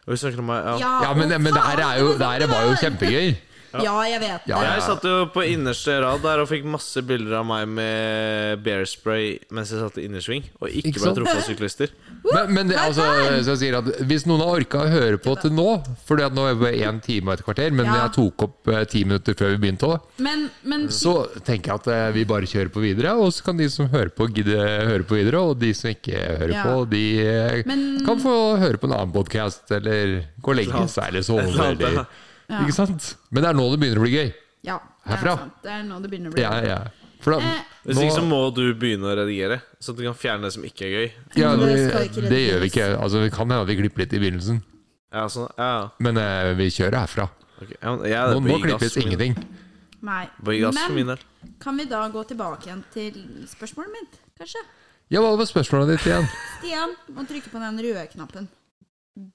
[SPEAKER 2] Og vi snakker om meg, ja.
[SPEAKER 1] Ja, men,
[SPEAKER 3] å
[SPEAKER 1] men det her
[SPEAKER 3] faen,
[SPEAKER 1] er jo,
[SPEAKER 3] så
[SPEAKER 1] det her
[SPEAKER 3] godt
[SPEAKER 1] var jo
[SPEAKER 3] var.
[SPEAKER 1] kjempegøy.
[SPEAKER 3] Ja, jeg vet det.
[SPEAKER 1] Ja, ja.
[SPEAKER 2] Jeg satt jo på innerste rad der og fikk masse bilder av meg med bear spray mens jeg satt i innersving, og ikke,
[SPEAKER 1] Ikke
[SPEAKER 2] ble
[SPEAKER 1] sant?
[SPEAKER 2] truffet av syklister.
[SPEAKER 1] Men, men det, altså, så jeg sier at hvis noen har orka å høre på til nå For nå er det bare én time og et kvarter, men
[SPEAKER 3] Ja.
[SPEAKER 1] jeg tok opp eh, ti minutter før vi begynte. også.
[SPEAKER 3] Men, men
[SPEAKER 1] Så tenker jeg at eh, vi bare kjører på videre, og så kan de som hører på, gidde høre på videre. Og de som ikke hører
[SPEAKER 3] Ja.
[SPEAKER 1] på, de eh,
[SPEAKER 3] Men-
[SPEAKER 1] kan få høre på en annen podkast, eller gå og legge seg, eller sove,
[SPEAKER 2] Eller annet,
[SPEAKER 1] eller
[SPEAKER 2] ja.
[SPEAKER 3] Ja.
[SPEAKER 1] Ikke sant? Men det er nå det begynner å bli gøy.
[SPEAKER 3] ja, det er
[SPEAKER 1] Herfra.
[SPEAKER 3] sant. Det er nå det begynner å bli
[SPEAKER 1] Ja, ja. For da,
[SPEAKER 3] Eh,
[SPEAKER 2] Hvis ikke så må du begynne å redigere, så du kan fjerne det som ikke er gøy.
[SPEAKER 1] ja,
[SPEAKER 3] Men
[SPEAKER 1] det,
[SPEAKER 3] det skal ikke
[SPEAKER 1] det gjør vi
[SPEAKER 3] redigeres.
[SPEAKER 1] ikke. Altså, det kan hende at vi klipper litt i begynnelsen,
[SPEAKER 2] Ja, sånn, ja, ja.
[SPEAKER 1] men eh, vi kjører herfra.
[SPEAKER 2] ok. ja, men jeg,
[SPEAKER 1] Nå,
[SPEAKER 2] det
[SPEAKER 1] nå
[SPEAKER 2] blir gass
[SPEAKER 1] klippes
[SPEAKER 2] for min-
[SPEAKER 1] ingenting.
[SPEAKER 3] Nei.
[SPEAKER 2] blir gass for min
[SPEAKER 3] Men
[SPEAKER 2] del.
[SPEAKER 3] kan vi da gå tilbake igjen til spørsmålet mitt, kanskje?
[SPEAKER 1] Ja, hva var spørsmålet ditt igjen?
[SPEAKER 3] Stian, må trykke på den røde knappen.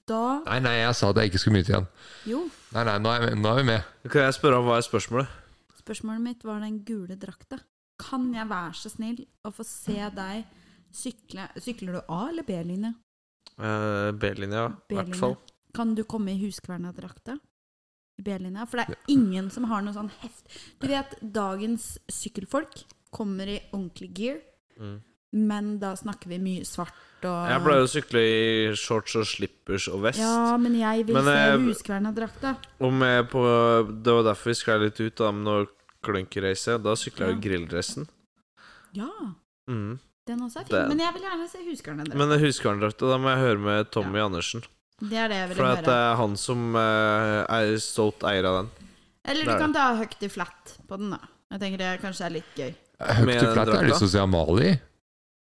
[SPEAKER 3] Da
[SPEAKER 1] Nei, nei, jeg sa at jeg ikke skulle myte igjen.
[SPEAKER 3] Jo,
[SPEAKER 1] Nei, nei, nå er, nå er vi med.
[SPEAKER 2] Kan jeg spørre om hva er spørsmålet?
[SPEAKER 3] spørsmålet mitt var den gule drakta. Kan jeg være så snill å få se deg sykle Sykler du A- eller B-linje?
[SPEAKER 2] Eh, B-linja, i hvert
[SPEAKER 3] B-linje.
[SPEAKER 2] fall.
[SPEAKER 3] Kan du komme i huskverna-drakta? I B-linja? For det er ingen som har noe sånn heft... Du vet, dagens sykkelfolk kommer i ordentlig gear,
[SPEAKER 2] Mm.
[SPEAKER 3] men da snakker vi mye svart og
[SPEAKER 2] Jeg pleier å sykle i shorts og slippers og vest.
[SPEAKER 3] Ja, men jeg vil
[SPEAKER 2] Men, eh,
[SPEAKER 3] se huskverna-drakta.
[SPEAKER 2] Og med eh, på, det var derfor vi sklei litt ut da, med noe klønkereise. Da sykla jeg
[SPEAKER 3] Ja.
[SPEAKER 2] jo grilldressen.
[SPEAKER 3] Ja,
[SPEAKER 2] Mm.
[SPEAKER 3] den også er fin.
[SPEAKER 2] Den-
[SPEAKER 3] Men jeg vil gjerne se huskverna-drakta.
[SPEAKER 2] Men huskvarendrakta, da må jeg høre med Tommy Andersen.
[SPEAKER 3] Det er det jeg vil
[SPEAKER 2] For at eh, det
[SPEAKER 3] høre.
[SPEAKER 2] er han som eh, er stolt eier av den.
[SPEAKER 3] Eller
[SPEAKER 2] det
[SPEAKER 3] du
[SPEAKER 2] er
[SPEAKER 3] kan ta høyt i flat på den, da. Jeg tenker det kanskje er litt gøy.
[SPEAKER 1] Høyt
[SPEAKER 2] Med
[SPEAKER 1] og flatt, jeg har
[SPEAKER 2] drakta.
[SPEAKER 1] lyst til å se Amalie.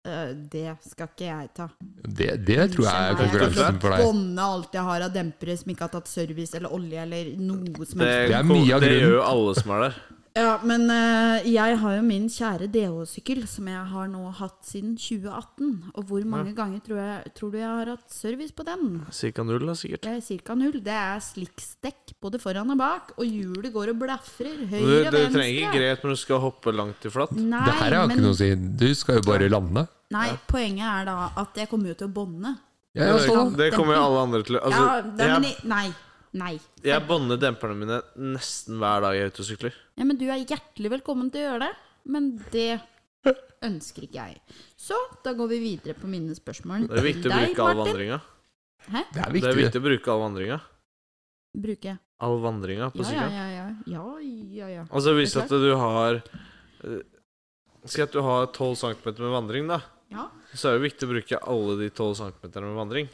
[SPEAKER 3] Eh, det skal ikke jeg ta.
[SPEAKER 1] Det, det tror jeg er
[SPEAKER 3] Kjenner jeg
[SPEAKER 1] konkurransen for deg.
[SPEAKER 3] Bånde alt jeg har av dempere som ikke har tatt service eller olje eller noe som
[SPEAKER 2] Det,
[SPEAKER 3] helst.
[SPEAKER 1] er mye av
[SPEAKER 2] det
[SPEAKER 1] grunnen.
[SPEAKER 2] gjør jo alle som er der.
[SPEAKER 3] Ja, men eh, jeg har jo min kjære DH-sykkel, som jeg har nå hatt siden 2018. Og hvor mange ganger tror, jeg, tror du jeg har hatt service på den?
[SPEAKER 2] Cirka null, da, sikkert.
[SPEAKER 3] Det er ca. eh, null. Det er slikkstekk både foran og bak, og hjulet går og blafrer
[SPEAKER 2] Du,
[SPEAKER 3] høyre og
[SPEAKER 2] du
[SPEAKER 3] venstre.
[SPEAKER 2] trenger ikke greit når du skal hoppe langt i flatt.
[SPEAKER 3] Nei,
[SPEAKER 1] Det her har
[SPEAKER 3] men,
[SPEAKER 1] ikke noe å si. Du skal jo bare lande.
[SPEAKER 3] nei, poenget er da at jeg kommer jo til å bånde.
[SPEAKER 1] Ja, ja, sånn.
[SPEAKER 2] Det kommer jo alle andre til. å-
[SPEAKER 3] ja,
[SPEAKER 2] Altså,
[SPEAKER 3] nei, men,
[SPEAKER 2] jeg,
[SPEAKER 3] i- nei. Nei.
[SPEAKER 2] jeg bånder demperne mine nesten hver dag jeg er ute og sykler.
[SPEAKER 3] Ja, men du er hjertelig velkommen til å gjøre det, men det ønsker ikke jeg. Så da går vi videre på mine spørsmål.
[SPEAKER 2] Det er viktig
[SPEAKER 3] til
[SPEAKER 2] å
[SPEAKER 3] deg,
[SPEAKER 2] bruke all
[SPEAKER 3] Martin.
[SPEAKER 2] vandringa.
[SPEAKER 1] Det er
[SPEAKER 2] Det er
[SPEAKER 1] viktig.
[SPEAKER 2] viktig å bruke all vandringa.
[SPEAKER 3] Bruke.
[SPEAKER 2] All vandringa på
[SPEAKER 3] Ja, ja,
[SPEAKER 2] sykkelen.
[SPEAKER 3] ja, ja. ja, ja, ja.
[SPEAKER 2] Altså hvis
[SPEAKER 3] Det er
[SPEAKER 2] at du har eh, Si at du har 12 cm med vandring, da.
[SPEAKER 3] Ja.
[SPEAKER 2] Så er det viktig å bruke alle de 12 cm med vandring.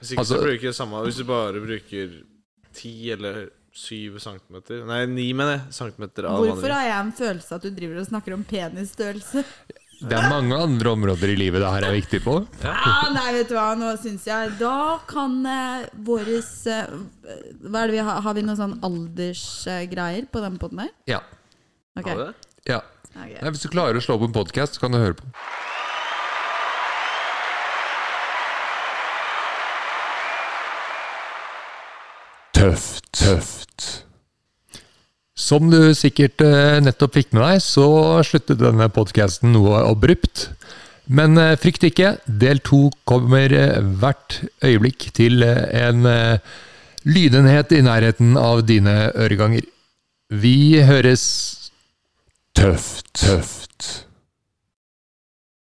[SPEAKER 2] Hvis ikke
[SPEAKER 1] Altså-
[SPEAKER 2] så bruker det samme Hvis du bare bruker 10 eller 7 cm Nei, 9 mener jeg. Centimeter av
[SPEAKER 3] Hvorfor
[SPEAKER 2] vandring.
[SPEAKER 3] har jeg en følelse av at du driver og snakker om penisstørrelse?
[SPEAKER 1] Det er mange andre områder i livet det her er viktig på.
[SPEAKER 3] Ah, nei, vet du hva, nå syns jeg Da kan eh, våres eh, Hva er det vi har? Har vi noen sånn aldersgreier på den poden her?
[SPEAKER 1] Ja.
[SPEAKER 3] Ok.
[SPEAKER 2] Har du det?
[SPEAKER 1] ja.
[SPEAKER 3] Ok.
[SPEAKER 1] Nei, hvis du klarer å slå opp en podkast, så kan du høre på. Tøft, tøft. Som du sikkert eh, nettopp fikk med deg, så sluttet denne podkasten noe abrupt. Men eh, frykt ikke, del to kommer eh, hvert øyeblikk til eh, en eh, lydenhet i nærheten av dine øreganger. Vi høres tøft, tøft.